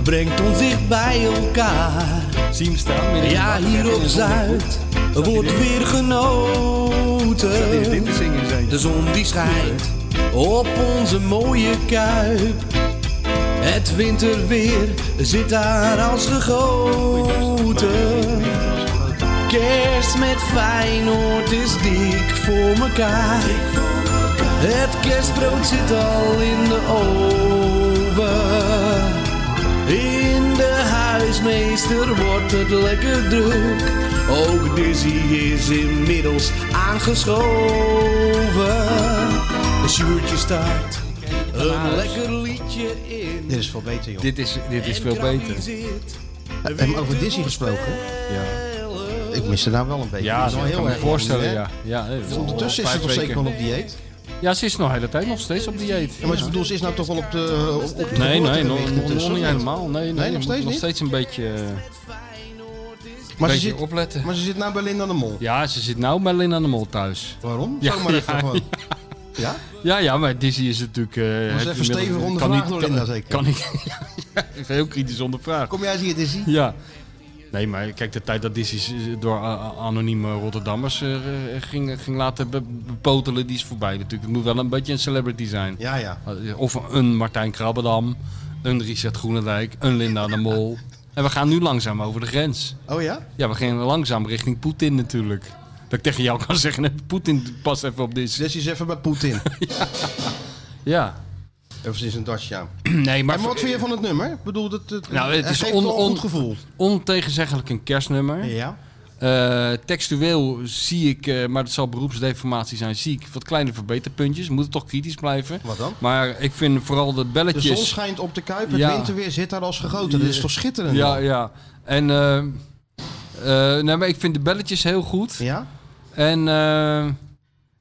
S2: brengt ons dicht bij elkaar.
S4: Zie hem staan. midden in de
S2: Ja,
S4: nacht,
S2: hier
S4: in
S2: op
S4: een
S2: Zuid wordt weer
S4: zonnebril. Dit
S2: genoten.
S4: te zingen zijn.
S2: De zon die schijnt op onze mooie kuip. Het winterweer zit daar als gegoten. Kerst met Feyenoord is dik voor mekaar. Het kerstbrood zit al in de oven. In de huismeester wordt het lekker druk. Ook Dizzy is inmiddels aangeschoven. De Sjoertje staat een lekker liedje in.
S3: Dit is veel beter, joh.
S4: Dit is, dit is veel beter.
S3: We hebben over Disney gesproken. Ik mis ze nou wel een beetje.
S4: Ja,
S3: Dat is
S4: dat
S3: wel
S4: kan me
S3: erg
S4: voorstellen,
S3: lang, hè? Dus
S4: ja. ja nee, dat is
S3: Ondertussen
S4: al
S3: is ze
S4: vijf
S3: toch zeker
S4: weken.
S3: wel op dieet?
S4: Ja, ze is nog de hele tijd nog steeds op dieet.
S3: Ja, maar ik bedoel, ze is nou toch wel op de op, op de Dus
S4: Nee, nee,
S3: geboortegewicht
S4: nog, nog- nog
S3: ondertussen,
S4: niet
S3: of
S4: helemaal. Nee, nee,
S3: nog
S4: je moet
S3: steeds
S4: nog
S3: niet?
S4: steeds een beetje, eh,
S3: Maar ze,
S4: beetje
S3: zit,
S4: opletten.
S3: maar ze zit nou bij Linda de Mol.
S4: Ja, ze zit nou met Lin aan de Mol thuis.
S3: Waarom?
S4: Ja,
S3: Zeg maar even
S4: ja,
S3: gewoon. Ja?
S4: Ja, ja, maar Disney is natuurlijk... eh,
S3: Was
S4: heeft
S3: even stevig
S4: inmiddels-
S3: ondervraagd door
S4: kan,
S3: Linda zeker.
S4: Kan ik... Ja, is heel kritisch ondervraagd.
S3: Kom jij eens hier, Disney?
S4: Ja. Nee, maar kijk, de tijd dat Disney eh, door a- a- anonieme Rotterdammers eh, eh, ging, ging laten be- bepotelen, die is voorbij natuurlijk. Het moet wel een beetje een celebrity zijn.
S3: Ja, ja.
S4: Eh, Of een Martijn Krabbedam, een Richard Groenendijk, een Linda de Mol. En we gaan nu langzaam over de grens.
S3: Oh ja?
S4: Ja, we gaan langzaam richting Poetin natuurlijk. Dat ik tegen jou kan zeggen, nee, Poetin past even op dit.
S3: Disney is even bij Poetin.
S4: Ja.
S3: Even sinds een dasje aan.
S4: Nee, maar
S3: En wat vind je van het nummer? Ik bedoel, het, het,
S4: Nou, het is
S3: geeft
S4: on-
S3: wel een
S4: on-
S3: goed gevoel.
S4: ontegenzeggelijk een kerstnummer.
S3: Ja.
S4: Eh, textueel zie ik, eh, maar dat zal beroepsdeformatie zijn, zie ik wat kleine verbeterpuntjes. Moet het toch kritisch blijven.
S3: Wat dan?
S4: Maar ik vind vooral de
S3: De
S4: belletjes...
S3: zon schijnt op de Kuip, het
S4: Ja.
S3: winterweer zit daar als gegoten. Dat is toch schitterend?
S4: Ja,
S3: man?
S4: ja. En eh, eh, nee, maar ik vind de belletjes heel goed.
S3: ja?
S4: En eh,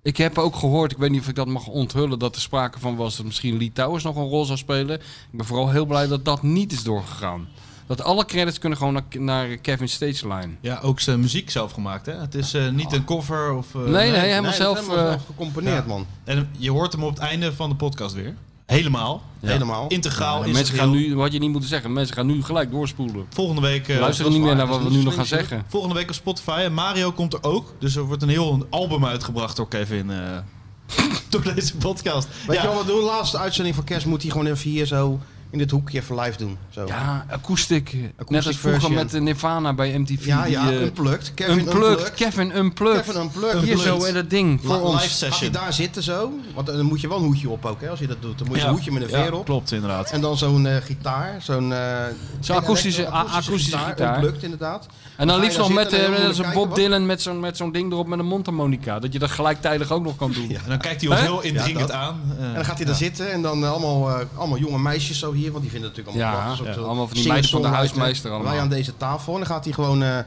S4: ik heb ook gehoord, ik weet niet of ik dat mag onthullen, dat er sprake van was dat misschien Litouwers nog een rol zou spelen. Ik ben vooral heel blij dat dat niet is doorgegaan. Dat alle credits kunnen gewoon naar, naar Kevin Stageline.
S6: Ja, ook zijn muziek zelf gemaakt, hè? Het is eh, niet een cover of... eh,
S4: Nee, nee,
S3: Nee,
S4: helemaal
S3: dat
S4: zelf.
S3: hebben we
S4: eh,
S3: zelf gecomponeerd,
S6: ja.
S3: man.
S6: En je hoort hem op het einde van de podcast weer. Helemaal.
S3: Helemaal.
S6: Integraal.
S4: ja,
S6: is
S4: mensen
S6: het
S4: gaan
S6: heel-
S4: nu, wat je niet moeten zeggen, mensen gaan nu gelijk doorspoelen.
S6: Volgende week... eh,
S4: Luisteren niet meer naar wat we nu nog gaan
S3: slim,
S4: zeggen.
S6: Volgende week op Spotify. En Mario komt er ook. Dus er wordt een heel album uitgebracht door Kevin. eh, door deze podcast.
S3: Weet
S6: Ja.
S3: je wel wat we doen? Laatste uitzending van kerst moet hij gewoon even hier zo in dit hoekje even live doen. Zo.
S4: Ja, akoestiek. Net als
S3: Acoustic
S4: vroeger
S3: version.
S4: met de Nirvana bij MTV.
S3: ja, ja,
S4: die, eh,
S3: unplugged. Kevin
S4: Unplugged.
S3: unplugged.
S4: Kevin Unplugged.
S3: Kevin unplugged.
S4: Hier zo in dat ding.
S3: La-
S4: Voor ons.
S6: live
S3: Gaat hij
S6: session.
S3: daar zitten zo? Want eh, dan moet je wel een hoedje op ook, hè, als je dat doet. Dan moet je
S6: Ja.
S3: een hoedje met een
S6: Ja,
S3: veer op.
S6: Klopt, inderdaad.
S3: En dan zo'n eh, gitaar, zo'n... eh,
S4: Zo'n akoestische-
S3: elektro-
S4: akoestische gitaar.
S3: Unplugged, inderdaad.
S4: En dan liefst
S3: Ga
S4: nog
S3: je daar
S4: met,
S3: zitten en
S4: eh,
S3: dan
S4: met zo'n
S3: moet je
S4: Bob
S3: kijken
S4: Dylan met zo'n met zo'n ding erop met een mondharmonica. Dat je dat gelijktijdig ook nog kan doen.
S6: En dan kijkt hij ons
S4: Hè?
S6: heel indringend
S3: Ja,
S6: aan. eh,
S3: En dan gaat hij daar zitten en dan eh, allemaal, eh, allemaal jonge meisjes zo hier, want die vinden het natuurlijk allemaal
S4: Ja,
S3: prachtig. Een soort,
S4: ja,
S3: eh,
S4: allemaal van die meiden van de
S3: singer-songwriter.
S4: huismeester allemaal.
S3: Wij aan deze tafel en dan gaat hij gewoon... eh,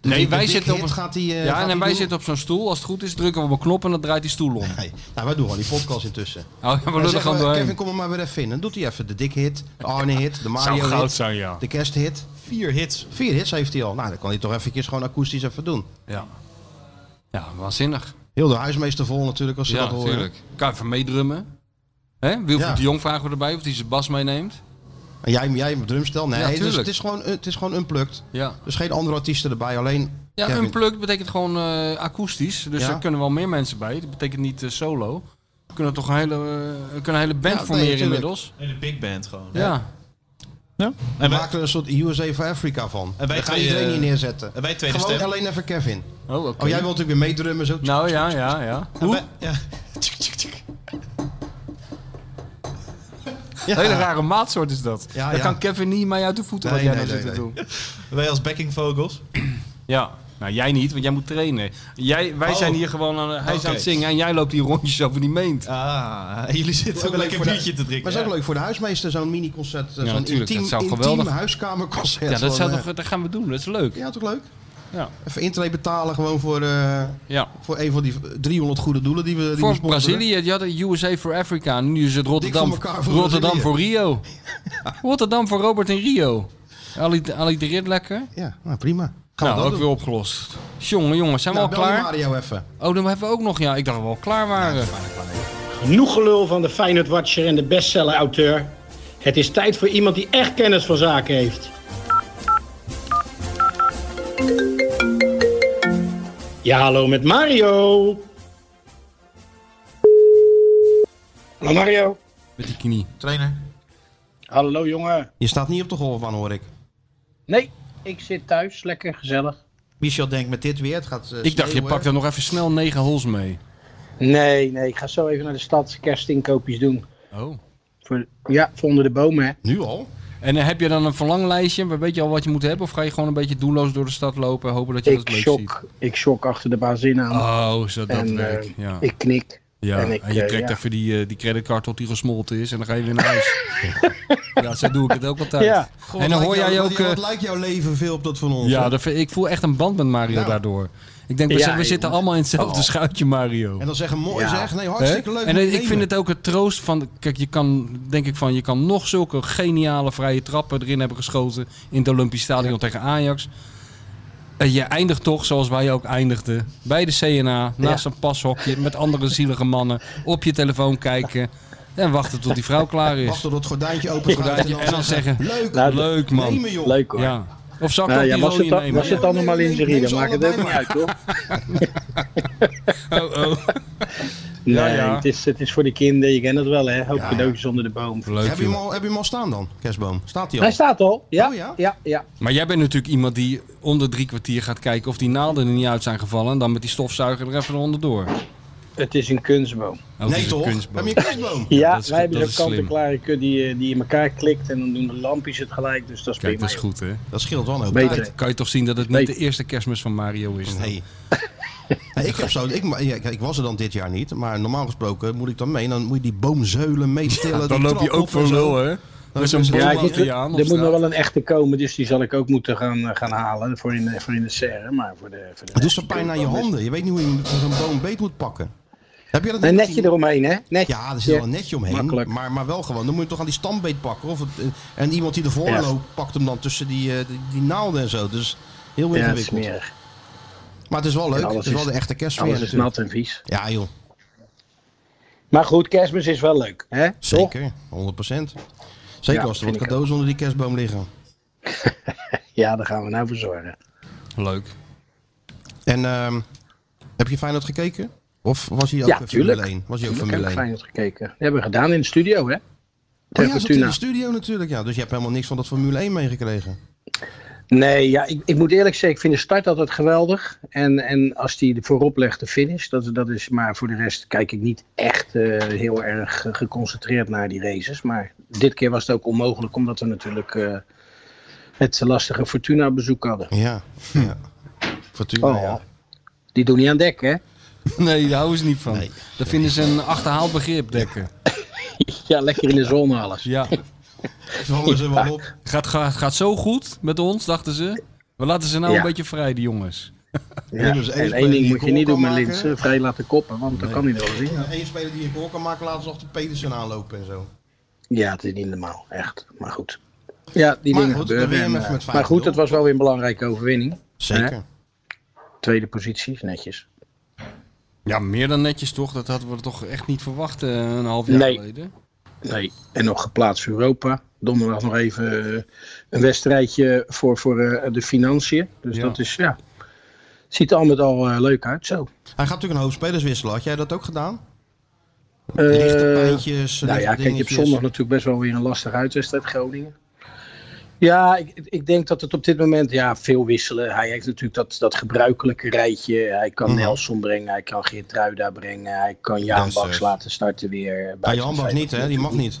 S3: de-
S4: Nee,
S3: de
S4: wij
S3: dik
S4: zitten op
S3: hit
S4: een-
S3: Gaat hij, eh, gaat
S4: Ja, en
S3: hij
S4: dan wij
S3: doen.
S4: zitten op zo'n stoel. Als het goed is, drukken we op een knop en dan draait die stoel om.
S3: Nee, nou, wij doen gewoon die podcast intussen.
S4: Oh, ja, we
S3: Dan
S4: lullen
S3: zeggen
S4: gewoon
S3: we,
S4: doorheen.
S3: eh, Kevin, kom er maar weer even in. Dan doet hij even de dik hit, de Arne hit, de Mario hit,
S4: zijn, ja.
S3: de kersthit.
S6: Vier hits.
S3: Vier hits heeft hij al. Nou, dan kan hij toch eventjes gewoon akoestisch even doen.
S4: Ja, ja waanzinnig.
S3: Heel de huismeester vol natuurlijk als ze
S4: Ja,
S3: dat horen.
S4: natuurlijk. Kan je even meedrummen. Hè? Wilfried
S3: Ja.
S4: de Jong vragen we erbij of hij zijn bas meeneemt.
S3: En jij, jij met drumstel? Nee,
S4: Ja,
S3: dus
S4: tuurlijk.
S3: het, is gewoon, het is gewoon unplugged.
S4: Ja.
S3: Dus geen andere artiesten erbij, alleen
S4: Ja,
S3: Kevin.
S4: unplugged betekent gewoon eh, akoestisch. Dus
S3: Ja.
S4: daar kunnen wel meer mensen bij. Dat betekent niet eh, solo. We kunnen toch een hele, eh, we kunnen een hele band
S3: Ja,
S4: formeren
S3: nee, tuurlijk.
S4: inmiddels.
S6: Hele big band gewoon.
S4: Ja.
S6: En
S3: We
S6: wij,
S3: maken er een soort USA for Africa van.
S6: En wij
S3: Daar ga je
S6: twee,
S3: iedereen
S6: eh,
S3: hier neerzetten.
S6: en wij tweede
S3: Gewoon
S6: stem.
S3: alleen even Kevin.
S4: Oh, oké.
S3: Oh, jij wilt natuurlijk weer meedrummen zo.
S4: Nou ja, ja, ja.
S6: wij- ja. Tjuk, tjuk, tjuk.
S3: Ja.
S4: Hele rare maatsoort is dat.
S3: Ja,
S4: Daar
S3: ja.
S4: kan Kevin niet mee uit de voeten
S3: Nee,
S4: wat jij
S3: nee,
S4: nou
S3: nee,
S4: zit te doen.
S6: Wij als backing vocals.
S4: Ja. Nou, jij niet, want jij moet trainen. Jij, wij
S6: Oh.
S4: zijn hier gewoon aan, hij is
S6: Oké.
S4: aan het zingen en jij loopt hier rondjes over die meent.
S6: Ah, en jullie zitten
S3: Ook
S6: ook
S3: leuk
S6: lekker
S3: voor de-
S6: biertje te drinken.
S3: Maar het is ook
S6: ja.
S3: leuk voor de huismeester, zo'n mini-concert. eh, zo'n
S4: Ja, natuurlijk, dat
S3: intiem,
S4: zou
S3: intiem
S4: geweldig-
S3: huiskamerconcert.
S4: Ja, dat,
S3: van,
S4: zou
S3: eh,
S4: toch, dat gaan we doen, dat is leuk.
S3: Ja, toch leuk?
S4: Ja.
S3: Even intree betalen gewoon voor, eh,
S4: Ja.
S3: voor een van die 300 goede doelen die we die we
S4: Voor
S3: sponsoren.
S4: Brazilië, die hadden USA for Africa. En nu is het Rotterdam,
S3: Dik voor elkaar voor
S4: Rotterdam
S3: Brazilië.
S4: voor Rio. Rotterdam voor Robert en Rio. Ali, Ali de Rit lekker.
S3: Ja, nou, prima. Gaan
S4: Nou,
S3: we
S4: ook
S3: dat doen.
S4: weer opgelost. Jongen, jongen, zijn we
S3: Nou,
S4: al
S3: bel die
S4: klaar?
S3: Mario even.
S4: Oh, dan hebben we ook nog. Ja, ik dacht dat we al klaar waren.
S7: Genoeg gelul van de Feyenoord Watcher en de bestseller-auteur. Het is tijd voor iemand die echt kennis van zaken heeft. Ja, hallo met Mario. Hallo Mario.
S4: Met die knie.
S6: Trainer.
S7: Hallo jongen.
S3: Je staat niet op de golfbaan, hoor ik.
S7: Nee, ik zit thuis, lekker gezellig.
S3: Michel denkt met dit weer, het gaat eh,
S4: Ik dacht, je
S3: sneeuwen.
S4: pakt er nog even snel negen holes mee.
S7: Nee, nee, ik ga zo even naar de stad kerstinkoopjes doen.
S4: Oh.
S7: Voor, ja, voor onder de bomen hè.
S3: Nu al?
S4: En eh, heb je dan een verlanglijstje? Weet je al wat je moet hebben? Of ga je gewoon een beetje doelloos door de stad lopen en hopen dat je
S7: Ik
S4: dat leuk ziet?
S7: shock, ik shock achter de bazin aan.
S4: Oh, zo dat
S7: en
S4: werk.
S7: eh,
S4: ja.
S7: ik knik.
S4: ja. En,
S7: en ik,
S4: je
S7: eh,
S4: trekt
S7: ja.
S4: even die, eh, die creditcard tot die gesmolten is en dan ga je weer naar huis. ja, zo doe ik het ook altijd.
S7: Ja.
S3: God,
S4: en
S3: wat
S4: dan hoor
S3: lijkt
S4: jij
S3: jou-
S4: ook...
S3: wat-
S4: eh,
S3: Wat lijkt jouw leven veel op dat van ons?
S4: ja,
S3: hè?
S4: dat vind- ik voel echt een band met Mario
S3: Nou.
S4: daardoor. Ik denk, we,
S7: Ja, Oh.
S4: zi- we zitten
S7: jongens.
S4: allemaal in hetzelfde schuitje, Mario.
S3: En dan zeggen mooi
S7: Ja.
S3: zeg. Nee, hartstikke
S4: Hè?
S3: leuk.
S4: En
S3: moet
S4: eh, ik
S3: nemen.
S4: vind het ook het troost van. Kijk, je kan, denk ik van, je kan nog zulke geniale vrije trappen erin hebben geschoten. in het Olympisch Stadion tegen Ajax. En je eindigt toch, zoals wij ook eindigden. bij de CNA, naast een pashokje. met andere zielige mannen. op je telefoon kijken. en wachten tot die vrouw klaar is.
S3: Wacht tot het gordijntje open gaat
S4: Gordijntje, en dan zeggen,
S3: Leuk,
S7: Nou,
S4: Leuk man.
S3: nemen joh.
S7: Leuk hoor.
S4: Ja. Of zal ik
S7: Nou
S4: ook
S7: ja,
S4: die
S7: was
S4: rode
S7: het, dan,
S4: nemen?
S7: was het allemaal
S3: Nee, nee,
S7: in zijn
S3: nee,
S7: rieden,
S3: ze
S7: maakt het
S3: allebei
S7: even niet uit, hoor.
S4: Oh, oh.
S7: Nee,
S4: Ja, ja.
S7: Het, is, het is voor de kinderen, je kent het wel, hè. Hoop cadeautjes onder de boom.
S4: Leuk
S3: Heb je, hem
S4: joh.
S3: al, heb je hem al staan dan, kerstboom? Staat hij al?
S7: Hij staat al. Ja,
S3: Oh, ja?
S7: ja? Ja, ja.
S4: Maar jij bent natuurlijk iemand die onder drie kwartier gaat kijken of die naalden er niet uit zijn gevallen. En dan met die stofzuiger er even onderdoor. Oh,
S7: Het is een kunstboom.
S3: nee
S4: dat Oh, is een
S3: toch?
S4: kunstboom.
S3: Heb je een kunstboom?
S7: Ja,
S4: dat is-
S7: wij hebben
S4: dat
S7: zo'n
S4: is slim.
S7: kant-en-klare kut die, eh, die in elkaar klikt en dan doen de lampjes het gelijk, dus dat is
S4: Kijk,
S7: prima.
S4: dat is goed hè.
S3: Dat scheelt wel een hoop
S7: Beter.
S3: tijd.
S4: Kan je toch zien dat het
S7: Nee.
S4: niet de eerste kerstmis van Mario is?
S3: Nee. Nee, ik, heb zo, ik, ja, ik, ik was er dan dit jaar niet, maar normaal gesproken moet ik dan mee. en Dan moet je die boomzeulen meestillen.
S4: Dan
S3: die
S4: loop je
S3: trap
S4: ook
S3: op en
S4: voor
S3: zo.
S4: lul, hè? Met zo'n
S3: Ja,
S4: boom
S7: Ja, ik moet,
S4: achter je
S7: er
S4: aan.
S7: moet
S4: op
S7: nog
S4: straat.
S7: wel een echte komen, dus die zal ik ook moeten gaan, eh, gaan halen voor in, de- voor in de serre. Maar voor de, voor de
S3: Het doet
S7: rest-
S3: zo pijn aan je handen. Je weet niet hoe je zo'n boom beet moet pakken. Heb je dat
S7: Een
S3: niet
S7: netje eromheen, hè? Net.
S3: Ja, er zit wel een netje omheen.
S7: Makkelijk.
S3: Maar, maar wel gewoon. Dan moet je toch aan die stambeet pakken. Of het, eh, en iemand die ervoor
S7: Ja.
S3: loopt, pakt hem dan tussen die, eh, die, die naalden en zo. Dus heel
S7: Ja,
S3: ingewikkeld.
S7: smerig.
S3: maar het is wel leuk.
S7: En alles
S3: Het is wel
S7: is-
S3: de echte kerstsfeer
S7: Alles is
S3: natuurlijk.
S7: nat en vies.
S3: Ja joh,
S7: Maar goed, kerstmis is wel leuk, hè? Toch?
S3: zeker. 100%. Zeker
S7: Ja,
S3: als er
S7: vind
S3: wat
S7: ik
S3: cadeaus onder die kerstboom liggen.
S7: Ja, daar gaan we nou voor zorgen.
S4: Leuk.
S3: En ehm, heb je Feyenoord gekeken? Of was hij ook
S7: Ja,
S3: eh,
S7: tuurlijk.
S3: Formule 1? Was hij ook
S7: Ik heb
S3: Formule 1?
S7: Feyenoord gekeken. Dat hebben we gedaan in de studio, hè?
S3: Oh
S7: Tegen
S3: ja, hij zat in
S7: Fortuna.
S3: de studio natuurlijk. Ja, dus je hebt helemaal niks van dat Formule 1 meegekregen.
S7: Nee, ja, ik, ik moet eerlijk zeggen, ik vind de start altijd geweldig. En, en als die er voorop legt, de finish, dat, dat is... Maar voor de rest kijk ik niet echt eh, heel erg eh, geconcentreerd naar die races. Maar dit keer was het ook onmogelijk, omdat we natuurlijk eh, het lastige Fortuna-bezoek hadden.
S3: Ja. ja. Fortuna,
S7: Hm. Oh,
S3: ja.
S7: die doen niet aan dek, hè?
S4: Nee, daar houden ze niet van.
S3: Nee.
S4: Dat vinden ze een achterhaald begrip, dekken.
S7: Ja, lekker in de zon alles.
S4: Ja.
S3: Vallen ze wel op.
S4: Gaat, gaat, gaat zo goed met ons, dachten ze. We laten ze nou
S7: Ja.
S4: een beetje vrij, die jongens.
S7: Ja.
S3: hebben ze één
S7: En
S3: speler
S7: één ding
S3: die
S7: moet je
S3: een
S7: niet
S3: goal
S7: doen met eh.
S3: kan maken.
S7: Linsen, vrij laten koppen, want dan kan hij er wel zien.
S3: Eén speler die een goal kan maken, laten ze achter Pedersen aanlopen en zo.
S7: Ja, het is niet normaal, echt. Maar goed. Ja, die
S3: Maar
S7: dingen
S3: goed, dan
S7: gebeuren.
S3: weer
S7: en,
S3: met-
S7: eh,
S3: met vijf
S7: maar goed,
S3: nul.
S7: het was wel weer een belangrijke overwinning.
S3: Zeker.
S7: Hè? Tweede positie, netjes.
S4: Ja, meer dan netjes toch? Dat hadden we toch echt niet verwacht eh, een half jaar
S7: Nee.
S4: geleden.
S7: Nee, en nog geplaatst voor Europa. Donderdag nog even eh, een wedstrijdje voor, voor eh, de financiën. Dus
S4: Ja.
S7: dat is, ja. Ziet er al met al eh, leuk uit, zo.
S3: Hij gaat natuurlijk een hoop spelers wisselen. Had jij dat ook gedaan?
S7: Eh,
S3: Lichte pijntjes,
S7: nou
S3: lichte
S7: ja, kijk, je hebt
S3: dingetjes.
S7: zondag natuurlijk best wel weer een lastige uitwedstrijd, Groningen. Ja, ik, ik denk dat het op dit moment ja, veel wisselen. Hij heeft natuurlijk dat, dat gebruikelijke rijtje. Hij kan
S3: Mhm.
S7: Nelson brengen, hij kan Geertruida brengen, hij kan Jan
S3: Dessers.
S7: Baks laten starten weer.
S3: Ja,
S7: buiten
S3: eh, Jan
S7: het
S3: Baks
S7: feit
S3: niet,
S7: dat
S3: hè? Die
S7: natuurlijk
S3: mag niet.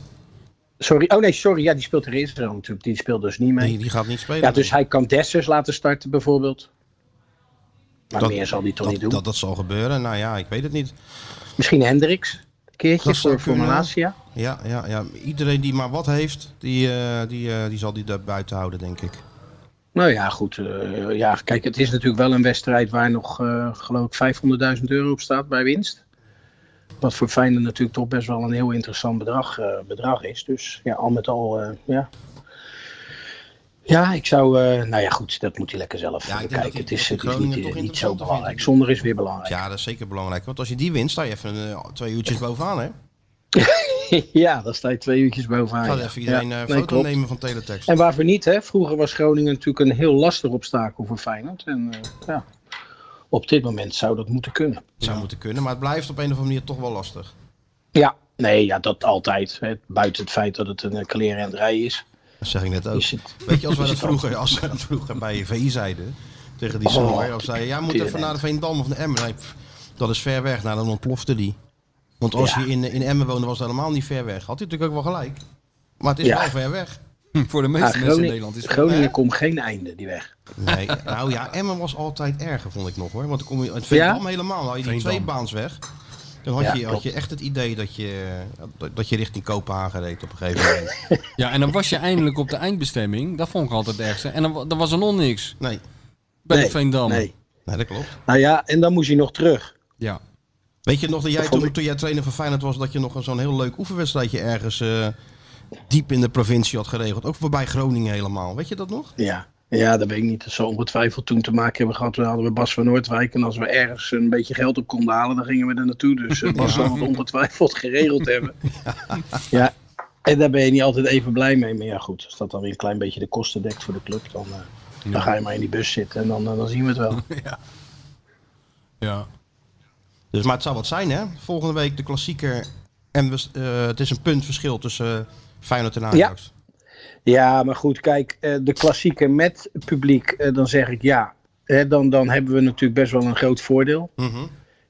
S7: Sorry, oh nee, sorry, ja, die speelt er eerst wel natuurlijk. Die speelt dus niet mee.
S3: Nee, die gaat niet spelen.
S7: ja, dus hij kan Dessers laten starten bijvoorbeeld. Maar meer zal hij toch
S3: dat,
S7: niet doen.
S3: Dat, dat zal gebeuren. Nou ja, ik weet het niet.
S7: Misschien Hendricks. Een keertje
S3: Dat zou
S7: voor, voor
S3: kunnen.
S7: Malasia.
S3: Ja, ja, ja. Iedereen die maar wat heeft, die, eh, die, eh, die zal die daar buiten houden, denk ik.
S7: Nou ja, goed. eh, ja, kijk, het is natuurlijk wel een wedstrijd waar nog, eh, geloof ik, 500.000 euro op staat bij winst. Wat voor Feyenoord natuurlijk toch best wel een heel interessant bedrag, eh, bedrag is. Dus ja, al met al, eh, ja. Ja, ik zou, eh, nou ja, goed, dat moet hij lekker zelf eh,
S3: Ja, ik denk
S7: kijken.
S3: dat hij-
S7: het is,
S3: dat
S7: het
S3: hij
S7: is
S3: Groningen
S7: niet, eh,
S3: toch
S7: niet zo
S3: interessanter vindt.
S7: belangrijk. Zonder is weer belangrijk.
S3: Ja, dat is zeker belangrijk. Want als je die wint, sta je even eh, twee uurtjes bovenaan, hè?
S7: ja, dan sta je twee uurtjes bovenaan.
S3: Ga
S7: Ah, ja.
S3: even iedereen
S7: Ja,
S3: eh,
S7: nee,
S3: foto
S7: klopt.
S3: nemen van teletext.
S7: En waarvoor niet, hè? Vroeger was Groningen natuurlijk een heel lastig obstakel voor Feyenoord. En eh, ja, op dit moment zou dat moeten kunnen.
S3: Het zou moeten kunnen, maar het blijft op een of andere manier toch wel lastig.
S7: Ja, nee, ja, dat altijd. Hè. Buiten het feit dat het een eh, klerenrenderij is.
S3: Dat zeg ik net
S4: Oh.
S3: ook.
S7: is het...
S3: Weet je, als wij dat
S7: is het
S3: vroeger, als wij dat vroeger bij VI zeiden, tegen die
S7: Oh,
S3: zomer, of zei, ja, moet
S7: tuurlijk.
S3: even naar de Veendam of de Emmen. Nee, pff, dat is ver weg. Nou, dan ontplofte die. Want als
S7: Ja.
S3: je in, in Emmen woonde, was het helemaal niet ver weg. Had hij natuurlijk ook wel gelijk. Maar het is
S7: Ja.
S3: wel ver weg.
S4: Hm, Voor de meeste mensen
S7: Ja,
S4: in
S7: Ah, Groningen,
S4: Nederland is
S7: Groningen komt geen einde, die weg.
S3: Nee, nou ja, Emmen was altijd erger, vond ik nog hoor. Want dan kom je het
S7: Ja?
S3: Veendam helemaal, dan had je die
S4: Veendam.
S3: twee baans weg. Dan had,
S7: Ja,
S3: je, had
S7: klopt.
S3: je echt het idee dat je, dat- dat je richting Kopenhagen reed op een gegeven moment.
S4: Ja, en dan was je eindelijk op de eindbestemming. Dat vond ik altijd het ergste. En dan, wa- dan was er nog niks
S3: Nee,
S4: bij
S7: Nee,
S4: de Veendam.
S7: Nee.
S3: nee, dat klopt.
S7: Nou ja, en dan moest hij nog terug.
S4: Ja.
S3: Weet je nog dat jij
S7: vond
S3: toen, toen jij trainer van Feyenoord was, dat je nog een- zo'n heel leuk oefenwedstrijdje ergens eh, diep in de provincie had geregeld? Ook voorbij Groningen helemaal. Weet je dat nog?
S7: Ja. Ja, dat weet ik niet. Dat zal ongetwijfeld toen te maken hebben gehad. We hadden we Bas van Noordwijk. En als we ergens een beetje geld op konden halen, dan gingen we er naartoe. Dus eh, Bas zal het ongetwijfeld geregeld hebben. Ja, en daar ben je niet altijd even blij mee. Maar ja, goed. Als dat dan weer een klein beetje de kosten dekt voor de club, dan, eh, dan ga je maar in die bus zitten. En dan, eh, dan, dan zien we het wel.
S4: ja.
S3: Dus, maar het zou wat zijn, hè? Volgende week de klassieker. En we, eh, het is een puntverschil tussen eh, Feyenoord en Ajax.
S7: Ja, maar goed, kijk, eh, de klassieke met publiek, eh, dan zeg ik ja. Hè, dan, dan hebben we natuurlijk best wel een groot voordeel.
S3: Ja.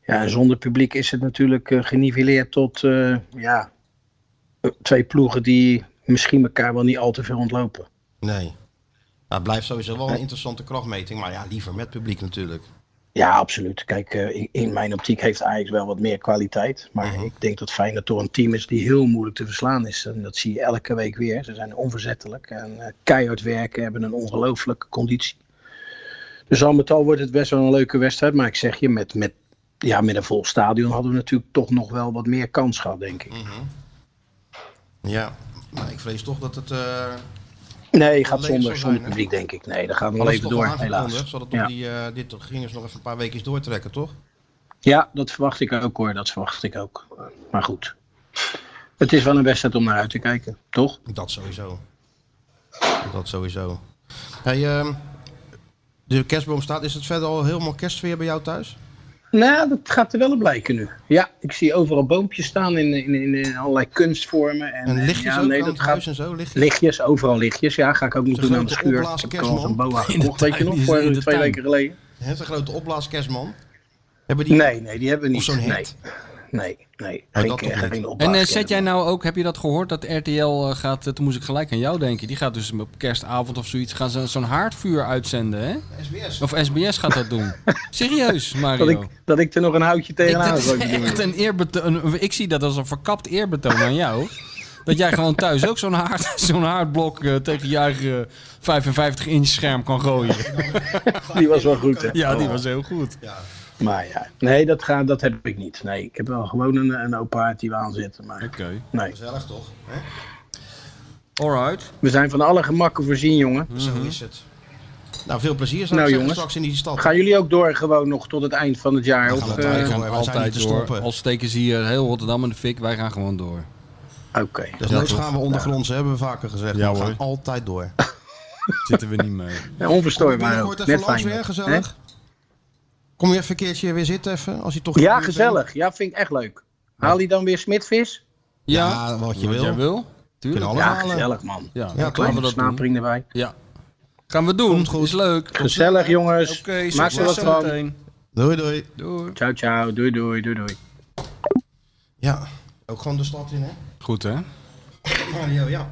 S7: Ja, en zonder publiek is het natuurlijk eh, geniveleerd tot eh, ja, eh, twee ploegen die misschien elkaar wel niet al te veel ontlopen.
S3: Nee. Nou, het blijft sowieso wel een interessante krachtmeting. Maar ja, liever met publiek natuurlijk.
S7: Ja, absoluut. Kijk, eh, in- in mijn optiek heeft Ajax wel wat meer kwaliteit. Maar
S3: Mhm.
S7: ik denk dat Feyenoord toch een team is die heel moeilijk te verslaan is. En dat zie je elke week weer. Ze zijn onverzettelijk en eh, keihard werken, hebben een ongelooflijke conditie. Dus al met al wordt het best wel een leuke wedstrijd. Maar ik zeg je, met, met, ja, met een vol stadion hadden we natuurlijk toch nog wel wat meer kans gehad, denk
S3: Mhm.
S7: ik.
S3: Ja. Maar ik vrees toch dat het... eh
S7: Nee, gaat
S3: Leeg
S7: zonder,
S3: zal
S7: zonder
S3: zijn, hè?
S7: publiek, denk ik. Nee, dat gaat nog
S3: alles
S7: even
S3: toch al
S7: door,
S3: aangekondigd.
S7: helaas.
S3: Zodat
S7: Ja.
S3: die, eh, dit gingen ze nog even een paar weekjes doortrekken, toch?
S7: Ja, dat verwacht ik ook hoor. Dat verwacht ik ook. Maar goed. Het is wel een wedstrijd om naar uit te kijken, toch?
S3: Dat sowieso. Dat sowieso. Hey, ehm, de kerstboom staat. Is het verder al helemaal kerstsfeer bij jou thuis?
S7: Nou, dat gaat er wel op blijken nu. Ja, ik zie overal boompjes staan in, in, in, in allerlei kunstvormen. En,
S3: En
S7: en
S3: lichtjes
S7: ja,
S3: ook
S7: nee,
S3: aan
S7: dat
S3: het
S7: gaat...
S3: huis en zo? Lichtjes?
S7: Lichtjes, overal lichtjes. Ja, ga ik ook niet
S3: De
S7: doen aan de
S3: grote
S7: schuur.
S3: opblaas
S7: Ik heb al een
S3: kerstman.
S7: boa
S4: de
S7: gekocht, weet je
S4: tuin,
S7: nog,
S4: die is
S7: voor
S4: in de
S7: twee
S4: tuin.
S7: weken geleden.
S3: Hè, zo'n grote opblaaskerstman? Hebben die
S7: Nee, nee, die hebben we
S3: Of
S7: niet.
S3: zo'n
S7: nee,
S3: hert?
S7: nee, nee.
S3: Maar
S7: Geen,
S3: dat toch
S7: geen
S3: niet.
S4: En
S7: opblaas-
S4: eh, zet jij nou ook, heb je dat gehoord, dat RTL eh, gaat, eh, toen moest ik gelijk aan jou denken, die gaat dus op kerstavond of zoiets, gaan ze zo'n haardvuur uitzenden, hè?
S3: SBS?
S4: Of SBS gaat dat doen. Serieus, Mario.
S7: dat ik, dat ik er nog een houtje
S4: nou- Ik-
S7: tegenaan
S4: dat
S7: had,
S4: is
S7: zou ik bedoelen.
S4: echt een eerbetoon. een- Ik zie dat als een verkapt eerbetoon aan jou. Dat jij gewoon thuis ook zo'n haard, zo'n haardblok eh, tegen je eigen 55-inch scherm kan gooien.
S7: Die was wel goed, hè?
S4: Ja, die was heel goed.
S7: Maar Oh. ja, nee, dat, ga, dat heb ik niet. Nee, ik heb wel gewoon een, een open haard die we aanzetten. Maar
S4: Oké.
S7: nee,
S3: Gezellig toch? Hè?
S4: Alright.
S7: we zijn van alle gemakken voorzien, jongen.
S3: Zo is het. Nou, veel plezier zou
S7: Nou,
S3: ik zeggen,
S7: jongens.
S3: straks in die stad.
S7: Gaan jullie ook door gewoon nog tot het eind van het jaar?
S3: gaan
S7: Of,
S3: we door.
S7: eh,
S4: gaan
S3: wij zijn niet
S4: altijd
S3: te
S4: door.
S3: stoppen.
S4: Al steken ze hier heel Rotterdam in de fik, wij gaan gewoon door.
S7: Oké.
S3: Desnoods gaan Dus we ondergronds, hè, hebben we vaker gezegd.
S4: Ja,
S3: we gaan
S4: hoor.
S3: altijd door.
S4: Zitten we niet mee.
S7: Ja, onverstoorbaar. ook.
S3: Binnenkort even
S7: Net
S3: langs
S7: fijn.
S3: weer,
S7: hè?
S3: gezellig. Kom je even een keertje weer zitten, even, als je toch... in de
S7: Ja,
S3: buurt bent?
S7: gezellig. Ja, vind ik echt leuk. Haal die dan weer smitvis?
S4: Ja,
S3: Ja, wat je
S4: wat jij
S3: wil.
S4: wil. Tuurlijk.
S3: Kunnen alles
S7: Ja,
S3: halen.
S7: gezellig, man.
S3: Ja,
S4: Ja, dan
S3: toch?
S4: gaan we
S7: Kleine
S4: dat doen.
S7: snapering erbij.
S4: Ja. Gaan we doen.
S3: Komt goed.
S4: Is leuk.
S7: Gezellig, jongens.
S4: Oké,
S7: Maak er
S4: succes
S7: wat van.
S4: zometeen.
S3: Doei, doei.
S4: Doei.
S7: Ciao, ciao. Doei, doei, doei, doei.
S3: Ja, ook gewoon de stad in, hè?
S4: Goed, hè?
S3: Mario, ja.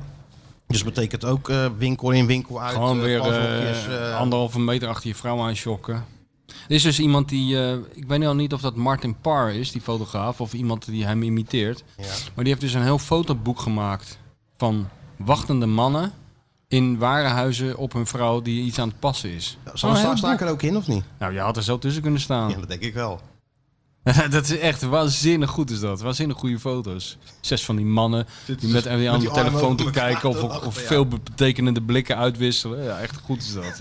S3: Dus betekent ook eh, winkel in, winkel uit.
S4: Gewoon
S3: eh,
S4: weer
S3: pazzeltjes,
S4: eh,
S3: eh,
S4: anderhalve meter achter je vrouw aan schokken. Er is dus iemand die, eh, ik weet al niet of dat Martin Parr is, die fotograaf, of iemand die hem imiteert. Maar die heeft dus een heel fotoboek gemaakt van wachtende mannen in warenhuizen op hun vrouw die iets aan het passen is.
S3: Zal
S4: Oh,
S3: sta,
S4: heel
S3: sta ik er ook in of niet?
S4: Nou, je had er zo tussen kunnen staan.
S3: Ja, dat denk ik wel.
S4: dat is echt waanzinnig goed is dat. Waanzinnig goede foto's. Zes van die mannen die met die aan de
S3: die armen
S4: telefoon te
S3: over elkaar
S4: kijken of,
S3: te
S4: of
S3: lachen, ja.
S4: veel betekenende blikken uitwisselen. Ja, echt goed is dat.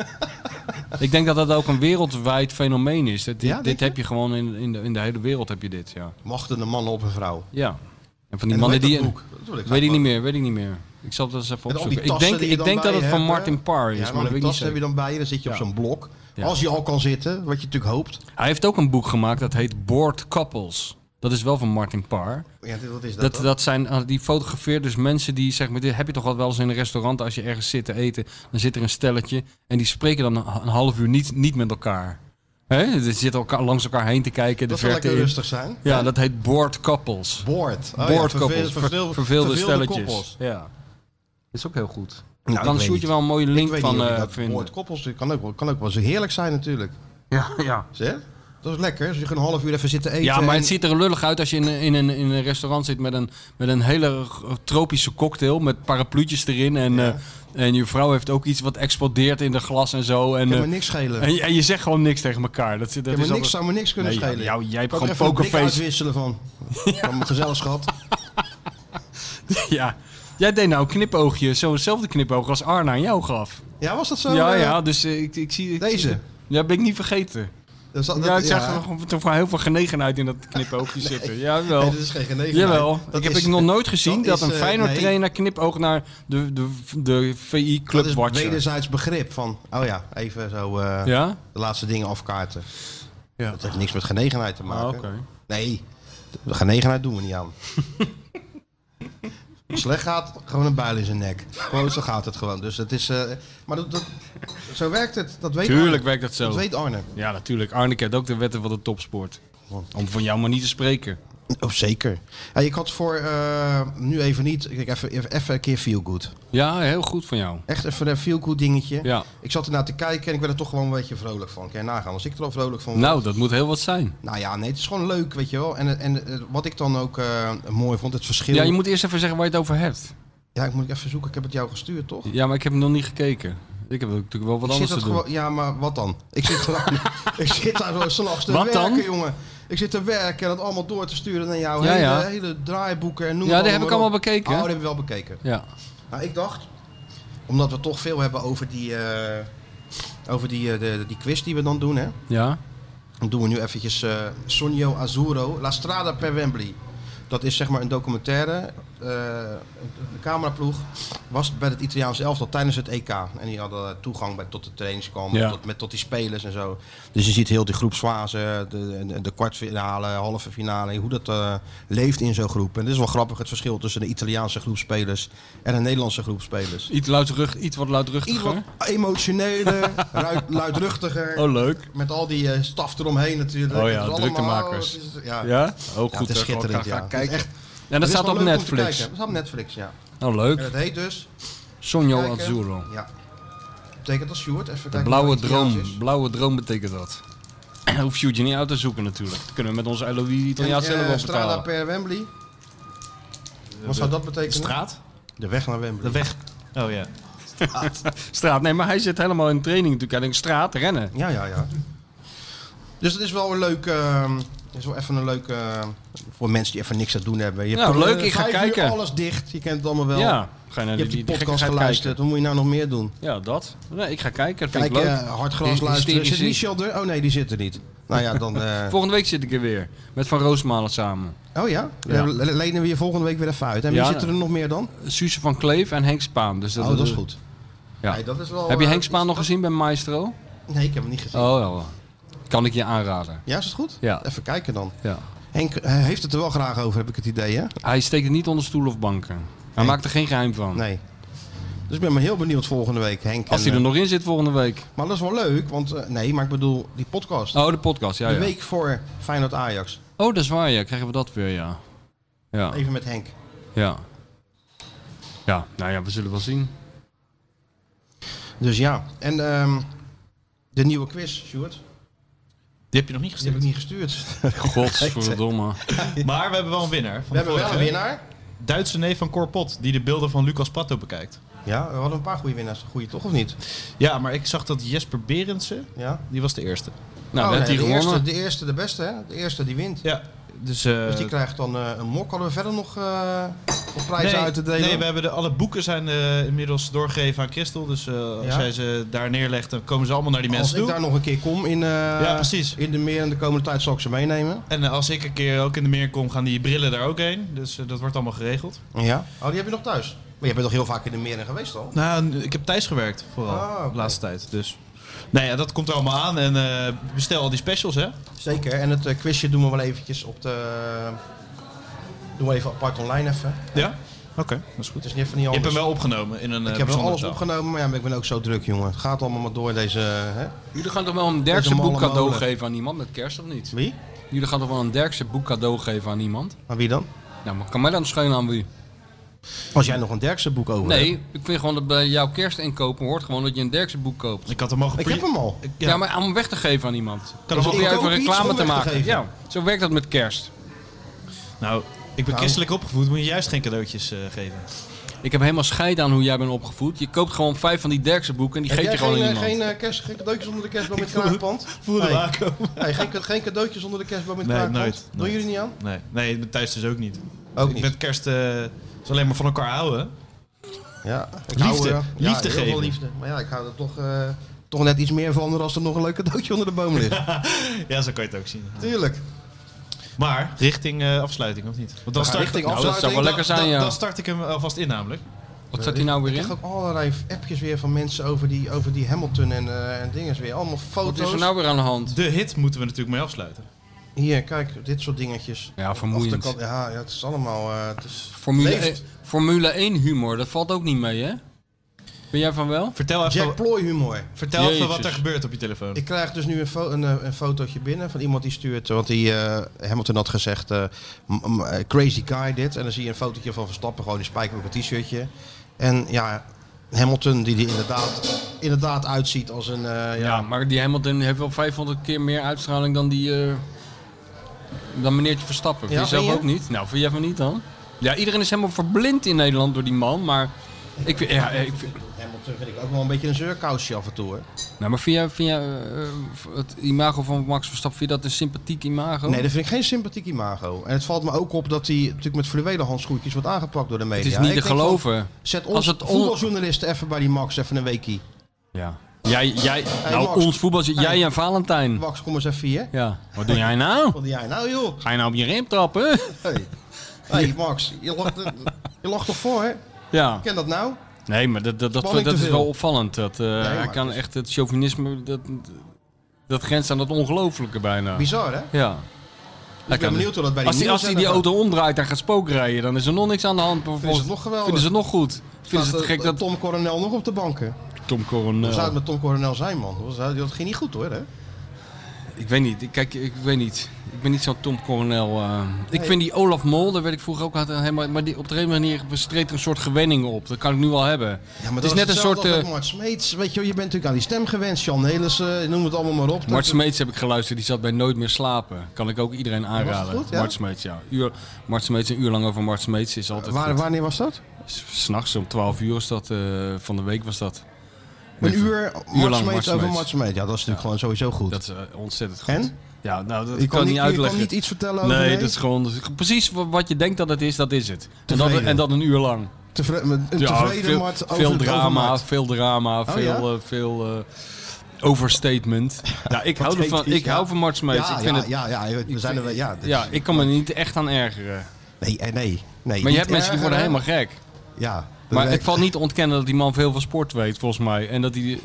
S4: Ik denk dat dat ook een wereldwijd fenomeen is. Dat, dit
S3: Ja, denk
S4: dit
S3: je?
S4: heb je gewoon in, in, de, in de hele wereld heb je dit, ja.
S3: Machtende mannen op een vrouw.
S4: Ja. En van die
S3: En hoe
S4: mannen
S3: heet
S4: die...
S3: dat boek? Dat wil
S4: Weet ik
S3: wel.
S4: niet meer, weet ik niet meer. Ik zal het eens even
S3: Met al die
S4: opzoeken. Ik
S3: tassen
S4: denk,
S3: die je
S4: ik
S3: dan
S4: denk dat
S3: bij
S4: het van
S3: hebt, hè?
S4: Martin Parr is,
S3: Ja,
S4: maar dat weet
S3: die
S4: ik niet
S3: tas heb
S4: zeker.
S3: je dan bij je, dan zit je
S4: Ja.
S3: op zo'n blok.
S4: Ja.
S3: Als je al kan zitten, wat je natuurlijk hoopt. Oh
S4: Hij heeft ook een boek gemaakt dat heet Bored Couples. Dat is wel van Martin Parr.
S3: Ja, dit- wat is dat?
S4: Dat,
S3: dan?
S4: dat zijn, eh, die fotografeert dus mensen die zeg maar, dit heb je toch wel eens in een restaurant als je ergens zit te eten, dan zit er een stelletje en die spreken dan een, een half uur niet, niet met elkaar. Hè? Ze zitten elkaar, langs elkaar heen te kijken, de
S3: dat zal
S4: verte
S3: lekker
S4: in.
S3: rustig Oh zijn.
S4: Ja, dat heet bored couples.
S3: Boord.
S4: Bored couples, ver- verveelde stelletjes. Ja. Is ook heel goed.
S3: Nou, ik
S4: dan
S3: weet
S4: shoot
S3: niet.
S4: je wel een mooie link
S3: Ik weet
S4: van
S3: niet of je
S4: eh,
S3: dat
S4: vinden.
S3: Boord koppels, dat kan ook, wel- kan ook wel zo heerlijk zijn natuurlijk.
S4: Ja, ja.
S3: Zeg? Dat is lekker. Dus je gaat een half uur even zitten eten.
S4: ja, maar
S3: en-
S4: het ziet er lullig uit als je in, een- in, een, in een restaurant zit met een, met een hele g- tropische cocktail met parapluutjes erin. En, eh, en je vrouw heeft ook iets wat explodeert in de glas en zo. En,
S3: kan
S4: eh,
S3: me niks schelen.
S4: en, je- en je zegt gewoon niks tegen elkaar. Dat, dat
S3: kan
S4: is
S3: me niks,
S4: altijd-
S3: zou me niks kunnen
S4: Nee,
S3: schelen.
S4: jou- jij hebt
S3: Kan er
S4: gewoon
S3: even een blik
S4: pokerface.
S3: uitwisselen van. Van mijn gezelschap.
S4: Ja. Jij deed nou een knipoogje, zo'nzelfde knipoog als Arna aan jou gaf.
S3: Ja, was dat zo?
S4: ja,
S3: eh,
S4: ja, dus eh, ik, ik zie... Ik
S3: Deze?
S4: zie- ja, ben ik niet vergeten.
S3: dat zat-
S4: ja,
S3: dat-
S4: ik zag er nog- toch wel heel veel genegenheid in dat knipoogje zitten. Jawel.
S3: Nee, dit is geen genegenheid.
S4: Jawel,
S3: Dat
S4: ik heb
S3: is-
S4: ik nog nooit gezien
S3: dat
S4: dat,
S3: is,
S4: een
S3: eh,
S4: Feyenoord
S3: nee.
S4: trainer knipoog naar de, de, de VI Club
S3: Dat is
S4: Watcher.
S3: wederzijds begrip van, oh ja, even zo eh,
S4: Ja?
S3: de laatste dingen afkaarten.
S4: Ja.
S3: Dat heeft niks met genegenheid te maken.
S4: Ah, oké.
S3: Nee, de genegenheid doen we niet aan. Als het slecht gaat, gewoon een buil in zijn nek. Gewoon, zo gaat het gewoon. Dus het is, eh, maar dat, dat- zo werkt het. Dat weet
S4: Tuurlijk
S3: Arne.
S4: werkt dat zo.
S3: Dat weet Arne.
S4: Ja, natuurlijk. Arne kent ook de wetten van de topsport. Om van jou maar niet te spreken.
S3: Oh, zeker. Ja, ik had voor, eh, nu even niet, ik even, even, even een keer feel good.
S4: Ja, heel goed van jou.
S3: Echt even een feel good dingetje.
S4: Ja.
S3: Ik zat ernaar te kijken en ik werd er toch gewoon een beetje vrolijk van. Kan je nagaan, als ik er al vrolijk van word.
S4: Nou, dat moet heel wat zijn.
S3: Nou ja, nee, het is gewoon leuk, weet je wel. En, en eh, wat ik dan ook eh, mooi vond, het verschil.
S4: Ja, je moet eerst even zeggen waar je het over hebt.
S3: Ja, ik moet even zoeken. Ik heb het jou gestuurd, toch?
S4: Ja, maar ik heb hem nog niet gekeken. Ik heb natuurlijk wel wat
S3: ik zit
S4: anders
S3: dat
S4: te doen.
S3: gewoon. Ja, maar wat dan? Ik zit gewoon. ik zit daar zo s'nachts te
S4: Wat dan?
S3: werken, jongen. Ik zit te werken en dat allemaal door te sturen naar jou.
S4: Ja,
S3: hele,
S4: ja.
S3: hele draaiboeken en noem
S4: Ja,
S3: het
S4: die heb ik
S3: maar op.
S4: allemaal bekeken,
S3: Oh,
S4: hè?
S3: die heb ik wel bekeken.
S4: Ja.
S3: Nou, ik dacht, omdat we toch veel hebben over die, eh, over die, eh, de, die quiz die we dan doen, hè?
S4: Ja?
S3: Dan doen we nu eventjes eh, Sonio Azuro, La Strada per Wembley. Dat is zeg maar een documentaire. eh de cameraploeg was bij het Italiaanse elftal tijdens het EK. En die hadden toegang bij, tot de trainingskamp,
S4: Ja.
S3: tot, met, tot die spelers en zo. Dus je ziet heel die groepsfase, de, de- de kwartfinale, halve finale, hoe dat eh, leeft in zo'n groep. En dit is wel grappig, het verschil tussen de Italiaanse groepspelers en de Nederlandse groepspelers.
S4: Iets, luidrug, iets wat
S3: Iets
S4: luidruchtiger.
S3: wat emotioneler, ruid- luidruchtiger.
S4: Oh, leuk.
S3: Met al die eh, staf eromheen natuurlijk.
S4: Oh ja,
S3: Het is
S4: druktemakers.
S3: allemaal- het is- ja.
S4: Ja? Oh,
S3: Ja, het
S4: goed.
S3: is
S4: hè.
S3: schitterend,
S4: Ga- ga
S3: ja.
S4: kijken.
S3: Echt,
S4: En dat
S3: het is
S4: staat
S3: wel
S4: op
S3: leuk om te
S4: Netflix.
S3: kijken. Dat staat op Netflix, ja.
S4: Oh,
S3: En
S4: leuk.
S3: dat heet dus...
S4: Sonjo
S3: kijken.
S4: Azzurro.
S3: Ja. Betekent dat Sjoerd? Even
S4: De
S3: kijken
S4: blauwe
S3: wat het Italiaans
S4: droom.
S3: is.
S4: Blauwe droom betekent dat. Hoef je niet uit te zoeken natuurlijk. Dat kunnen we met onze Eloïse Italiaans
S3: En, eh,
S4: zelf wel
S3: Strada
S4: vertalen.
S3: per Wembley. Wat zou dat betekenen?
S6: straat?
S3: De weg naar Wembley.
S6: De weg. Oh ja.
S4: Straat, nee, maar hij zit helemaal in training natuurlijk. Hij denkt straat, rennen.
S3: Ja, ja, ja. Dus dat is wel een leuk... ehm, is wel even een leuk... eh, voor mensen die even niks te doen hebben. Je
S4: Ja,
S3: hebt, eh,
S4: leuk, ik ga
S3: vijf uur
S4: kijken.
S3: alles dicht. Je kent het allemaal wel.
S4: Ja, ga
S3: Je
S4: je naar die,
S3: hebt
S4: die,
S3: die
S4: die
S3: podcast
S4: gekkigheid kijken.
S3: geluisterd. Wat moet je nou nog meer doen?
S4: Ja, dat. Nee, ik ga kijken. Dat vind
S3: Kijk,
S4: ik leuk.
S3: eh, hard gras
S4: Die
S3: luisteren. Zit
S4: hysterische-
S3: Michel er? Oh nee, die zit er niet. Nou ja, dan... eh,
S4: Volgende week zit ik er weer. Met Van Roosmalen samen.
S3: Oh ja?
S4: Ja.
S3: Le- le- Lenen we je volgende week weer even uit. En wie
S4: Ja,
S3: zit er nog meer dan?
S4: Suze van Kleef en Henk Spaan. Dus dat,
S3: oh, dat is goed.
S4: Ja.
S3: Nee, dat is wel,
S4: Heb je
S3: eh,
S4: Henk Spaan
S3: iets-
S4: nog gezien bij Maestro?
S3: Nee, ik heb hem niet gezien.
S4: Oh, wel. Kan ik je aanraden.
S3: Ja, is het goed?
S4: Ja.
S3: Even kijken dan.
S4: Ja.
S3: Henk eh, heeft het er wel graag over, heb ik het idee, hè?
S4: Hij steekt het niet onder stoelen of banken. Hij
S3: Nee.
S4: maakt er geen geheim van.
S3: Nee. Dus ik ben me heel benieuwd volgende week, Henk.
S4: Als
S3: en,
S4: hij er
S3: eh,
S4: nog in zit volgende week.
S3: Maar dat is wel leuk, want... eh, nee, maar ik bedoel, die podcast.
S4: Oh, de podcast. Ja,
S3: de
S4: ja.
S3: week voor Feyenoord-Ajax.
S4: Oh, dat is waar, ja. Krijgen we dat weer, ja. Ja,
S3: Even met Henk.
S4: ja. Ja, nou ja, we zullen wel zien.
S3: Dus ja. En ehm, de nieuwe quiz, Stuart.
S6: Die heb je nog niet
S3: Die heb
S6: gestuurd.
S3: ik niet gestuurd.
S4: Godverdomme.
S6: Maar we hebben wel een winnaar. Van
S3: We hebben
S6: de
S3: wel
S6: vorige
S3: een winnaar.
S6: week. Duitse neef van Cor Pot, die de beelden van Lucas Patto bekijkt.
S3: Ja, we hadden een paar goede winnaars. Goeie toch of niet?
S6: Ja, maar ik zag dat Jesper Berendsen,
S3: Ja.
S6: die was de eerste.
S4: Nou,
S3: Oh,
S4: net
S3: nee,
S4: die
S3: de, eerste, de
S4: gewonnen.
S3: eerste, de beste, hè? De eerste die wint.
S6: Ja, dus... eh,
S3: Dus die krijgt dan eh, een mok. Hadden we verder nog, eh, nog prijzen
S6: nee,
S3: uit te delen?
S6: nee, we hebben de, alle boeken zijn eh, inmiddels doorgegeven aan Christel. Dus eh, als
S3: Ja.
S6: jij ze daar neerlegt, dan komen ze allemaal naar die
S3: Als
S6: mensen
S3: ik
S6: toe.
S3: daar nog een keer kom in, eh,
S6: Ja, precies.
S3: in de meer en de komende tijd zal ik ze meenemen.
S6: En eh, als ik een keer ook in de meer kom, gaan die brillen daar ook heen. Dus eh, dat wordt allemaal geregeld.
S3: Ja. Oh, die heb je nog thuis? Maar je bent toch heel vaak in de meren geweest al?
S6: Nou, n- ik heb thuis gewerkt vooral
S3: Ah, oké.
S6: de laatste tijd. Dus nou ja, dat komt er allemaal aan. En eh, bestel al die specials, hè?
S3: Zeker. En het eh, quizje doen we wel eventjes op de... Doen we even apart online even.
S6: Ja? Oké, dat is goed.
S3: Het is niet van die
S6: Je hebt
S3: anders.
S6: hem wel opgenomen in een eh,
S3: ik heb wel
S6: bijzondere
S3: alles
S6: taal.
S3: opgenomen, maar ja, maar ik ben ook zo druk, jongen. Het gaat allemaal maar door deze... Hè?
S4: Jullie gaan toch wel een
S3: Deze
S4: Derkse
S3: mannen
S4: boek cadeau
S3: molen.
S4: geven aan iemand met kerst of niet?
S3: Wie?
S4: Jullie gaan toch wel een Derkse boek cadeau geven aan iemand?
S3: Maar wie dan?
S4: Nou, maar kan mij dan schelen aan wie?
S3: Als jij nog een Derkse boek over
S4: Nee,
S3: hebt.
S4: ik vind gewoon dat bij jouw kerstinkopen hoort gewoon dat je een Derkse boek koopt.
S6: Ik had hem mogen
S3: Ik heb hem al.
S4: Ja, maar om weg te geven aan iemand.
S6: kan
S4: Dan
S6: hem
S3: Dus
S6: ook-
S4: zit
S3: ik
S4: hij even
S3: koop iets
S4: reclame
S3: om
S4: te
S3: weg te
S4: maken.
S3: geven.
S4: ja, zo werkt dat met kerst.
S6: Nou, ik ben
S3: Nou.
S6: christelijk opgevoed, moet je juist geen cadeautjes eh, geven.
S4: Ik heb helemaal scheid aan hoe jij bent opgevoed. Je koopt gewoon vijf van die Derkse boeken en die
S3: Heb
S4: geef
S3: jij
S4: je gewoon
S3: geen,
S4: aan
S3: eh,
S4: iemand.
S3: geen, eh, kerst, geen cadeautjes onder de kerstboom met
S6: voel het-
S3: kraakpand?
S6: Voelde
S3: Nee.
S6: aankomen.
S3: Nee, geen, geen cadeautjes onder de kerstboom met
S6: Nee,
S3: kraakpand?
S6: nooit,
S3: Doen
S6: nooit.
S3: jullie niet aan?
S6: Nee, nee, thuis dus ook niet.
S3: Ook
S6: Ik
S3: niet.
S6: Met kerst eh, is alleen maar van elkaar houden.
S3: Ja, ik
S6: Liefde.
S3: eh,
S6: Liefde
S3: heel
S6: geven.
S3: veel liefde. Maar ja, ik hou er toch, eh, toch net iets meer van dan als er nog een leuk cadeautje onder de boom ligt.
S6: Ja, zo kan je het ook zien.
S3: Tuurlijk.
S6: Maar richting eh, afsluiting, of niet? Want dan
S3: gaan
S6: start, Nou,
S3: richting
S6: dan-
S3: afsluiting.
S4: dat zou wel lekker zijn,
S6: dan,
S4: ja.
S6: dan start ik hem alvast in namelijk.
S4: Wat staat hier nou weer
S3: Ik
S4: in?
S3: krijg ook allerlei appjes weer van mensen over die, over die Hamilton en, eh en dinges weer. Allemaal
S4: Wat
S3: foto's.
S4: is er nou weer aan de hand?
S6: De hit moeten we natuurlijk mee afsluiten.
S3: Hier, kijk, dit soort dingetjes.
S4: Ja, vermoeiend.
S3: Achterkant- Ja, ja, het is allemaal... eh, het is...
S4: Formule, E-
S3: Leeft.
S4: 1, Formule 1 humor, dat valt ook niet mee, hè? Ben jij van wel?
S6: Vertel even,
S3: Jack Ploy humor.
S6: vertel even wat
S4: Jeetjes.
S6: er gebeurt op je telefoon.
S3: Ik krijg dus nu een, fo- een, eh, een fotootje binnen van iemand die stuurt. Want die, eh, Hamilton had gezegd, eh, m- m- eh, crazy guy dit. En dan zie je een fotootje van Verstappen, gewoon in spijker op een t-shirtje. En ja, Hamilton die er inderdaad, inderdaad uitziet als een... eh,
S4: Ja,
S3: ja,
S4: maar die Hamilton heeft wel 500 keer meer uitstraling dan die... eh, dan meneertje Verstappen.
S3: Ja,
S4: Vind je zelf
S3: vind je?
S4: ook niet? Nou, vind jij van niet dan? Ja, iedereen is helemaal verblind in Nederland door die man, maar... Ik vind, ja, ik vind,
S3: Hamilton vind ik ook wel een beetje een zeurkousje af en toe. Hoor.
S4: nou, maar vind jij, vind jij eh, het imago van Max Verstappen, vind je dat een sympathiek imago?
S3: Nee, dat vind ik geen sympathiek imago. En het valt me ook op dat hij natuurlijk met fluwelen handschoentjes wordt aangepakt door de media.
S4: het is niet
S3: Ik
S4: te
S3: denk van,
S4: geloven.
S3: Zet
S4: Als
S3: ons
S4: het on-
S3: voetbaljournalisten even bij die Max, even een weekie.
S4: Ja. Jij, jij, nou,
S3: Max.
S4: ons voetbal, jij
S3: Hey.
S4: en Valentijn.
S3: Max, kom eens even hier.
S4: Ja. Wat doe jij nou?
S3: Wat doe jij nou joh?
S4: Ga je nou op je rim trappen?
S3: Hey. hey Max, je lacht, je lacht toch voor, hè?
S4: Ja.
S3: Ken dat nou?
S4: Nee, maar dat, dat, dat,
S3: Spanning
S4: dat
S3: te
S4: is wel
S3: veel.
S4: opvallend. Dat, eh, hij
S3: maar
S4: kan
S3: het is-
S4: echt het chauvinisme, dat, dat grenst aan dat ongelooflijke bijna.
S3: Bizar, hè?
S4: Ja. Hij
S3: Ik ben
S4: kan-
S3: benieuwd hoe dat bij die
S4: als hij, als hij die
S3: nieuwszender
S4: auto omdraait en gaat spookrijden, dan is er nog niks aan de hand.
S3: Vinden ze het nog geweldig?
S4: Vinden ze het nog goed? Vinden ze
S3: Staat,
S4: het
S3: eh,
S4: gek dat
S3: Tom Coronel nog op de banken?
S4: Tom eh,
S3: Hoe zou het
S4: Coronel...
S3: met Tom Coronel zijn, man? Hoe zou- Dat ging niet goed, hoor, hè?
S4: Ik weet niet, ik, kijk, ik weet niet. Ik ben niet zo'n Tom Coronel. eh. Ik
S3: Nee.
S4: vind die Olaf Mol, daar werd ik vroeger ook altijd helemaal... Maar die, op de een manier bestreedt er een soort gewenning op. Dat kan ik nu wel hebben.
S3: Ja, maar
S4: het is net een soort... eh,
S3: Mart Smeets, weet je wel, je bent natuurlijk aan die stem gewend. Jan Helissen, eh, noem het allemaal maar op. Dat-
S4: Mart Smeets heb ik geluisterd, die zat bij Nooit meer slapen. Kan ik ook iedereen aanraden.
S3: goed, ja?
S4: Mart Smeets, ja. Uur, Mart Smeets, een uur lang over Mart Smeets is altijd
S3: Waar,
S4: goed.
S3: wanneer was dat?
S4: S- S'nachts om 12 uur is dat, eh, van de week was dat.
S3: Een
S4: Met-
S3: uur
S4: lang
S3: Mart
S4: Mart
S3: Smeets over
S4: Smeets.
S3: Mart Smeets. Ja, dat is natuurlijk gewoon sowieso goed.
S4: Dat is eh, ontzettend goed.
S3: En?
S4: Ja, nou, dat
S3: je
S4: kan niet
S3: je kan
S4: uitleggen.
S3: niet iets vertellen over...
S4: nee, dat is gewoon dat is precies wa- wat je denkt dat het is, dat is het. En dat,
S3: Tevreden.
S4: en dat een uur lang.
S3: Tevre- met een
S4: Ja,
S3: tevreden
S4: veel,
S3: Mart over
S4: veel
S3: het
S4: drama,
S3: overmaat. Oh,
S4: veel drama, veel,
S3: ja?
S4: eh, veel eh, overstatement. Ja, ik hou, ervan,
S3: Pathetisch,
S4: ik
S3: ja.
S4: hou van Mart Smeets.
S3: Ja,
S4: ik vind
S3: ja,
S4: het,
S3: ja, ja, we zijn er wel... Ja, dit is-
S4: ja, ik kan me er niet echt aan ergeren.
S3: Nee, eh, nee. nee
S4: Maar
S3: niet
S4: je hebt mensen die worden
S3: erger,
S4: helemaal gek.
S3: hè? Ja. dat
S4: Maar
S3: werkt.
S4: ik val niet te ontkennen dat die man veel van sport weet, volgens mij. En dat hij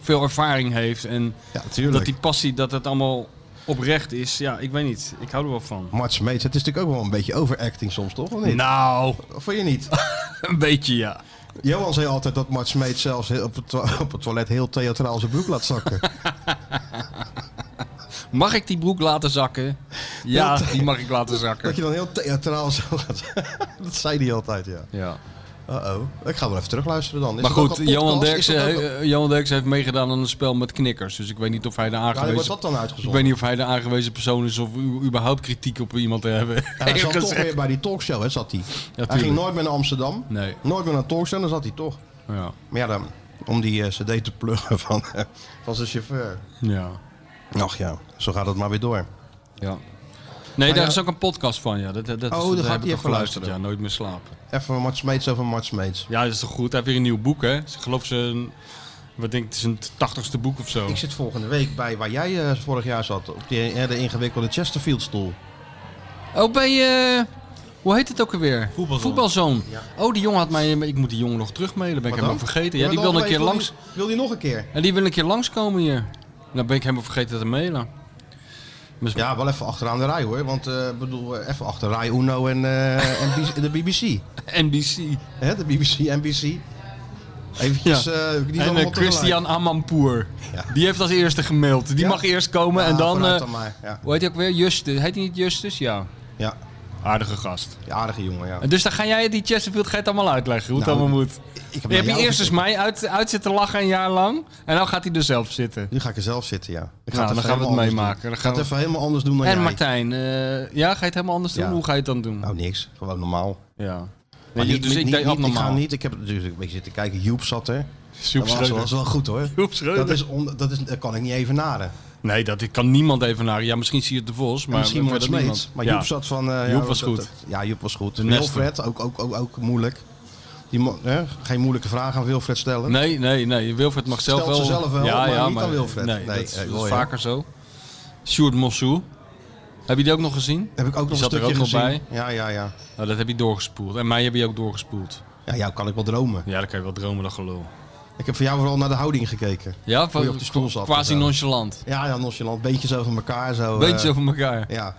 S4: veel ervaring heeft. En
S3: Ja, tuurlijk.
S4: dat die passie, dat het allemaal oprecht is. Ja, ik weet niet. Ik hou er wel van.
S3: Mart Smeets, het is natuurlijk ook wel een beetje overacting soms, toch? Of niet?
S4: Nou,
S3: Of Vond je niet?
S4: een beetje ja.
S3: Johan zei altijd dat Mart Smeets zelfs heel- op het, to- op het toilet heel theatraal zijn broek laat zakken.
S4: Mag ik die broek laten zakken? Ja, die mag ik laten
S3: dat
S4: zakken.
S3: je dan heel theatraal zo gaat. dat zei hij altijd, ja.
S4: Ja.
S3: Uh-oh. Ik ga wel even terugluisteren dan. Is
S4: Maar
S3: het ook
S4: goed,
S3: al podcast?
S4: Johan
S3: Is het
S4: Derksen, eh,
S3: ook al-
S4: he- Johan Derksen heeft meegedaan aan een spel met knikkers. Dus ik weet niet of hij de
S3: Ja, wordt
S4: aangewezen...
S3: dat dan
S4: ik
S3: uitgezonden?
S4: weet niet of hij de aangewezen persoon is of u- überhaupt kritiek op iemand te hebben.
S3: Ja, hij zat
S4: Eerlijk
S3: toch
S4: gezegd.
S3: weer bij die talkshow, hè, zat hij. hij
S4: tuurlijk.
S3: ging nooit meer naar Amsterdam.
S4: Nee.
S3: Nooit meer naar een talkshow, dan zat hij toch.
S4: Ja.
S3: Maar ja, dan, om die eh, cd te pluggen van, eh, van zijn chauffeur.
S4: ja.
S3: Ach ja, zo gaat het maar weer door.
S4: ja. Nee, daar
S3: ja-
S4: is ook een podcast van, ja. Dat, dat, dat
S3: Oh,
S4: is,
S3: daar
S4: daar
S3: gaat
S4: heb
S3: hij even
S4: ik al geluisterd,
S3: luisteren.
S4: ja. Nooit meer slapen.
S3: Even Mart Smeets over Mart Smeets.
S4: Ja, dat is toch goed? Hij heeft weer een nieuw boek, hè? Ik geloof zijn... Wat denk ik, het is een tachtigste boek of zo.
S3: Ik zit volgende week bij waar jij eh, vorig jaar zat. Op die hele ingewikkelde Chesterfield stoel.
S4: Oh, bij... eh, hoe heet het ook alweer?
S6: Voetbalzoon.
S4: Oh, die jongen had mij... Ik moet die jongen nog terugmailen. Ben
S3: Wat
S4: ik helemaal
S3: dan? Je
S4: vergeten. Ja,
S3: bent
S4: die
S3: al
S4: wil een keer
S3: geweest,
S4: langs.
S3: Wil die, wil die nog een keer?
S4: En die wil een keer langskomen hier. Nou ben ik helemaal vergeten te mailen. Misschien-
S3: Ja, wel even achteraan de rij hoor. Want ik bedoel, eh, even achter Rai Uno en, eh, en B- de BBC.
S4: NBC.
S3: Hè, de BBC, NBC. Eventjes, eh, die
S4: en
S3: allemaal
S4: eh,
S3: tegelijk.
S4: Christian Amanpour.
S3: Ja.
S4: Die heeft als eerste gemaild. Die
S3: Ja?
S4: mag eerst komen
S3: Ja,
S4: en dan...
S3: vooruit
S4: eh,
S3: dan maar. Ja.
S4: hoe heet hij ook weer? Justus. Heet hij niet Justus? Ja.
S3: Ja,
S4: Aardige gast.
S3: die aardige jongen, ja.
S4: En dus dan ga jij die Chesterfield ga je het allemaal uitleggen. Hoe het
S3: Nou,
S4: allemaal moet.
S3: Ik
S4: Je
S3: naar
S4: hebt
S3: jou
S4: je eerst eens
S3: gekeken.
S4: mij uit, uit zitten lachen een jaar lang. En dan gaat hij er zelf zitten.
S3: Nu ga ik er zelf zitten, ja. Ik
S4: Nou, dan
S3: even
S4: gaan we het
S3: helemaal anders
S4: meemaken.
S3: doen.
S4: Dan
S3: Ik ga
S4: gaan
S3: het
S4: we-
S3: even helemaal anders doen dan
S4: en
S3: jij.
S4: Martijn, eh, ja, ga je het helemaal anders doen?
S3: Ja.
S4: Hoe ga je het dan doen?
S3: Nou, niks. Gewoon normaal.
S4: Ja.
S3: Maar
S4: Nee,
S3: niet-
S4: dus
S3: niet-
S4: ik deed
S3: niet- Ik ga
S4: abnormaal.
S3: niet. Ik heb natuurlijk een beetje zitten kijken. Joep zat er.
S4: Joep
S3: dat was,
S4: Schreuder.
S3: was wel goed hoor.
S4: Joep Schreuder.
S3: Dat, is on- dat, is, dat kan ik niet even naden.
S4: Nee, dat ik kan niemand even naar. Ja, misschien zie je het de Vos, maar
S3: Misschien wordt
S4: verder
S3: het
S4: niemand.
S3: Maar
S4: Ja.
S3: Joep zat van... eh,
S4: Joep
S3: ja,
S4: was
S3: dat-
S4: goed.
S3: dat- ja, Joep was goed.
S4: Neste.
S3: Wilfred, ook, ook, ook, ook moeilijk. Die mo- hè, geen moeilijke vraag aan Wilfred stellen.
S4: Nee, nee, nee. Wilfred mag zelf
S3: Stelt
S4: wel.
S3: ze zelf wel, maar niet aan Wilfred.
S4: Nee,
S3: Nee,
S4: dat, is-
S3: nee,
S4: dat
S3: mooi,
S4: is
S3: hè?
S4: vaker zo. Sjoerd Mossou. Heb je die ook nog gezien?
S3: Heb ik ook nog
S4: zat
S3: een
S4: er
S3: stukje
S4: ook nog
S3: gezien.
S4: bij.
S3: Ja, ja, ja.
S4: Nou, dat heb je doorgespoeld. En mij heb je ook doorgespoeld.
S3: Ja, jou kan ik wel dromen.
S4: Ja, dan kan je wel dromen, dat gelul.
S3: Ik heb voor jou vooral naar de houding gekeken.
S4: Ja,
S3: Hoe je op die stoel zat
S4: quasi
S3: en zo.
S4: nonchalant.
S3: Ja, ja, nonchalant. Beetjes over elkaar. Zo,
S4: Beetje
S3: eh,
S4: over elkaar.
S3: Ja.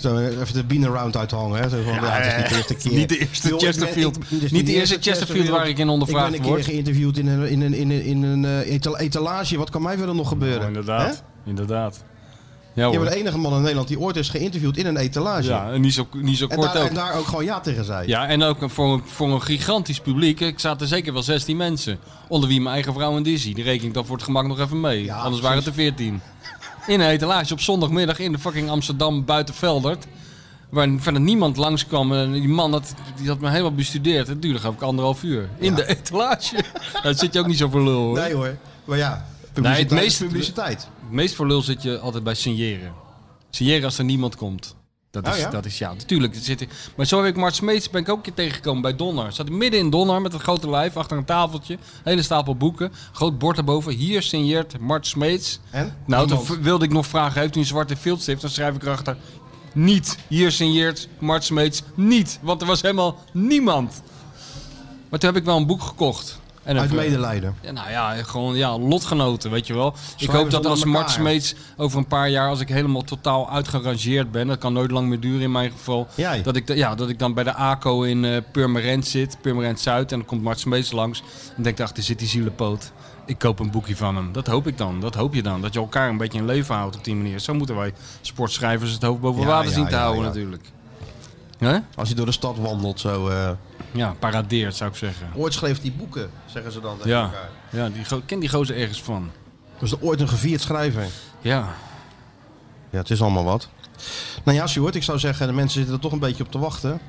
S3: Zo, even de bean around uithangen. Hè. Zo van, ja, het is niet de eerste keer.
S4: Niet de eerste
S3: Joh, ik ben-
S4: Chesterfield.
S3: ik- dus dit is
S4: Niet de eerste Chesterfield waar ik in ondervraagd
S3: Ik ben een
S4: word.
S3: keer geïnterviewd in een, in een, in een, in een eh, etal- etalage. Wat kan mij verder nog gebeuren?
S4: Oh,
S3: Hè?
S4: inderdaad. Inderdaad. Ja,
S3: Je
S4: hoor.
S3: bent de enige man in Nederland die ooit is geïnterviewd in een etalage.
S4: ja en niet zo, niet zo
S3: en,
S4: kort
S3: daar,
S4: ook.
S3: en daar ook gewoon ja tegen zei.
S4: Ja, en ook voor een, voor een gigantisch publiek. Ik zaten zeker wel 16 mensen. Onder wie mijn eigen vrouw en Dizzy. Die reken ik dan voor het gemak nog even mee.
S3: Ja,
S4: Anders waren het er 14. In een etalage op zondagmiddag in de fucking Amsterdam buiten Veldert. Waar verder niemand langskwam. En die man had, die had me helemaal bestudeerd. Het duurde geloof ik anderhalf uur. In de etalage. Daar zit je ook niet zo voor lul hoor.
S3: Nee hoor. Maar ja,
S4: Nee,
S3: publiciteit
S4: het
S3: is
S4: meest-
S3: publiciteit.
S4: Het meest voor lul zit je altijd bij signeren. Signeren als er niemand komt. Dat is,
S3: Oh ja?
S4: dat is ja, natuurlijk. er Zit maar zo heb ik Mart Smeets ben ik ook een keer tegengekomen bij Donner. Zat ik midden in Donner met een grote lijf achter een tafeltje. Hele stapel boeken. Groot bord erboven. Hier signeert Mart Smeets.
S3: En?
S4: Nou,
S3: Niemand.
S4: toen v- wilde ik nog vragen. Heeft u een zwarte viltstift? Dan schrijf ik erachter. Niet. Hier signeert Mart Smeets niet. Want er was helemaal niemand. Maar toen heb ik wel een boek gekocht. En een
S3: Uit
S4: ver-
S3: medelijden.
S4: ja, nou ja, gewoon ja, lotgenoten, weet je wel. ik
S3: Schrijven
S4: hoop
S3: ze
S4: dat
S3: onder
S4: als Mart
S3: elkaar.
S4: Smeets over een paar jaar, als ik helemaal totaal uitgerangeerd ben, dat kan nooit lang meer duren in mijn geval,
S3: Jij?
S4: dat ik, da- ja, dat ik dan bij de ACO in eh, Purmerend zit, Purmerend Zuid, en dan komt Mart Smeets langs en denkt, ach, er zit die zielepoot. Ik koop een boekje van hem. Dat hoop ik dan. Dat hoop je dan. Dat je elkaar een beetje in leven houdt op die manier. Zo moeten wij sportschrijvers het hoofd boven
S3: Ja,
S4: water
S3: ja,
S4: zien te
S3: ja,
S4: houden
S3: ja.
S4: natuurlijk. Hè?
S3: Als je door de stad wandelt zo. eh,
S4: Ja, paradeert zou ik zeggen.
S3: ooit schreef die boeken, zeggen ze dan tegen
S4: Ja,
S3: elkaar.
S4: ja die, go- ken die gozer ergens van.
S3: Dus er ooit een gevierd schrijver.
S4: Ja.
S3: Ja, het is allemaal wat. Nou ja, Sjoerd, ik zou zeggen, de mensen zitten er toch een beetje op te wachten.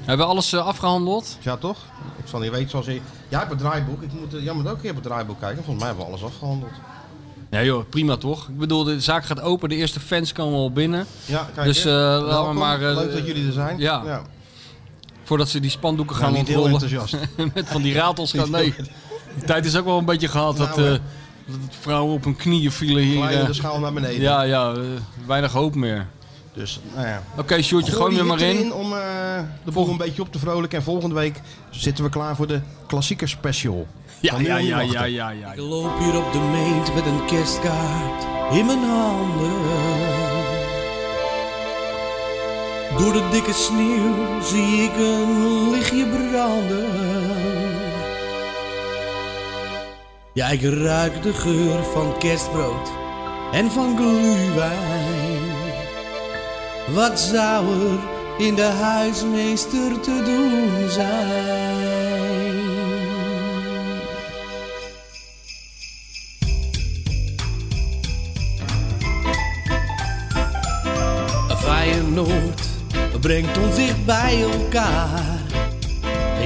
S4: Hebben we alles eh, afgehandeld?
S3: Ja, toch? Ik zal niet weten zoals je... Jij hebt het draaiboek. Ik moet, eh, jij moet ook een keer op het draaiboek kijken. Volgens mij hebben we alles afgehandeld.
S4: Ja joh, prima toch? Ik bedoel, de zaak gaat open, de eerste fans komen al binnen.
S3: Ja, kijk.
S4: Dus,
S3: hè.
S4: eh, laten we
S3: Welkom.
S4: maar, eh,
S3: Leuk dat jullie er zijn.
S4: ja. Voordat ze die spandoeken
S3: Gaan
S4: gaan
S3: niet heel
S4: ontrollen
S3: enthousiast.
S4: met van die ratels gaan. Nee, die tijd is ook wel een beetje gehad dat,
S3: Nou,
S4: eh, dat het vrouwen op hun knieën vielen hier.
S3: Klein
S4: eh.
S3: de schaal naar beneden.
S4: ja, ja, eh, weinig hoop meer.
S3: Dus, nou ja.
S4: Oké, Sjoerdje,
S3: Gooi
S4: gooi
S3: die
S4: me maar
S3: hit
S4: in.
S3: erin om eh, de boel een beetje op te vrolijken. En volgende week zitten we klaar voor de klassieker special.
S4: Ja,
S3: Kan heel
S4: ja,
S3: niet
S4: ja,
S3: wachten.
S4: ja, ja, ja.
S2: Ik loop hier op de meent met een kerstkaart in mijn handen. Door de dikke sneeuw zie ik een lichtje branden. Ja, ik ruik de geur van kerstbrood en van glühwijn. Wat zou er in de huismeester te doen zijn. Feyenoord brengt ons dicht bij elkaar.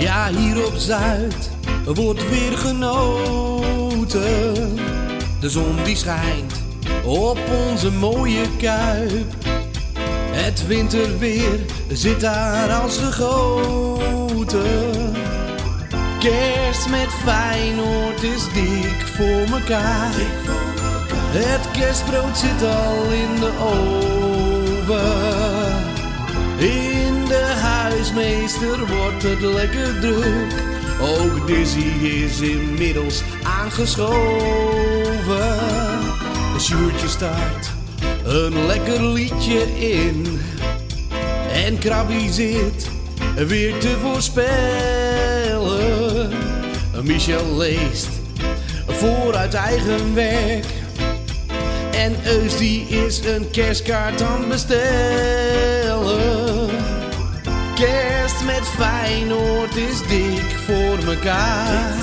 S2: Ja, hier op Zuid wordt weer genoten. De zon die schijnt op onze mooie kuip. Het winterweer zit daar als gegoten. Kerst met Feyenoord is dik voor mekaar. Het kerstbrood zit al in de oven. In de huismeester wordt het lekker druk. Ook Dizzy is inmiddels aangeschoven. Sjoertje staat een lekker liedje in. En Krabby zit weer te voorspellen. Michel leest vooruit eigen werk. En Eus die is een kerstkaart aan het bestellen. Kerst met Feyenoord is dik voor mekaar.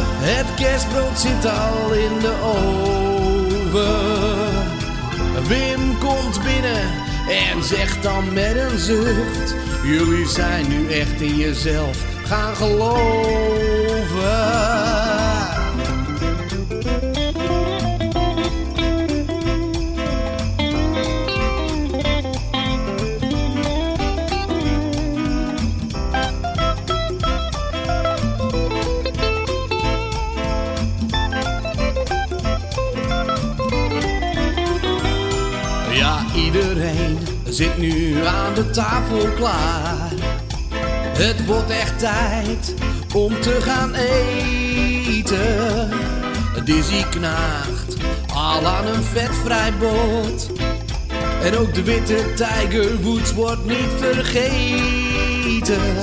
S2: Het kerstbrood zit al in de oven. Wim komt binnen en zegt dan met een zucht: Jullie zijn nu echt in jezelf gaan geloven. Ja, iedereen zit nu aan de tafel klaar. Het wordt echt tijd om te gaan eten. Dizzy knaagt al aan een vetvrij bot. En ook de witte Tiger Woods wordt niet vergeten.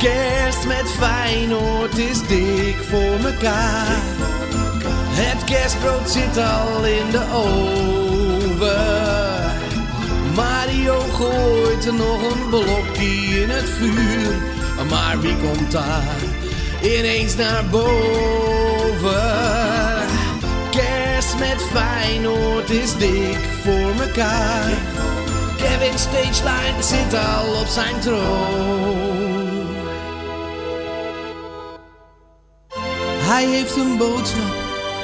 S2: Kerst met Feyenoord is dik voor mekaar. Het kerstbrood zit al in de oven. Mario gooit er nog een blokje in het vuur. Maar wie komt daar ineens naar boven? Kerst met Feyenoord is dik voor mekaar. Kevin Stageline zit al op zijn troon. Hij heeft een boodschap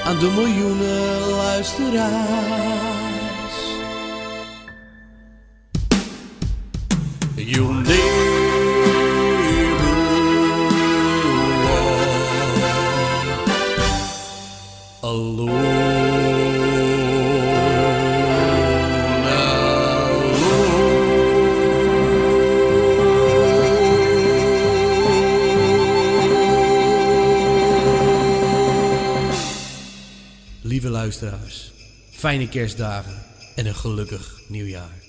S2: aan de miljoenen luisteraars. You'll never walk alone. alone. Lieve luisteraars, fijne kerstdagen en een gelukkig nieuwjaar.